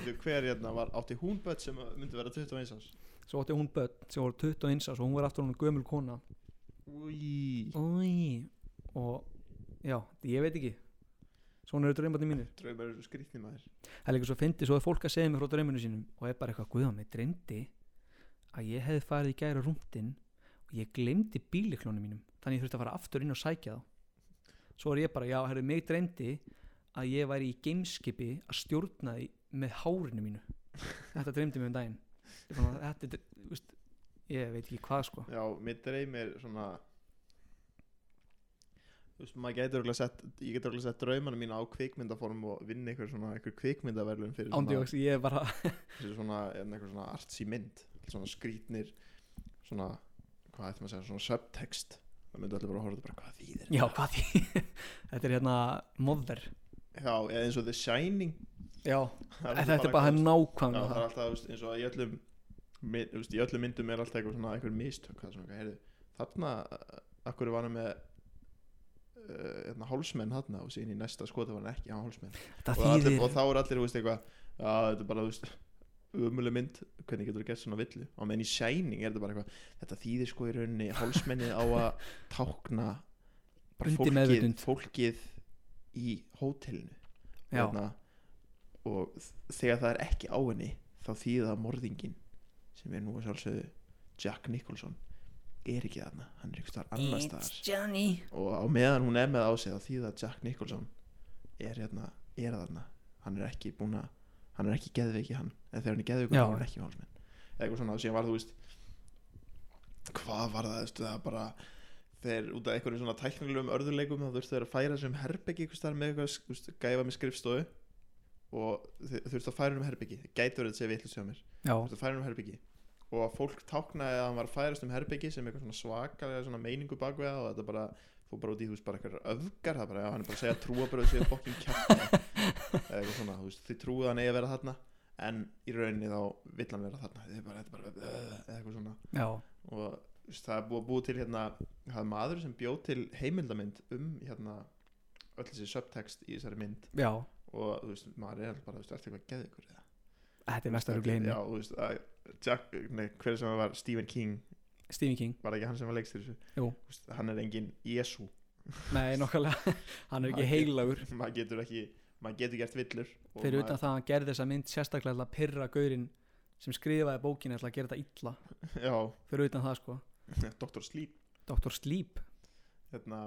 [SPEAKER 2] Veitu, hver hérna var átti hún börn sem myndi vera 21 árs
[SPEAKER 1] svo átti hún börn sem voru 21 árs og hún var aftur hún gömul kona
[SPEAKER 2] úi
[SPEAKER 1] Új. og já, ég veit ekki svona eru draumarnir mínir
[SPEAKER 2] draumar eru svo skrýtni maður
[SPEAKER 1] það er líka svo fyndið, svo er fólk að segja mér frá drauminu sínum og er bara eitthvað guða mig dreymdi að ég hefði farið í gæra rúmdinn og ég glemdi bíliklónu mínum þannig ég þurfti að fara aftur inn og sækja þá svo er ég bara, já, herri, mig dreymdi að ég væri í geimskipi að stjórna því með hárinu mínu þetta dreymdi mig um daginn Ég er búin að- þetta, er, þú veist, ég veit ekki hvað sko
[SPEAKER 2] já, mér dreymir svona þú veist, maður getur okkur sett ég getur okkur sett draumana mína á kvikmyndaform og vinna einhver svona, einhver kvikmyndaverlun fyrir svona,
[SPEAKER 1] ándjóks, ég er bara
[SPEAKER 2] fyrir svona, en einhver svona artsy mynd svona skrítnir svona, hvað ætti maður að segja, svona subtext það myndi allir bara að horfa á þetta bara hvað þýðir þetta?"
[SPEAKER 1] já, hvað því þetta er hérna mother
[SPEAKER 2] já, eða eins og The Shining
[SPEAKER 1] já,
[SPEAKER 2] Það
[SPEAKER 1] en þetta er bara
[SPEAKER 2] eitthvað- Já,
[SPEAKER 1] nákvæmlega
[SPEAKER 2] það er
[SPEAKER 1] það.
[SPEAKER 2] alltaf, þú veist, eins og í öllum mynd- þú veist, í öllum myndum er alltaf einhver svona einhver mistök, það er svona, heyrðu þarna, akkur var hann með uh, hérna, hálsmenn þarna og síðan í næsta skoti var hann ekki á hálsmenn
[SPEAKER 1] það
[SPEAKER 2] og, allir,
[SPEAKER 1] þýðir
[SPEAKER 2] og þá er allir, þú veist, eitthvað já, þetta er bara, þú veist umuleg mynd, hvernig getur þú gert svona villu og meðan í Shining er þetta bara eitthvað þetta þýðir sko í rauninni, hálsmennið á að tákna bara
[SPEAKER 1] Undir
[SPEAKER 2] fólkið,
[SPEAKER 1] meðvitund.
[SPEAKER 2] fólkið í hótelinu
[SPEAKER 1] já,
[SPEAKER 2] hérna, og þ- þegar það er ekki á henni þá þýða það morðingin sem er nú að sjálfsögðu Jack Nicholson er ekki þarna, hann er ykkur starf annars
[SPEAKER 3] It's
[SPEAKER 2] staðar
[SPEAKER 3] Johnny.
[SPEAKER 2] og á meðan hún er með á sig þá þýða að Jack Nicholson er hérna, er þarna hann er ekki búin að, hann er ekki geðveiki hann, eða þegar hann er geðveikur
[SPEAKER 1] Já.
[SPEAKER 2] þá er hann ekki hálsmenn eða eitthvað svona, og síðan var þú veist hvað var það, veistu það bara þeir út af einhverjum svona tæknilegum örðuleikum þá þurftu þeir að færa sem herbyggi einhvers staðar með eitthvað, þú veist, gæfa með skrifstofu og þeir þurftu að færa um herbyggi gætur þetta sé vitlu sem mér
[SPEAKER 1] já,
[SPEAKER 2] þú veist að færa um herbyggi og að fólk táknaði að hann var að færast um herbyggi sem eitthvað svona svakalega svona meiningu bak við það og þetta bara fór bara út í þú veist bara eitthvað öfgar það bara, já hann er bara að segja trúa bara þessi bókin kjátt eða eitthvað svona, þú veist, þið trúið að hann eigi að vera þarna en í rauninni þá vill hann vera þarna þetta er bara, þetta er bara, eða eitthvað svona
[SPEAKER 1] já,
[SPEAKER 2] og þú veist, það er búið að búið til hérna, það er maður sem bjóð til heimildamynd um hérna öll þessi subtext í þessari mynd
[SPEAKER 1] já
[SPEAKER 2] og þú veist, maður er alveg bara, þú veist, ertu eitthvað geðið ykkur eða
[SPEAKER 1] þetta er mest að
[SPEAKER 2] Þetta-
[SPEAKER 1] rugla
[SPEAKER 2] Já, þú veist, að Jack, nei, hver sem það var Stephen King,
[SPEAKER 1] Stephen King,
[SPEAKER 2] var ekki hann sem var leikst þessu
[SPEAKER 1] Jú.
[SPEAKER 2] Þú veist, hann er engin Jésu
[SPEAKER 1] nei nokkalega hann er
[SPEAKER 2] Hann
[SPEAKER 1] ekki
[SPEAKER 2] er-
[SPEAKER 1] heilagur
[SPEAKER 2] maður getur ekki, maður getur gert villur og
[SPEAKER 1] fyrir
[SPEAKER 2] maður-
[SPEAKER 1] utan það að hann gerði þessa mynd sérstaklega til að pyrra gaurinn sem skrifaði bókinu ætla að gera þetta illa fyrir utan það sko,
[SPEAKER 2] Já, Dr. Sleep
[SPEAKER 1] Dr. Sleep
[SPEAKER 2] hérna,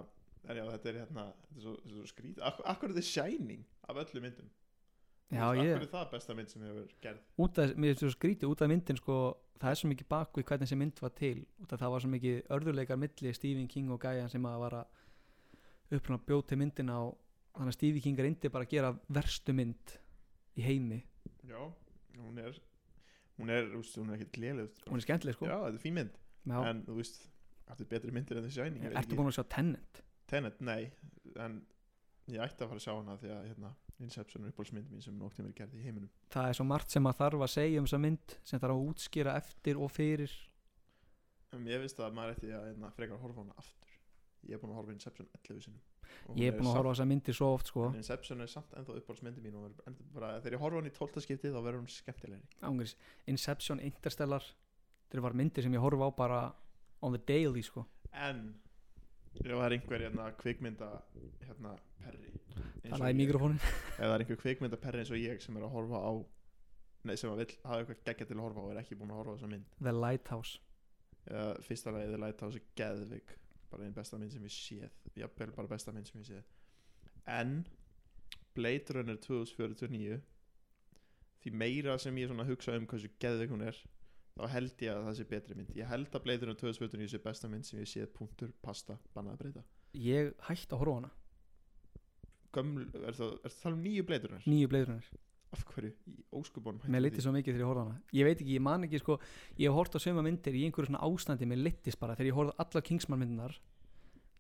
[SPEAKER 2] en já, þetta er hérna þetta er svo, þetta er svo skrít, akkur, akkur er þetta Shining af öllum myndum
[SPEAKER 1] já,
[SPEAKER 2] Akkur
[SPEAKER 1] ég,
[SPEAKER 2] er það besta mynd sem hefur gerð
[SPEAKER 1] út að, mér finnst þú skrítið út af myndin sko, það er svo mikið bakvið hvernig þessi mynd var til út af það var svo mikið örðuleikar milli Stephen King og Gæjan sem að var að uppruna bjóð til myndina og þannig að Stephen King reyndi bara að gera verstu mynd í heimi
[SPEAKER 2] Já, hún er hún er, þú veist, hún er ekkert léleg
[SPEAKER 1] hún er skemmtileg sko
[SPEAKER 2] Já, þetta er fín mynd,
[SPEAKER 1] Já.
[SPEAKER 2] en þú veist þetta er betri myndir en The Shining ég veit
[SPEAKER 1] ertu
[SPEAKER 2] ekki.
[SPEAKER 1] búin að sjá Tenet
[SPEAKER 2] Tenet, nei en ég ætti að fara að sjá hana því að hérna, Inception er uppbólsmynd mín sem noktið mér gerði í heiminum
[SPEAKER 1] það er svo margt sem að þarf að segja um þessa mynd sem þarf að útskýra eftir og fyrir
[SPEAKER 2] en ég veist að maður ætti að hérna, frekar að horfa á hana aftur ég er búin að horfa á Inception 11 sinum Og hún
[SPEAKER 1] ég er búin að horfa á þessa myndi svo oft sko
[SPEAKER 2] samt, Inception er samt ennþá uppbólsmyndi mín og verður ennþá bara, þegar ég horfa á hana í 12. skipti þá verður hún skemmtilegri
[SPEAKER 1] Ángriðs, Inception, Interstellar þetta var myndir sem ég horfa á bara on the daily sko
[SPEAKER 2] en ef það er einhver hérna, kvikmynda hérna, perri eins og
[SPEAKER 1] talaði í
[SPEAKER 2] ég-
[SPEAKER 1] mikrofónin
[SPEAKER 2] ef það er einhver kvikmyndaperri eins og ég sem er að horfa á nei, sem að vill hafa eitthvað geggja til að horfa á og er ekki búin að horfa á þessa mynd
[SPEAKER 1] The Lighthouse
[SPEAKER 2] uh, fyrsta lagið er Lighthouse er geðvig bara einn besta mynd sem ég séð jafnvel bara besta mynd sem ég séð en Blade Runner 2049 því meira sem ég svona hugsa um hversu geðvig hún er þá held ég að það sé betri mynd ég held að Blade Runner 2049 sé besta mynd sem ég séð punktur, pasta, bannað að breyta
[SPEAKER 1] ég hætti að horfa á hana,
[SPEAKER 2] Göml, er það, er það tala um nýju Blade Runner?
[SPEAKER 1] nýju bleiðrunar
[SPEAKER 2] af hverju, í óskupunum
[SPEAKER 1] mér litist svo mikið þegar ég horfa á hana ég veit ekki, ég man ekki sko ég hef hort á söma myndir í einhverju svona ástandi mér litist bara, þegar ég horfði á allar Kingsman myndinar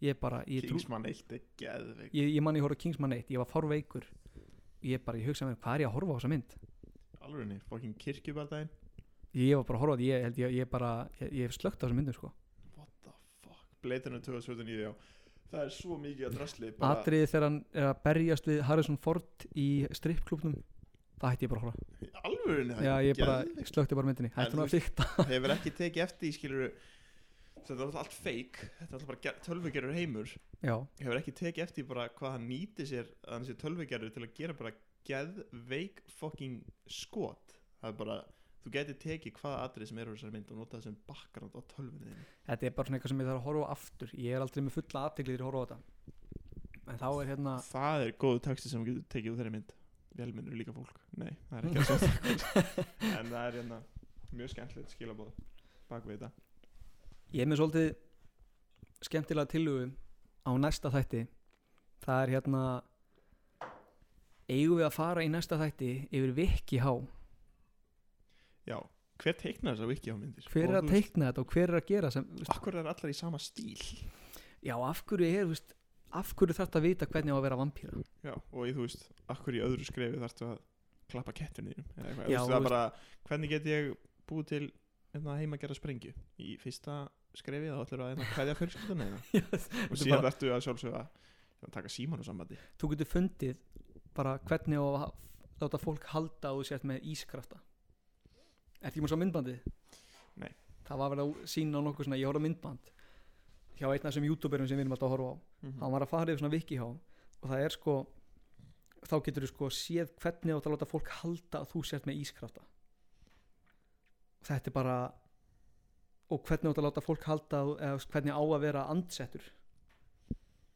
[SPEAKER 1] ég bara, ég, trú,
[SPEAKER 2] Kingsman 1 er geðvig
[SPEAKER 1] ég, ég man ég horfði á Kingsman 1 ég var fárveikur ég bara, ég hugsaði mér, hvað er ég að horfa á þessa mynd
[SPEAKER 2] alveg henni, fokkin kirkjubardaginn
[SPEAKER 1] ég var bara að horfa á þetta, ég held ég, ég bara ég, ég hef slögt á þessa myndum sko
[SPEAKER 2] What the fuck Blade Runner 2079, já Það er svo mikið að drasli bara,
[SPEAKER 1] atriðið þegar hann er að berjast við Harrison Ford í strippklubnum það hætti ég bara að horfa
[SPEAKER 2] Alvörinni
[SPEAKER 1] já, ég bara slökti bara myndinni
[SPEAKER 2] En
[SPEAKER 1] hætti hún
[SPEAKER 2] þú
[SPEAKER 1] að fykta
[SPEAKER 2] sko. Hefur ekki tekið eftir í skiluru Þetta er alltaf allt fake Þetta er alltaf bara tölvugerur heimur
[SPEAKER 1] já,
[SPEAKER 2] Hefur ekki tekið eftir í bara hvað hann nýti sér að hann sé tölvugerur til að gera bara geðveik fucking skot Það er bara Þú getur tekið hvaða atrið sem eru þessar mynd og nota þessum bakgrand á tölvunni þinni.
[SPEAKER 1] þetta er bara svona eitthvað sem ég þarf að horfa á aftur ég er aldrei með fulla aðteglið þegar ég horfa á þetta en þá er hérna
[SPEAKER 2] Það er góðu texti sem getur tekið úr þeirri mynd Velminnur líka fólk Nei, það er ekki að segja það En það er hérna mjög skemmtilegt skilabóð Bak við þetta
[SPEAKER 1] ég er með svolítið skemmtilega tilhugu á næsta þætti það er hérna eigum við að fara í næsta þætti yfir Viki Há
[SPEAKER 2] Já, hver teiknar þessar wiki á myndir?
[SPEAKER 1] hver er að teikna þetta og hver er að gera sem, veist,
[SPEAKER 2] Akkur er allar í sama stíl
[SPEAKER 1] já af hverju er veist, af hverju þarf þetta að vita hvernig á að vera vampíra
[SPEAKER 2] Já, og í, þú veist, akkur í öðru skrefi þarftu að klappa kettinu þínum eða eitthvað,
[SPEAKER 1] Já,
[SPEAKER 2] þú veist, það
[SPEAKER 1] þú
[SPEAKER 2] er bara, hvernig get ég búið til einna heima að gera sprengju í fyrsta skrefi þá ætlar að hérna, einna hverja fjölskyldun eða
[SPEAKER 1] Þetta
[SPEAKER 2] og
[SPEAKER 1] er
[SPEAKER 2] síðan
[SPEAKER 1] bara,
[SPEAKER 2] þarftu að sjálfsögða að taka síman og sambandi
[SPEAKER 1] þú getur fundið bara hvernig á að láta fólk halda að þú sért með ískrafta Ertu ekki með svo myndbandið?
[SPEAKER 2] Nei.
[SPEAKER 1] Það var verið að sína á nokkuð svona, ég horfði á myndband hjá einn af þessum youtuberum sem við erum alltaf að horfa á hann var að fara yfir svona vikihá og það er sko þá getur þú sko séð hvernig átt að láta fólk halda að þú sért með ískrafta þetta er bara og hvernig átt að láta fólk halda að- eða þú veist, hvernig á að vera andsettur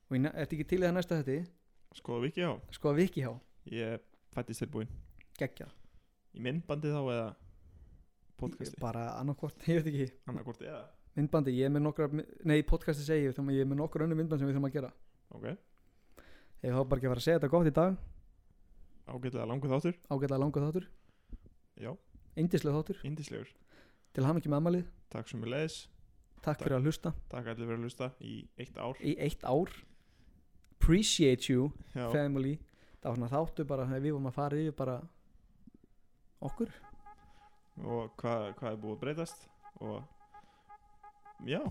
[SPEAKER 1] og ég ert ekki til í það næsta þetta
[SPEAKER 2] Skoða viki á,
[SPEAKER 1] sko að vikihá,
[SPEAKER 2] ég fættist tilbúin
[SPEAKER 1] geggja
[SPEAKER 2] í myndbandi þá eða podcasti,
[SPEAKER 1] bara annarkvort, ég veit ekki
[SPEAKER 2] annarkort eða
[SPEAKER 1] myndbandi, ég er með nokkra, nei podcasti segi ég, þannig að ég er með nokkra önnu myndband sem við þurfum að gera
[SPEAKER 2] ok,
[SPEAKER 1] ég þá bara ekki að fara að segja þetta gott í dag
[SPEAKER 2] ágætlega langu þáttur
[SPEAKER 1] ágætlega langa þáttur,
[SPEAKER 2] já,
[SPEAKER 1] eindislega þáttur
[SPEAKER 2] indislegur,
[SPEAKER 1] til ham með amalið,
[SPEAKER 2] takk sem við leðis
[SPEAKER 1] takk fyrir að hlusta
[SPEAKER 2] takk allir fyrir að hlusta í eitt ár
[SPEAKER 1] í eitt ár appreciate you
[SPEAKER 2] já,
[SPEAKER 1] family það var svona þáttu bara þegar við vorum að fara yfir bara okkur
[SPEAKER 2] og hvað hva er búið að breytast og já,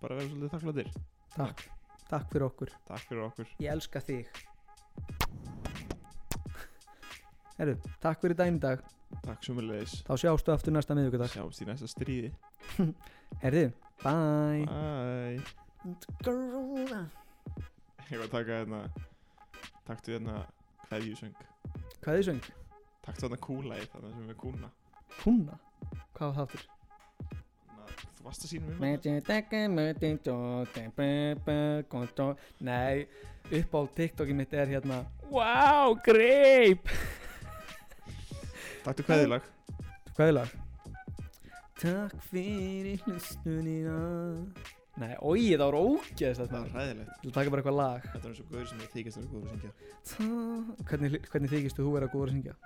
[SPEAKER 2] bara verðum svolítið þakklæðir
[SPEAKER 1] takk, takk fyrir okkur,
[SPEAKER 2] takk fyrir okkur
[SPEAKER 1] ég elska þig Herru, takk fyrir daginn í dag
[SPEAKER 2] Takk svo mjög leiðis.
[SPEAKER 1] þá sjástu aftur næsta miðvikudag
[SPEAKER 2] Sjáumst í næsta stríði.
[SPEAKER 1] Herru, bye
[SPEAKER 2] Bye.
[SPEAKER 1] Grúða.
[SPEAKER 2] Ég var að taka hérna, taktu hérna kveðjusöng.
[SPEAKER 1] Hvað þið söng?
[SPEAKER 2] Taktu hérna kúlæði þarna sem við kúna.
[SPEAKER 1] Húnna? Hvað var það aftur?
[SPEAKER 2] Na, þú varst að sína mér.
[SPEAKER 1] Nei, upp á TikTokin mitt er hérna Wow, greip
[SPEAKER 2] Taktu kveðjulag.
[SPEAKER 1] Hvaðilag? Takk fyrir hlustunina Nei, oi, það voru ógeðs
[SPEAKER 2] Það
[SPEAKER 1] þetta
[SPEAKER 2] var ræðilegt.
[SPEAKER 1] Þú taka bara eitthvað lag
[SPEAKER 2] Þetta er eins og guður sem ég þykist að vera góður að syngja.
[SPEAKER 1] Ta- Hvernig, hvernig þykistu þú vera góður að syngja?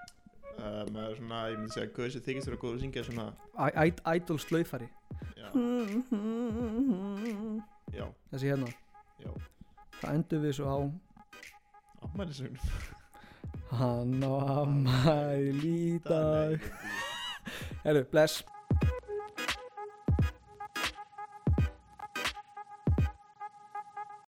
[SPEAKER 2] Uh, maður er svona, ég myndi segja, guður sem þykist að vera góður að syngja er svona,
[SPEAKER 1] Æ- æ- Idol slaufari
[SPEAKER 2] já,
[SPEAKER 1] Þessi
[SPEAKER 2] já,
[SPEAKER 1] hérna
[SPEAKER 2] já,
[SPEAKER 1] Það endur við svo á
[SPEAKER 2] afmælisögnum.
[SPEAKER 1] Hann á að mæli í dag Herru, bless